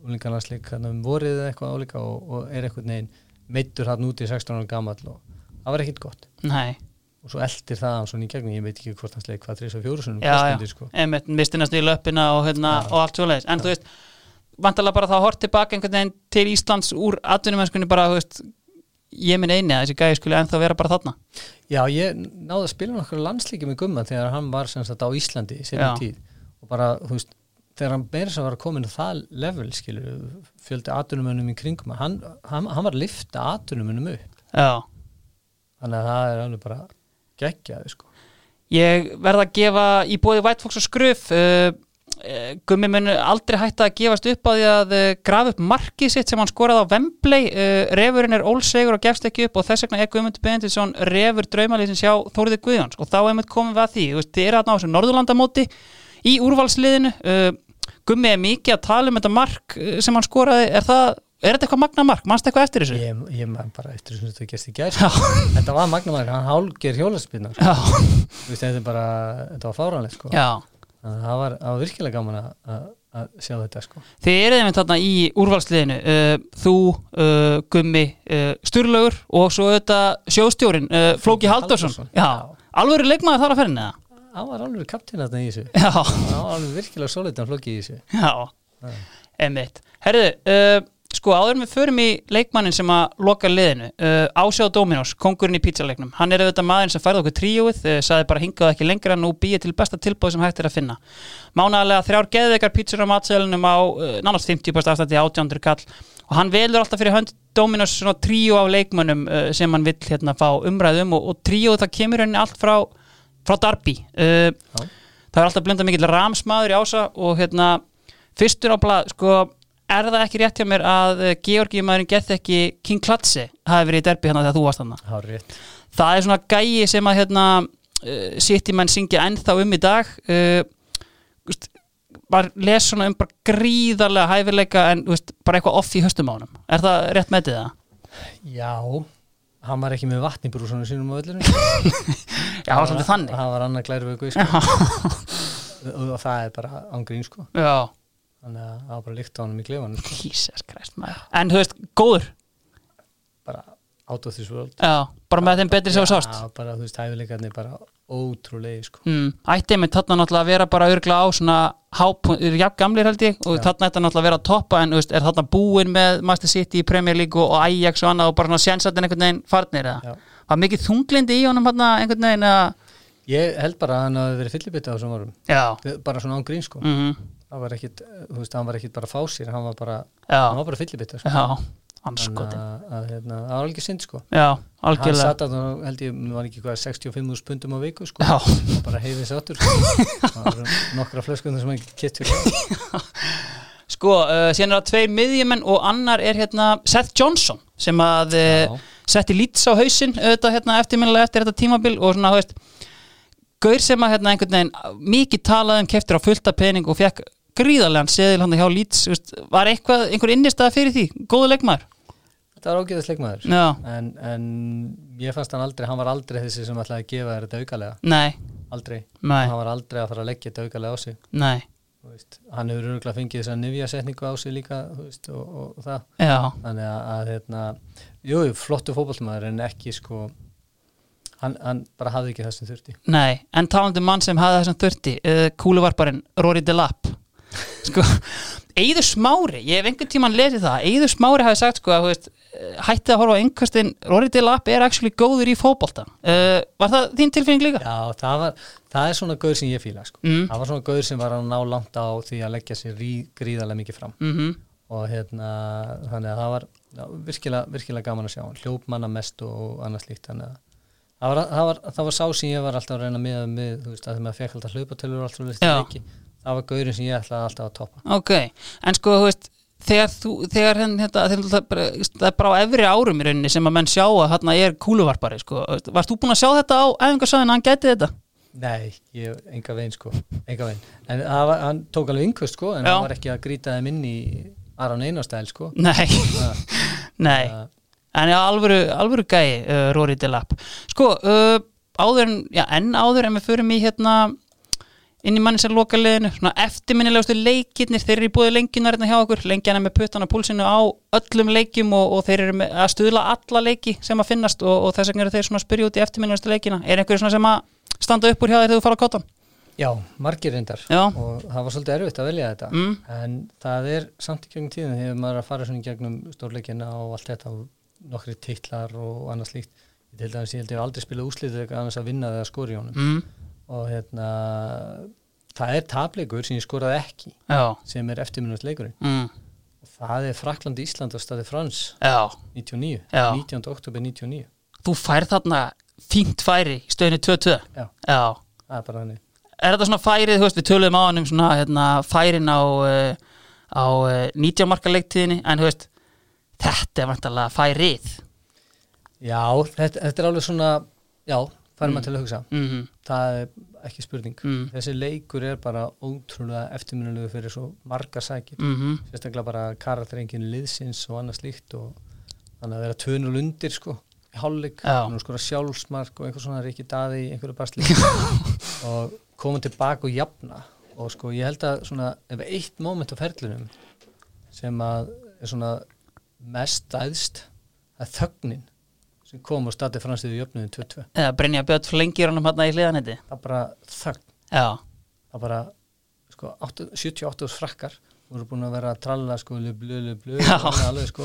Speaker 2: úlingarlandsleik hann um vorið eða eitthvað álíka og, og er eitthvað neginn middur hann úti í 16 ára gamall og það var ekkit gott
Speaker 1: Nei,
Speaker 2: og svo eldir það hann svona í gegnum ég veit ekki hvort hann sleik hvað 3 og 4 sunum
Speaker 1: já,
Speaker 2: krossbundi
Speaker 1: já,
Speaker 2: sko
Speaker 1: einmitt mistinast í löppina og, hérna, og allt svoleiðis en þú veist, vantarlega bara það hort tilbaka einhvern veginn til Íslands úr atvinnumennskunni bara, þú veist, ég minn eini að þessi gæði skulle ennþá vera bara þarna
Speaker 2: Já, ég náði að spila nokkru landsleiki með Gumma þegar hann var sem sagt á Íslandi
Speaker 1: Já.
Speaker 2: sem tíð og bara, þú veist, þegar hann meira sem var að komin á það level, skilur fjöldi atunumönnum í kringum hann, hann, hann var að lifta atunumönnum upp
Speaker 1: Já,
Speaker 2: þannig að það er alveg bara geggjaði, sko
Speaker 1: ég verð að gefa í bóði White Fox og Skruf uh, uh, Gummi mun aldrei hætta að gefast upp á því að uh, grafa upp markið sitt sem hann skoraði á Wembley uh, Refurinn er ólsegur og gefst ekki upp og þess vegna er Guðmundur Benediktsson refur draumalýsins hjá Þórði Guðjóns og þá einmitt komum við að því, þú veist, þið eru að ná þessu Norðurlandamóti í úrvalsliðinu uh, Gummi er mikið að tala um þetta mark uh, sem hann skoraði, er það er þetta eitthvað magna mark, mannst eitthvað eftir þessu?
Speaker 2: ég, ég man bara eftir þessum þetta gerst í gær
Speaker 1: Já,
Speaker 2: þetta var magnamæður, hann hálger hjólaspinnar sko.
Speaker 1: já,
Speaker 2: Þú veist, þetta er bara, þetta var fáranlega, sko
Speaker 1: já
Speaker 2: þannig að það var, það var virkilega gaman að- að að sjá þetta, sko
Speaker 1: Þið eruð einmitt þarna í úrvalsliðinu uh, Þú, uh, Gummi, uh, Sturlaugur og svo auðvitað sjóðstjórin uh, Flóki
Speaker 2: Flóki
Speaker 1: Haldarsson
Speaker 2: Halldórsson.
Speaker 1: Já, alveg eru leikmaður þar að ferðinni
Speaker 2: hann var alveg kaptinn þarna í þessu
Speaker 1: það? Já,
Speaker 2: hann var alveg virkilega solitann flóki í þessu
Speaker 1: já, einmitt Herðu, uh, sko áður en við förum í leikmannin sem að loka liðinu uh, Ásjáð Dominos, kongurinn í pizzaleiknum Hann er auðvitað maðurinn sem færði okkur tríóið uh, saði bara hingað ekki lengra, nú býið til besta tilbúð sem hægt er að finna Mánaðarlega þrjár geðveikar pizzur á matsælunum á uh, nánast 50 bæst afstætti 800 kall og hann velur alltaf fyrir hönd Dominos svona tríó af leikmönnum uh, sem hann vill hérna fá umræðum og, og tríóð það kemur henni allt frá, frá Darby uh, það er alltaf blunda mikill ramsmaður í ása og hérna fyrstur á blað sko er það ekki rétt hjá mér að uh, Georgiumaðurinn gett ekki King Klatsi hafi verið í derbi hérna þegar þú varst hann
Speaker 2: hár rétt
Speaker 1: það er svona gæi sem að hérna uh, City menn syngja ennþá um í dag uh, veist, bara les svona um bara gríðarlega hæfileika en þú veist, bara eitthvað off í höstum á honum er það rétt metið það?
Speaker 2: Já, hann var ekki með vatn í brúsunum sínum á öllunum
Speaker 1: Já, það var svolítið þannig
Speaker 2: Það var annað glæru vöku sko. og og það er bara ángrín sko.
Speaker 1: Já,
Speaker 2: þannig að það var bara líkt á honum í klefanum sko.
Speaker 1: Jesus Christ maður. En þú veist, góður
Speaker 2: bara out of this world
Speaker 1: Já, bara með þeim betri sem þú sást
Speaker 2: Já, bara þú veist, hæfileikarnir bara ótrúlegi sko.
Speaker 1: Mm, ætti einmitt þarna náttúrulega að vera bara örgla á svona hápunkt, eru jafn gamlir held ég og þarna ætti hann náttúrulega að vera að toppa en þú veist, er þarna búin með Master City í Premier League og og Ajax og annað og bara svona sjansatinn einhvern veginn farnir eða?
Speaker 2: Já.
Speaker 1: Var mikið þunglindi í honum hann einhvern veginn að
Speaker 2: Ég held bara að hann hafi verið fyllibita á þessum árum
Speaker 1: Já,
Speaker 2: bara svona ángrín sko.
Speaker 1: mm
Speaker 2: það var ekkit, þú veist, hann var ekkit bara að fá sér hann var bara, hann
Speaker 1: já,
Speaker 2: var bara fyllibita sko.
Speaker 1: já,
Speaker 2: Þannig
Speaker 1: anskotin
Speaker 2: að, að, hérna, það var alveg synd sko.
Speaker 1: Já,
Speaker 2: hann
Speaker 1: algjörlega
Speaker 2: satt að það held ég, mér var ekki hvað 65.000 pundum á viku sko.
Speaker 1: Já,
Speaker 2: og bara heifið sér áttur það voru nokkra flöskunum sem ekki kittur
Speaker 1: eh, sko, uh, síðan er það tveir miðjumenn og annar er hérna Seth Johnson sem að uh, setti lýts á hausinn auðvitað hérna eftirminnilega eftir þetta tímabil og svona, þú veist, gaur sem að hérna einhvern veginn mikið talaði um keftir á fullta pening og fekk gríðarlegan seðil hann hjá lýts, var eitthvað, einhver innistæða fyrir því, góðu leikmaður
Speaker 2: Þetta var ágæðis leikmaður
Speaker 1: Já.
Speaker 2: en, en ég fannst hann aldrei, hann var aldrei þessi sem ætlaði að gefa þér þetta aukalega
Speaker 1: Nei,
Speaker 2: Aldrei,
Speaker 1: nei,
Speaker 2: hann var aldrei að fara að leggja þetta aukalega á sig
Speaker 1: nei,
Speaker 2: Þú veist, Hann hefur örgulega fengið þess að nifja setningu á sig líka þú veist, og, og, og það
Speaker 1: já,
Speaker 2: Þannig að, að hérna, jú, jú, flottu fótballmaður en ekki sko hann, hann bara hafði ekki það sem þurfti
Speaker 1: nei en talandi um mann sem hafði þessum þurfti uh, kúluvarparinn Rory Delap sko, Eyður Smári ég hef einhvern tímann lesið það, Eyður Smári hafi sagt sko að, þú veist, eh, hættið að horfa á einhverstin Rory Delap er actually góður í fótbolta uh, var það þín tilfinning líka?
Speaker 2: Já, það, var, það er svona gaur sem ég fíla sko.
Speaker 1: Mm.
Speaker 2: það var svona gaur sem var að ná langt á því að leggja sér rí, gríðarlega mikið fram
Speaker 1: Mm
Speaker 2: og hérna, þannig að það var já, virkilega, virkilega gaman að sjá hann hljóp manna mest og annað slíkt þannig að það var, það, var, það var sá sem ég var alltaf að reyna með, með þú veist, að því maður fekk alltaf hlaupatölur og alltaf
Speaker 1: Já.
Speaker 2: leiki það var gaurin sem ég ætlaði alltaf að toppa
Speaker 1: Ok, en sko þú veist þegar þú, þegar henn hérna, þegar það, bara, það er bara á efri árum í rauninni sem að menn sjá að hérna er kúluvarpari sko. Þú veist, varst þú búin að sjá þetta á æfingarsæðin að hann gæti þetta?
Speaker 2: Nei, ég, enga veginn sko enga veginn, en það var, hann tók alveg yngvöst sko, en
Speaker 1: Já.
Speaker 2: hann var ekki að grýta þeim inn í Aron Einarstæl sko
Speaker 1: Nei, nei
Speaker 2: Það-
Speaker 1: en já, alvöru, alvöru gæi uh, Rory Delap sko, uh, áður en, já, enn áður en við förum í hérna inn í manni sem loka liðinu, svona eftirminnilegustu leikirnir, þeir eru í búið lengjunar hérna hjá okkur, lengjana með puttana púlsinu á öllum leikjum og, og þeir eru með, að stuðla alla leiki sem að finnast og, og þess vegna eru þeir svona að spyrja út í eftirminnilegustu leikina er einhverju svona sem að standa upp úr hjá þér þegar þú fara á kottan?
Speaker 2: Já, margir reyndar
Speaker 1: Já.
Speaker 2: og það var svolítið erfitt að velja þetta
Speaker 1: Mm.
Speaker 2: en það er samt í gegnum tíðin þegar maður er að fara svona í gegnum stórleikina og allt þetta og nokkri titlar og annað slíkt ég til dæmis, ég held ég hef aldrei spilað úslítið eitthvað annars að vinna þegar skori í honum
Speaker 1: Mm.
Speaker 2: og hérna, það er tapleikur sem ég skoraði ekki
Speaker 1: Já.
Speaker 2: sem er eftirminnast leikurinn
Speaker 1: Mm.
Speaker 2: og það er Frakland Ísland og staði Frans
Speaker 1: Já.
Speaker 2: 99,
Speaker 1: Já.
Speaker 2: 19. oktober 99
Speaker 1: þú færð þarna fínt færi í stöðinu 2-2
Speaker 2: Já.
Speaker 1: Já.
Speaker 2: það er bara hannig
Speaker 1: er þetta svona færið, þú veist, við töluðum á hann um svona, hérna, færin á uh, á uh, 19 marka leiktíðinni en þú veist, þetta er vantarlega færið
Speaker 2: já, þetta, þetta er alveg svona já, færum maður til að hugsa
Speaker 1: mm -hmm.
Speaker 2: það er ekki spurning
Speaker 1: Mm.
Speaker 2: þessi leikur er bara ótrúlega eftirminnulegu fyrir svo margar sækir
Speaker 1: Mm
Speaker 2: sérstaklega bara karakterengin liðsins og annað slíkt og þannig að vera tönul undir sko í hálfleik,
Speaker 1: Já.
Speaker 2: nú skora sjálfsmark og einhver svona Riki Daði, í einhverju basli og koma tilbaka og jafna og sko ég held að svona ef eitt moment á ferlunum sem að er svona mest dæðst að þögnin sem kom og stati fransið við jöfnuðin 22
Speaker 1: eða Brynja Björn flengir honum hérna í hliðanetti
Speaker 2: það er bara þögn
Speaker 1: já,
Speaker 2: það bara sko, 8, 78 árs frakkar voru búin að vera að tralla sko, lu, blu, lu, blu,
Speaker 1: Já.
Speaker 2: og alveg, sko,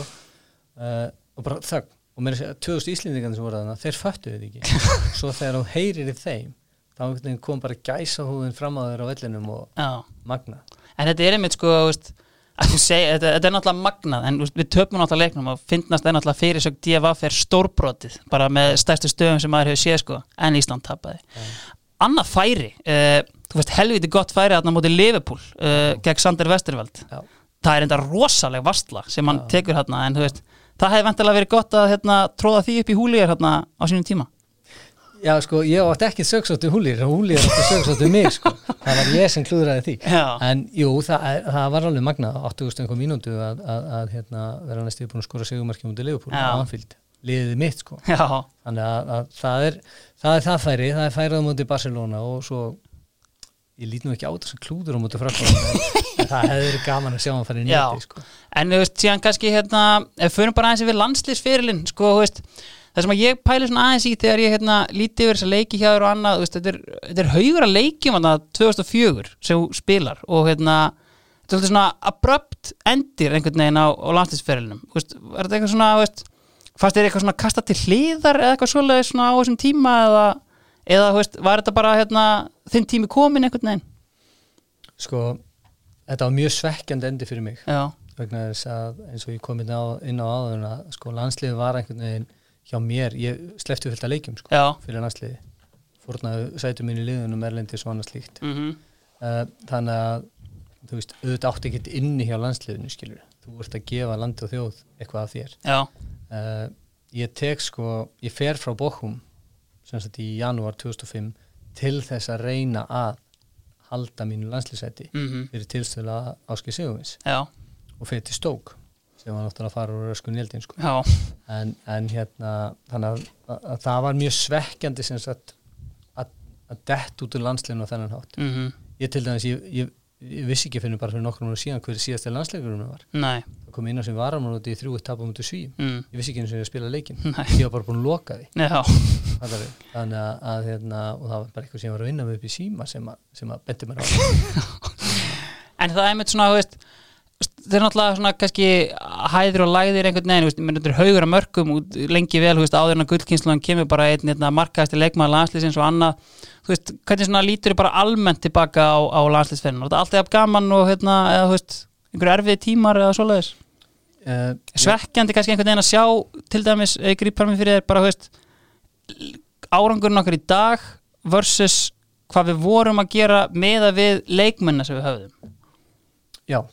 Speaker 2: uh, og bara þögn og mér er að segja, 2000 íslendingarnir sem voru þarna þeir föttu þetta ekki svo þegar þú heyrir í þeim þá einhvern veginn kom bara gæsa húfin fram á þeir á vellinum og
Speaker 1: já
Speaker 2: magna
Speaker 1: en þetta er einmitt sko, þú veist að þú segja, þetta, þetta er náttúrulega magnað en þú veist, við töpum náttúrulega leiknum og finnast er náttúrulega fyrirsögn DFF er stórbrotið bara með stærstu stöðum sem maður hefur séð sko en Ísland tapaði annað færi, uh, þú veist helviti gott færi þarna móti Liverpool uh, gegn Sander Westerveld
Speaker 2: Já.
Speaker 1: það er enda rosaleg vastla sem hann tekur hérna en þú veist, það hefði vantilega verið gott að hérna, tróða því upp í húlíjar hérna á sínum tíma
Speaker 2: Já, sko, ég átti ekki sögsóttu húlir og húlir átti sögsóttu mig, sko það var ég sem klúðraði því
Speaker 1: Já.
Speaker 2: en jú, það, er- það var alveg magnað 80.000 einhver mínútu að, að, að hérna, vera næstu búin að skora sigumarki mútið Leifupúl
Speaker 1: Já.
Speaker 2: á Anfield, liðið mitt, sko
Speaker 1: já,
Speaker 2: þannig að, að það, er, það er það færi það er færið á móti Barcelona og svo ég lít nú ekki á þess að klúður á móti Frakland en en það hefði verið gaman að sjá hann færi
Speaker 1: Já.
Speaker 2: nýtti sko.
Speaker 1: en þú veist, síðan kannski hérna, ef förum bara aðeins yfir landslýsferilinn sko, þú veist, það sem að ég pæli svona aðeins í þegar ég hérna líti yfir þessa leiki hjá þér og annað, þú veist, þetta er, þetta er haugur að leikjum hérna 2004 sem þú spilar og hérna þetta er svolítið svona abrupt endir einhvern veginn á, á landslýsferilnum var þetta eitthvað svona, þú veist fannst þér eitthvað svona kasta til hliðar eða eitthvað svoleiðis svona á þessum tíma eða, eða þú veist, var þetta bara hérna þinn tími komin einhvern veginn
Speaker 2: sko, þetta var mjög svekkjandi endi fyrir mig
Speaker 1: já,
Speaker 2: vegna þess að eins og ég kom inn á, inn á áður að sko, landsliði var einhvern veginn hjá mér, ég slefti fullt að leikjum sko,
Speaker 1: já,
Speaker 2: fyrir landsliði fórnaðu sætu mín í liðunum erlendis og annað slíkt
Speaker 1: mm
Speaker 2: Eh, þannig að þú veist, auðvitað átti ekkert inni hjá landsliðinu skilur, þú ert að gefa landi og þjóð eitthvað af þér
Speaker 1: já
Speaker 2: uh, ég tek sko, ég fer frá Bochum sem sagt í janúar 2005 til þess að reyna að halda mínu landslýsæti
Speaker 1: Mhm.
Speaker 2: fyrir tilstöðla Áskei Sigurvins
Speaker 1: Já,
Speaker 2: og fyrir til Stók sem var náttúrulega að fara úr öskun Nildin sko.
Speaker 1: já,
Speaker 2: en, en hérna þannig að, að, að það var mjög svekkjandi sem sagt að, að dett út úr landslinu á þennan hátt
Speaker 1: mm
Speaker 2: ég til dæmis, ég, ég, ég vissi ekki finnum bara fyrir nokkrum ára síðan hver síðasti landsleikurinn var
Speaker 1: nei,
Speaker 2: það kom inn á sem varamónu út í þrjú eitt tapum út í svíum
Speaker 1: mm,
Speaker 2: ég vissi ekki eins og ég að spila leikin
Speaker 1: Nei.
Speaker 2: ég var bara búin að loka því
Speaker 1: já,
Speaker 2: fattarðu? þannig að, að hérna, og það var bara eitthvað sem ég var að vinna með upp í síma sem að, sem að benti mér á
Speaker 1: en það er einmitt svona, þú veist, þeir eru náttúrulega svona kannski hæðir og læðir einhvern veginn, þú veist, menn þetta er haugur að mörgum út lengi vel, þú veist, áður en að gullkynslan kemur bara einn, einn markaðasti leikmaður landslýsins og annað, þú veist, hvernig svona lítur bara almennt tilbaka á, á landslýsferðinu, var þetta alltaf jafn gaman og hérna, eða þú veist, einhverju erfiði tímar eða svoleiðis?
Speaker 2: Eh,
Speaker 1: svekkjandi kannski einhvern veginn að sjá til dæmis, eða grípar mér fyrir þér bara, þú veist árangurinn okkar í dag versus hvað við vorum að gera meða við leikmennar sem við höfðum
Speaker 2: já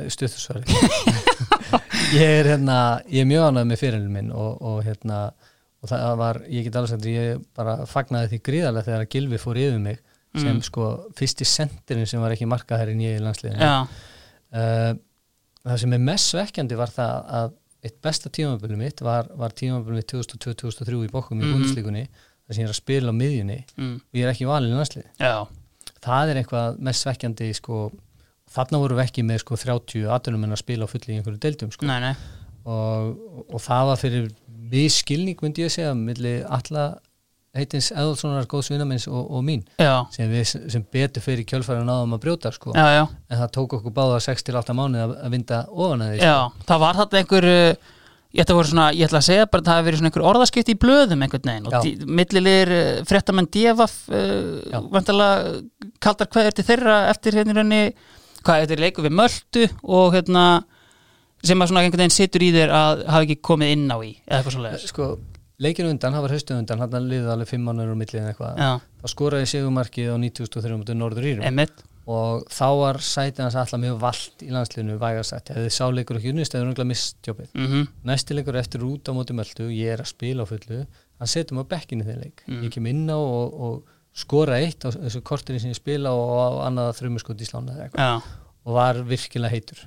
Speaker 2: Eh, stuðsvöri ég er hérna, ég er mjög annað með fyrirlin minn og, og hérna og það var, ég get alveg sagt ég bara fagnaði því gríðarlega þegar að Gilvi fór yfir mig sem sko fyrsti sendirinn sem var ekki markað herrin ég í landsliðinu
Speaker 1: já,
Speaker 2: Eh, það sem er mest svekkjandi var það að eitt besta tímabili mitt var, var tímabili mitt 2002-2003 í bókum í
Speaker 1: Mhm.
Speaker 2: búndslíkunni þar sem ég er að spila á miðjunni
Speaker 1: mm,
Speaker 2: og ég er ekki valin í landslið
Speaker 1: já,
Speaker 2: það er eitthvað mest svekkjandi sko, þarna vorum við ekki með sko, 30 aðdunum en að spila á fulli í einhverju deildum sko.
Speaker 1: nei, nei
Speaker 2: og, og það var fyrir miskilning myndi ég segja milli alla heitins Eðalssonar góðsvinnamins og, og mín
Speaker 1: já,
Speaker 2: sem, við, sem betur fyrir kjölfæra náðum að brjóta sko
Speaker 1: já, já,
Speaker 2: en það tók okkur báða 6-8 mánuð að, að vinda ofan að því
Speaker 1: já það var þetta einhver uh, ég ætla, að voru svona, ég ætla að segja bara að það hafi verið svona einhver orðaskipti í blöðum einhvern veginn
Speaker 2: Já.
Speaker 1: og dí- millilegir uh, fréttamenn divaf
Speaker 2: Já.
Speaker 1: uh, vantarlega kaldar hverjur til þeirra eftir hérna í raunni hvað þetta er leikur við möldu og hérna sem að svona einhvern veginn situr í þér að hafa ekki komið inn á í eða eitthvað svona leðis
Speaker 2: sko, leikinu undan, það var haustu undan hann liðið alveg 5 mánuður á millið eitthvað
Speaker 1: Já,
Speaker 2: þá skoraði segumarkið á 93 mútið Norður Írum
Speaker 1: emitt
Speaker 2: og þá var sætið hans alltaf mjög vald í landsliðinu vægarsætt, ef þið sá leikur ekki unnist eða rungla mistjópið
Speaker 1: mm
Speaker 2: næsti leikur eftir út á móti möldu, ég er að spila á fullu hann setur mig á bekkinu þegar leik
Speaker 1: Mm.
Speaker 2: ég kem inn á og, og skora eitt á þessu kortinu sem ég spila og á annað þrjumuskot í slána eða eitthvað
Speaker 1: Já,
Speaker 2: og var virkilega heitur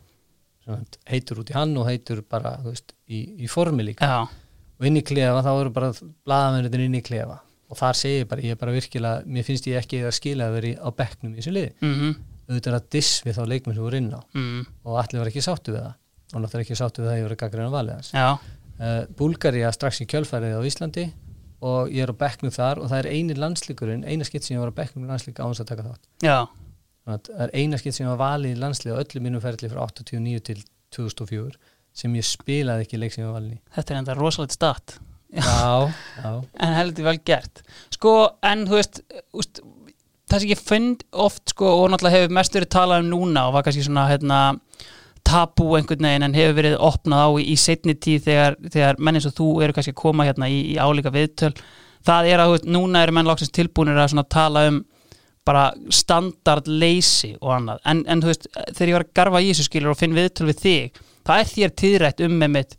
Speaker 2: Svona, heitur út í hann og heitur bara þú veist, í, í formi líka
Speaker 1: já,
Speaker 2: og inn í klefa þá eru bara blaðamennin inn í klefa og þar segi ég bara, ég er bara virkilega mér finnst ég ekki að skila að vera í- á bekknum í þessu liði,
Speaker 1: mm -hmm.
Speaker 2: auðvitað er að diss við þá leikmenn sem voru inn á
Speaker 1: mm,
Speaker 2: og allir var ekki sáttu við það og náttúrulega ekki sáttu við það að ég voru gaggrinn á valið hans
Speaker 1: já,
Speaker 2: uh, Búlgaria strax í kjölfærið á Íslandi og ég er á bekknum þar og það er eini landslíkurinn, eina skitt sem ég var á bekknum landslík á hans að taka þátt
Speaker 1: já,
Speaker 2: Þannig að það er eina skipt sem ég var valið í landslið á öllu mínum ferli frá 89 til 2004 sem ég spilaði ekki leik sem ég var valið í.
Speaker 1: þetta er enda rosalegt start
Speaker 2: Já, já.
Speaker 1: en heldur vel gert sko, en þú veist, úst, það sem ég finn oft sko, og náttúrulega hefur mest verið talað um núna og var kannski svona hérna, tabú einhvern veginn en hefur verið opnað á í, í setni tíð þegar, þegar menn eins og þú eru kannski að koma hérna í, í álíka viðtöl það er að þú veist, núna eru menn loksins tilbúinir að svona tala um bara standardleysi og annað en, en þú veist, þegar ég var að garfa í þessu skilur og finn viðtöl við þig, það er þér tíðrætt um með mitt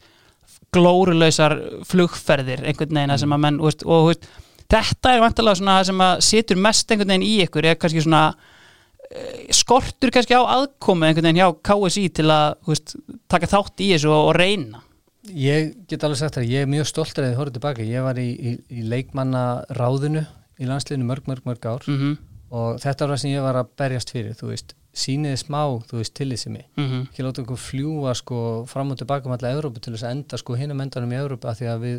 Speaker 1: glórulausar flugferðir einhvern veginn mm. sem að menn þú veist, og þú veist, þetta er vantilega svona það sem að situr mest einhvern veginn í ykkur eða kannski svona eh, skortur kannski á aðkomu einhvern veginn hjá KSI til að þú veist, taka þátt í þessu og, og reyna
Speaker 2: Ég get alveg sagt það, ég er mjög stoltur að ég horfði tilbaka. Ég var í, í, í leikmanna ráðinu í landsliðinu mörg, mörg, mörg ár
Speaker 1: mm -hmm.
Speaker 2: og þetta var það sem ég var að berjast fyrir, þú veist, síniði smá, þú veist, tillitsemi.
Speaker 1: Mm -hmm.
Speaker 2: Ekki láta okkur fljúa sko fram og tilbaka um alla Evrópu til þess að enda sko hinum endanum í Evrópu af því að við,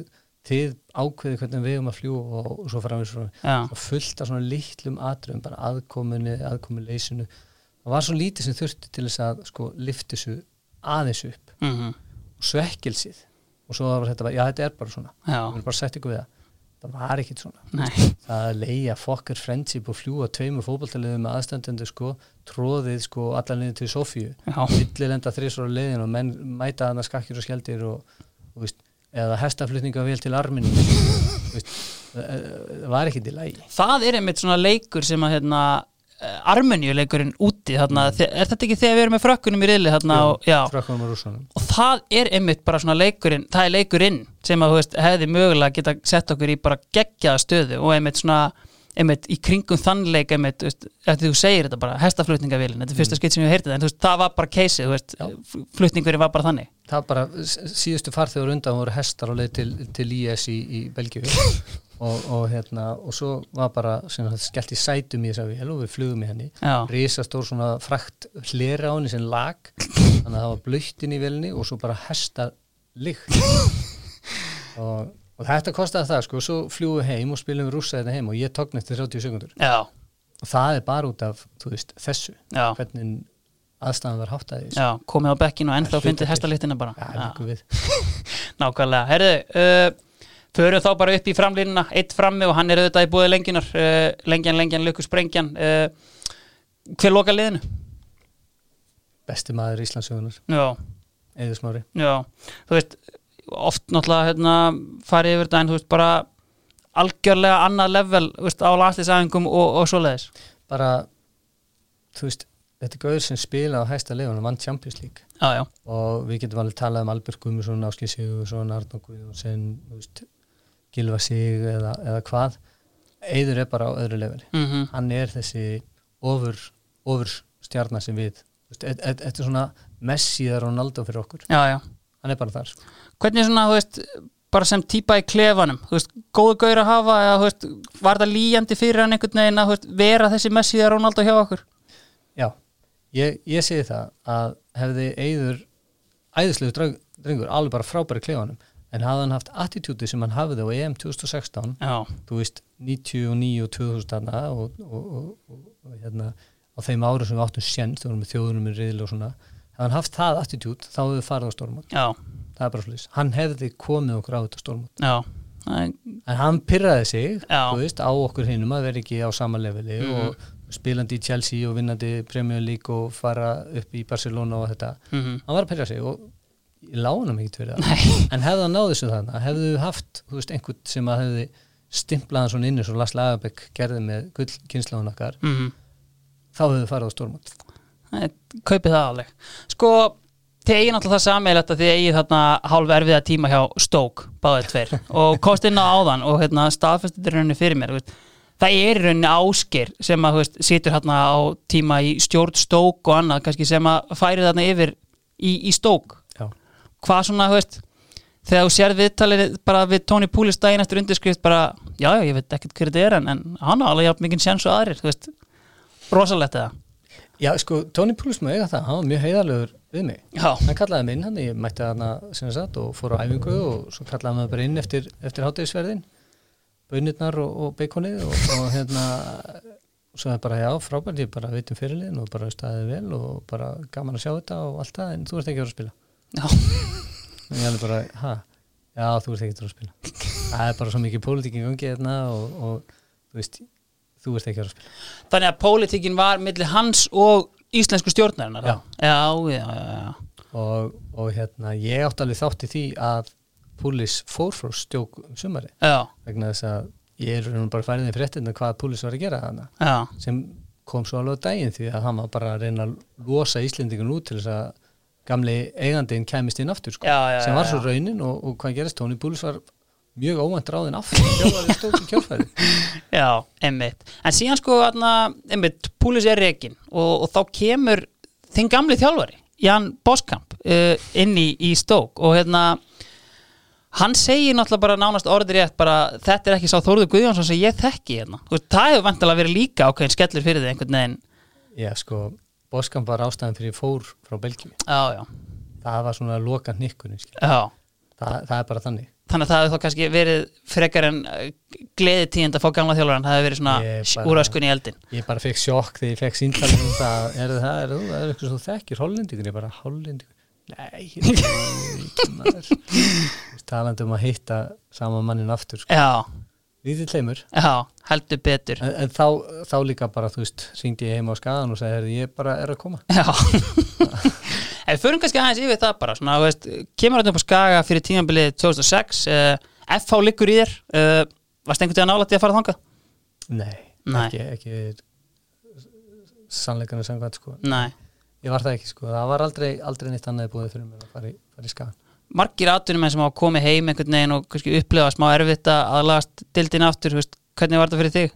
Speaker 2: þið ákveði hvernig við um að fljúa og, og svo framins frá
Speaker 1: Já.
Speaker 2: og fullt af svona lítlum atriðum bara aðkomunni, aðkomuleysinu það var svo lítið sem þurfti til þess að sko lifti þessu aðeins upp
Speaker 1: Mm
Speaker 2: og svekkelsið og svo var þetta bara, já þetta er bara svona við
Speaker 1: Já.
Speaker 2: erum bara sett ykkur við það, það var ekkit svona
Speaker 1: Nei.
Speaker 2: það að leia fokkar friendship og fljúa tveimur fótboltaliðum með aðstandendu sko tróðið sko allan liðin til Sofíu
Speaker 1: Já.
Speaker 2: villilenda þrísvara leiðin og menn mæta þarna skakkir og skjaldir og, og veist, eða hestaflutninga vel til arminu veist, það- það var ekki til lægi
Speaker 1: það er einmitt svona leikur sem að hérna Armenjuleikurinn úti þarna, mm. er þetta ekki þegar við erum með frökkunum í riðli þarna, og, já,
Speaker 2: Frökkunum og rússunum
Speaker 1: og það er einmitt bara svona leikurinn það er leikurinn sem að þú veist hefði mögulega geta sett okkur í bara geggjaða stöðu og einmitt svona einmitt í kringum þannleik einmitt þú veist, eftir þú segir þetta bara hestaflutningavélin þetta er
Speaker 2: Mm.
Speaker 1: fyrsta skitt sem ég heyrti það en þú veist það var bara keisið þú veist flutningurinn var bara þannig
Speaker 2: það bara, s- síðustu farþegur undan voru hestar og leið til, til IS í, í Belgíu og, og hérna og svo var bara sem sagt, skellt í sætum í þess að við og við flugum í henni
Speaker 1: Já.
Speaker 2: risastór svona frakt hlera á henni sem lag þannig að það var blöytin í velni og svo bara hestar lykt og, og þetta kostaði það sko, svo fljúum við heim og spilum við rússa þetta heim og ég tókn eftir 30 sekundur
Speaker 1: já,
Speaker 2: og það er bara út af, þú veist, þessu
Speaker 1: Já.
Speaker 2: hvernig aðstæðan var háttaði
Speaker 1: já komið á bekkinu og ennþá
Speaker 2: Það er
Speaker 1: fundið
Speaker 2: hluti.
Speaker 1: hestalitina bara
Speaker 2: Já, liggur við.
Speaker 1: Nákvæmlega, herðu uh, Förum þá bara upp í framlínuna Eitt frammi og hann er auðvitað í búið lengjunar uh, Lengjan, lengjan, lukku sprengjan uh, Hver loka liðinu?
Speaker 2: besti maður Íslandsögunar
Speaker 1: Já,
Speaker 2: Eður Smári
Speaker 1: já Þú veist, oft náttúrulega hérna, farið yfir þetta en þú veist bara algjörlega annað level þú veist, á landslisæðingum og, og svoleiðis
Speaker 2: bara, þú veist þetta er gauður sem spila á hæsta leifunum vann Champions League
Speaker 1: Já, já,
Speaker 2: og við getum alveg talað um Albert Guðmundsson, Áskil Sigurðsson, Arnó Guðjónsson þú veist, Gilva Sig eða, eða hvað Eður er bara á öðru leifinu
Speaker 1: mm
Speaker 2: hann er þessi ofur, ofur stjarnar sem við þú veist, þetta- þetta þetta er svona Messi eða Ronaldo fyrir okkur
Speaker 1: já, já
Speaker 2: hann er bara þar sko.
Speaker 1: Hvernig svona, þú veist, bara sem típa í klefanum Þú veist, góðu gaur að hafa eða, þú veist, Var það lýjandi fyrir hann einhvern veginn að þú veist, vera þessi Messi eða Ronaldo hjá okkur?
Speaker 2: Já, ég, ég segi það að hefði Eyður æðislegu dreng- drengur, alveg bara frábæri klefanum en hafði hann haft attitúti sem hann hafði á EM 2016
Speaker 1: Já,
Speaker 2: þú veist 99 og 2000 þarna og, og, og, og, og hérna á þeim árum sem við áttum sjens þú vorum með þjóðunum í riðil og svona ef hann haft það attitút þá hefði við farið á stormot
Speaker 1: já,
Speaker 2: það er bara svolítið, hann hefði komið okkur á þetta stormot
Speaker 1: já Það er-
Speaker 2: en hann pyrraði sig
Speaker 1: Já.
Speaker 2: þú veist, á okkur hinnum að vera ekki á sama leveli
Speaker 1: Mhm.
Speaker 2: og spilandi í Chelsea og vinnandi Premier League og fara upp í Barcelona og þetta
Speaker 1: mhm.
Speaker 2: hann var að pyrra sig og ég lána hann ekki fyrir það
Speaker 1: Nei,
Speaker 2: en hefði hann náði þessu þarna, hefðu haft þú veist, einhvern sem að hefði stimplað hann svona inn eins og Lars Lagerbæk gerði með gullkynnslóðun okkar,
Speaker 1: mhm.
Speaker 2: þá hefðu farið á stórmátt
Speaker 1: Það er- Eh, kaupið það alveg Sko, þið eigin alltaf það sammeilegt að þið eigin þarna hálf erfiða tíma hjá Stoke, báðið tveir og kost inn á áðan og hérna staðfestir rauninni fyrir mér, þú veist Það er í rauninni áskir sem að þú veist, situr hérna á tíma í stjórn stók og annað kannski sem að færi þarna yfir í, í stók
Speaker 2: Já.
Speaker 1: hvað svona, þú veist þegar þú sér viðtalið bara við Tony Poulis daginn eftir undirskrift bara, já, já, ég veit ekkert hver þetta er en, en hann á alveg jafn mikið sjans og aðrir, þú veist rosalegt eða
Speaker 2: Já, sko, Tony Púlis maður eiga það, hann var mjög heiðarlegur við mig
Speaker 1: já,
Speaker 2: hann kallaði mig inn hann, ég mætti hann sem sagt og fór á æfingu og svo kallaði hann mig bara inn eftir, eftir hátegisverðin bönirnar og, og beikonið og, og hérna svo það bara já, frábært, ég bara veit um fyrirliðin og bara staðið vel og bara gaman að sjá þetta og allt það, en þú ert ekki að vera að spila
Speaker 1: já,
Speaker 2: en ég alveg bara, hæ, já, þú ert ekki að vera að spila það er bara svo mikið pólitík í gangi þarna og, og þú veist þú ert ekki að vera að spila
Speaker 1: þannig að pólitíkin var milli hans og íslensku stjórnarinnar
Speaker 2: Já.
Speaker 1: já, já, já, já.
Speaker 2: og, og hérna, ég átti alveg þátti því að Púlis fór frá stjók um sumari
Speaker 1: já,
Speaker 2: vegna þess að ég er raunum bara færið í fréttina hvað Púlis var að gera þarna
Speaker 1: já.
Speaker 2: sem kom svo alveg á daginn því að hann var bara að reyna að losa Íslendingun út til þess að gamli eigandin kæmist inn aftur sko,
Speaker 1: Já, já,
Speaker 2: sem
Speaker 1: já,
Speaker 2: var svo
Speaker 1: já.
Speaker 2: raunin og, og hvað gerist Tony Púlis var mjög óvænt ráðin aftur þjálfari stók í kjálfæri
Speaker 1: Já, einmitt. En síðan sko, atna, einmitt, Púlis er rekin og, og þá kemur þinn gamli þjálfari, Jan Boskamp, uh, inn í, í stók og hérna, hann segir náttúrulega bara nánast orðið rétt bara þetta er ekki sá Þórður Guðjónsson sem ég þekki hérna. Þú veist, það hefur vantilega verið líka ákveðin skellur fyrir þig einhvern veginn.
Speaker 2: Já, sko, Boskan var ástæðan fyrir ég fór frá Belgíu.
Speaker 1: Já, já,
Speaker 2: Það var svona að loka nikkunni, skil.
Speaker 1: já.
Speaker 2: Það, það er bara þannig.
Speaker 1: Þannig að það hefur þá kannski verið frekar en gleði tíðind að fá gamla þjálfaran, það hefur verið
Speaker 2: Ég
Speaker 1: svona
Speaker 2: bara-
Speaker 1: úraskunni í eldin.
Speaker 2: Ég bara fekk sjokk þegar ég fekk síntalið um það. Er það, er þú, það er eitthvað svo þekkir hollendingur, ég bara hollendingur. Nei, ég er ekki maður. Þú veist, Talandi um að hitta sama mannin aftur, sko.
Speaker 1: Já,
Speaker 2: Lítið tleimur.
Speaker 1: já, heldur betur.
Speaker 2: En, en þá, þá líka bara, þú veist, syngdi ég heima á skagan og sagði, "Heyrðu, ég bara er að koma.
Speaker 1: Já En við förum kannski aðeins yfir það bara svona, þú veist, kemur þetta upp á skaga fyrir tímabilið 2006 uh, FH liggur í þér Eh, uh, Varst einhvern veginn nálætti að fara þangað?
Speaker 2: Nei,
Speaker 1: Nei.
Speaker 2: ekki, ekki sannleikarnir samkvæmt sko
Speaker 1: Nei.
Speaker 2: ég var það ekki sko, það var aldrei, aldrei neitt annað búið fyrir mér að fara í, fara í skagan
Speaker 1: Margir atvinnum sem hafa komið heim einhvern veginn og kannski upplefa smá erfitt að aðlagast dildin aftur, þú veist, hvernig var þetta fyrir þig?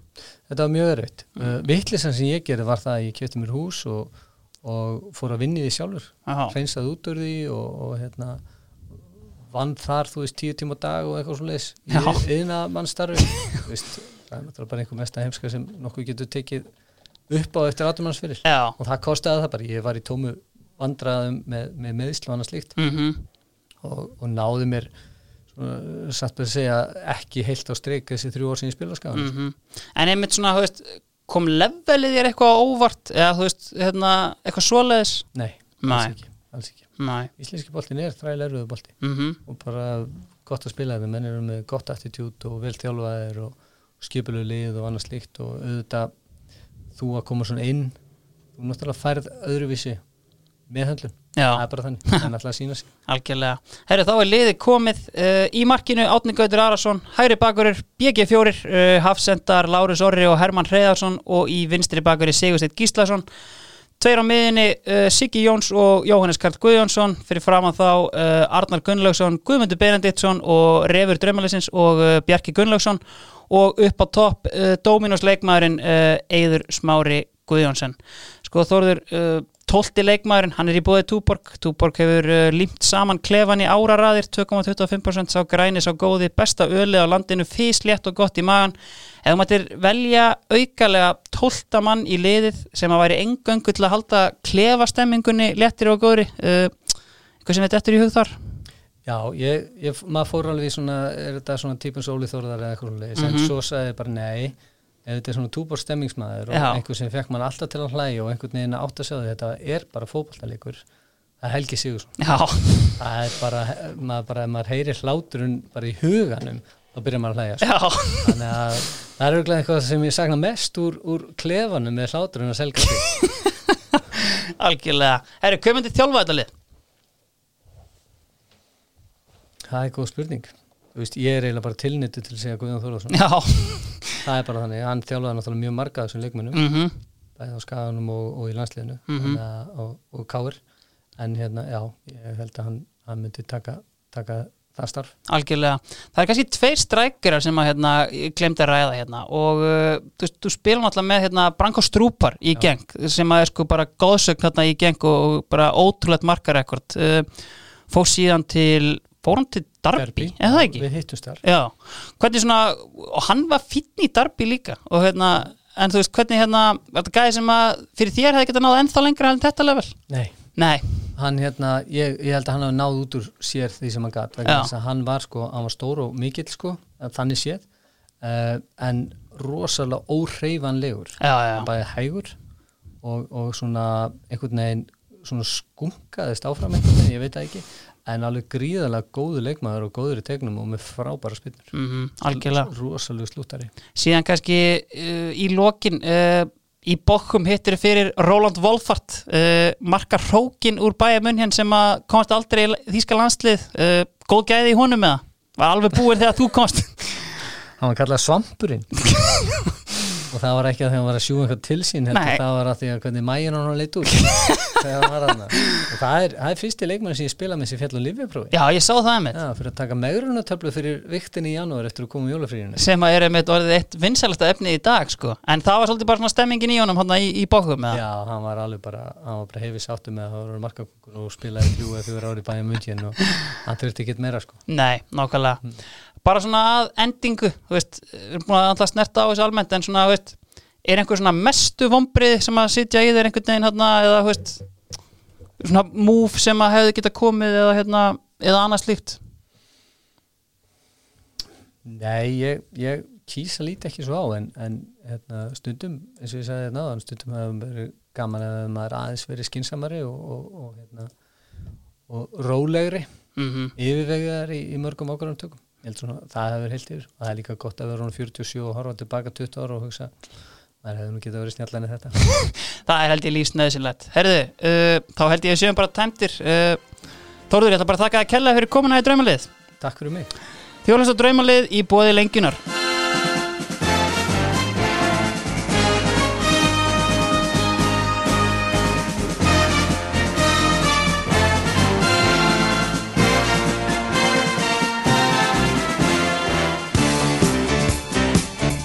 Speaker 2: þetta var mjög erfitt mm. vittlisann sem ég gerði var það að ég kefti mér hús og, og fór að vinni því sjálfur
Speaker 1: Aha.
Speaker 2: hreinsaði út úr því og, og hérna vann þar, þú veist, tíu tíma á dag og eitthvað svo leis
Speaker 1: Já.
Speaker 2: í yðna mannstarfi þú veist, það er náttúrulega bara einhver mesta heimska sem nokkuð getur tekið upp á eftir atumanns fyrir
Speaker 1: Já.
Speaker 2: og það kostaði það bara, ég var í tómu vandraðum með, með meðsl og annað slíkt
Speaker 1: Mm
Speaker 2: og, og náði mér svona, satt með að segja ekki heilt á streik þessi þrjú ár sem ég spila skafan
Speaker 1: -hmm. En einmitt svona, þú veist, kom levelið þér eitthvað á óvart eða þú veist, hérna, eitthvað svoleiðis?
Speaker 2: nei,
Speaker 1: Mm. Nei.
Speaker 2: alls ekki, alls ekki
Speaker 1: Nei.
Speaker 2: íslenski boltin er þræleröðu bolti
Speaker 1: Mm
Speaker 2: og bara gott að spila þeim menn eru með gott attitút og vel þjálfaðir og skipulegu lið og annað slíkt og auðvitað þú að koma svona inn þú náttúrulega færð öðruvísi með höndlun, það
Speaker 1: Já,
Speaker 2: er bara þannig það er náttúrulega að sína sig
Speaker 1: algjörlega. Herru, þá er liðið komið uh, í markinu Átni Gautur Arason, Hæri Bakurir, BG4, uh, Hafsendar, Lárus Orri og Hermann Hreiðarsson og í vinstri Bakuri Sigursteinn Gíslason. Tveir á miðinni uh, Siggi Jóns og Jóhannes Karl Guðjónsson, fyrir framan þá uh, Arnar Gunnlaugsson, Guðmundur Benediktsson og Refur Drömmalisins og uh, Bjarki Gunnlaugsson og upp á topp uh, Dominos leikmaðurinn uh, Eður Smári Guðjónsson. Sko Þorður, uh, 12. leikmaðurinn, hann er í bóði Túborg. Túborg hefur uh, límt saman klefan í áraraðir, 2,25% sá græni, sá góði, besta ölið á landinu, físlétt og gott í magan. Ef þú mættir velja aukalega 12. mann í liðið sem að væri engöngu til að halda klefastemmingunni léttir og góðri, uh, eitthvað sem þetta eftir í hug þar?
Speaker 2: já, ég, ég, maður fór alveg í svona er þetta svona típun sóli þorðar eða eitthvað leis,
Speaker 1: Mhm.
Speaker 2: en svo sagði ég bara nei ef þetta er svona túbor stemmingsmaður og
Speaker 1: Já.
Speaker 2: einhver sem fekk mann alltaf til að hlæja og einhvern veginn átt að sjá því þetta er bara fótballtalegur það er Helgi Sigursson
Speaker 1: Já,
Speaker 2: Það er bara, maður bara, ef maður heyrir hláturinn bara í huganum, þá byrjar maður að hlæja. sko.
Speaker 1: já,
Speaker 2: Þannig að það er auðvitað eitthvað sem ég sakna mest úr, úr klefanum með hláturinn að selga sig.
Speaker 1: algjörlega. Herru, hvað myndi þjálfa þetta lið?
Speaker 2: það er góð spurning. Þú veist, ég er eiginlega bara tilnittu til að segja Guðjón Þorðarsson.
Speaker 1: Já,
Speaker 2: Það er bara þannig, hann þjálfaði náttúrulega mjög marga af þessum leikmennum,
Speaker 1: mhm,
Speaker 2: bæði á skaganum og, og í landsliðinu
Speaker 1: Mhm.
Speaker 2: mm að, og, og káir. En hérna, já, ég held að hann, hann myndi taka, taka það starf.
Speaker 1: algjörlega. Það er kannski tveir strækjarar sem að hérna, glemdi að ræða hérna og uh, þú, veist, þú spilum alltaf með hérna Branko Strúpar í geng sem að er sko bara góðsögn hérna í geng og, og bara ótrúlegt markarekord uh, fór síðan til fór hann til Darby,
Speaker 2: Derby.
Speaker 1: eða það ekki?
Speaker 2: Við hittumst þar.
Speaker 1: Já, hvernig svona og hann var fínn í Darby líka og hérna, en þú veist hvernig hérna þetta gæði sem að fyrir þér hefði getað náð ennþá lengra en þetta level?
Speaker 2: Nei.
Speaker 1: Nei,
Speaker 2: hann hérna, ég, ég held að hann hafi náð út úr sér því sem hann gat vegna
Speaker 1: Já.
Speaker 2: þess að hann var sko, hann var stór og mikill sko, að þannig séð uh, en rosalega óhreyfanlegur
Speaker 1: já, já,
Speaker 2: hann bæði hægur og, og svona einhvern veginn svona skunkaðist áfram einhvern veginn, ég veit það ekki en alveg gríðalega góðu leikmaður og góður í tegnum og með frábæra spinnur
Speaker 1: mm algjörlega.
Speaker 2: rosalega slúttari
Speaker 1: síðan kannski uh, í lokin uh, í bókum hittir fyrir Roland Wolfart uh, marka hrókin úr bæja munn sem að komast aldrei í þýska landslið uh, góð gæði í honum eða var alveg búin þegar þú komst
Speaker 2: hann var kallað svampurinn og það var ekki að því að hann var að sjúga eitthvað til sín
Speaker 1: Nei.
Speaker 2: heldur það var að því að hvernig mægin hann leit úr þegar hann var hann og það er, það er fyrsti leikmann sem ég spila með sem fjall og lifjaprófi
Speaker 1: já ég sá það einmitt
Speaker 2: Já, fyrir að taka megrunatöflu fyrir viktin í janúar eftir að koma í jólafríðinu
Speaker 1: sem að er einmitt orðið eitt vinsælasta efni í dag sko. en það var svolítið bara svona stemmingin í honum hana, í, í bókum eða
Speaker 2: Já, hann var alveg bara, hann var bara hefið sáttu með að það voru markakungur og spilaði þrjú eða fjögur ári bæja mjöndin og hann þurfti ekki meira sko.
Speaker 1: Nei, nákvæmlega Bara svona að endingu þú veist, við erum búin að alltaf snerta á þessu almennt en svona, þú veist, er einhver svona mestu vombrið sem að sitja í þér einhvern veginn hérna, eða, þú veist svona move sem að hefði geta komið eða, hérna, eða annað slíkt
Speaker 2: Nei, ég, ég kýs að líti ekki svo á en, en hérna, stundum, eins og ég sagði hérna, áðan, stundum hefur verið gaman að maður aðeins verið skinsamari og, og, og, hérna, og rólegri,
Speaker 1: mm -hmm.
Speaker 2: yfirvegaðar í, í mörgum ákvörðum tökum. Ég held svona, það hefur verið heilt yfir og það er líka gott að vera hún 47 og horfa tilbaka 20 ára og hugsa, maður hefur nú getað verið snjallan í þetta.
Speaker 1: Það er held ég lífsnöðsynlegt Herðu, uh, þá held ég að séum bara tæmtir uh, Þórður, ég ætla bara að þakka að kella fyrir komuna í draumalið
Speaker 2: Takk fyrir mig.
Speaker 1: Þjóðlust og draumalið í bóði lengjunar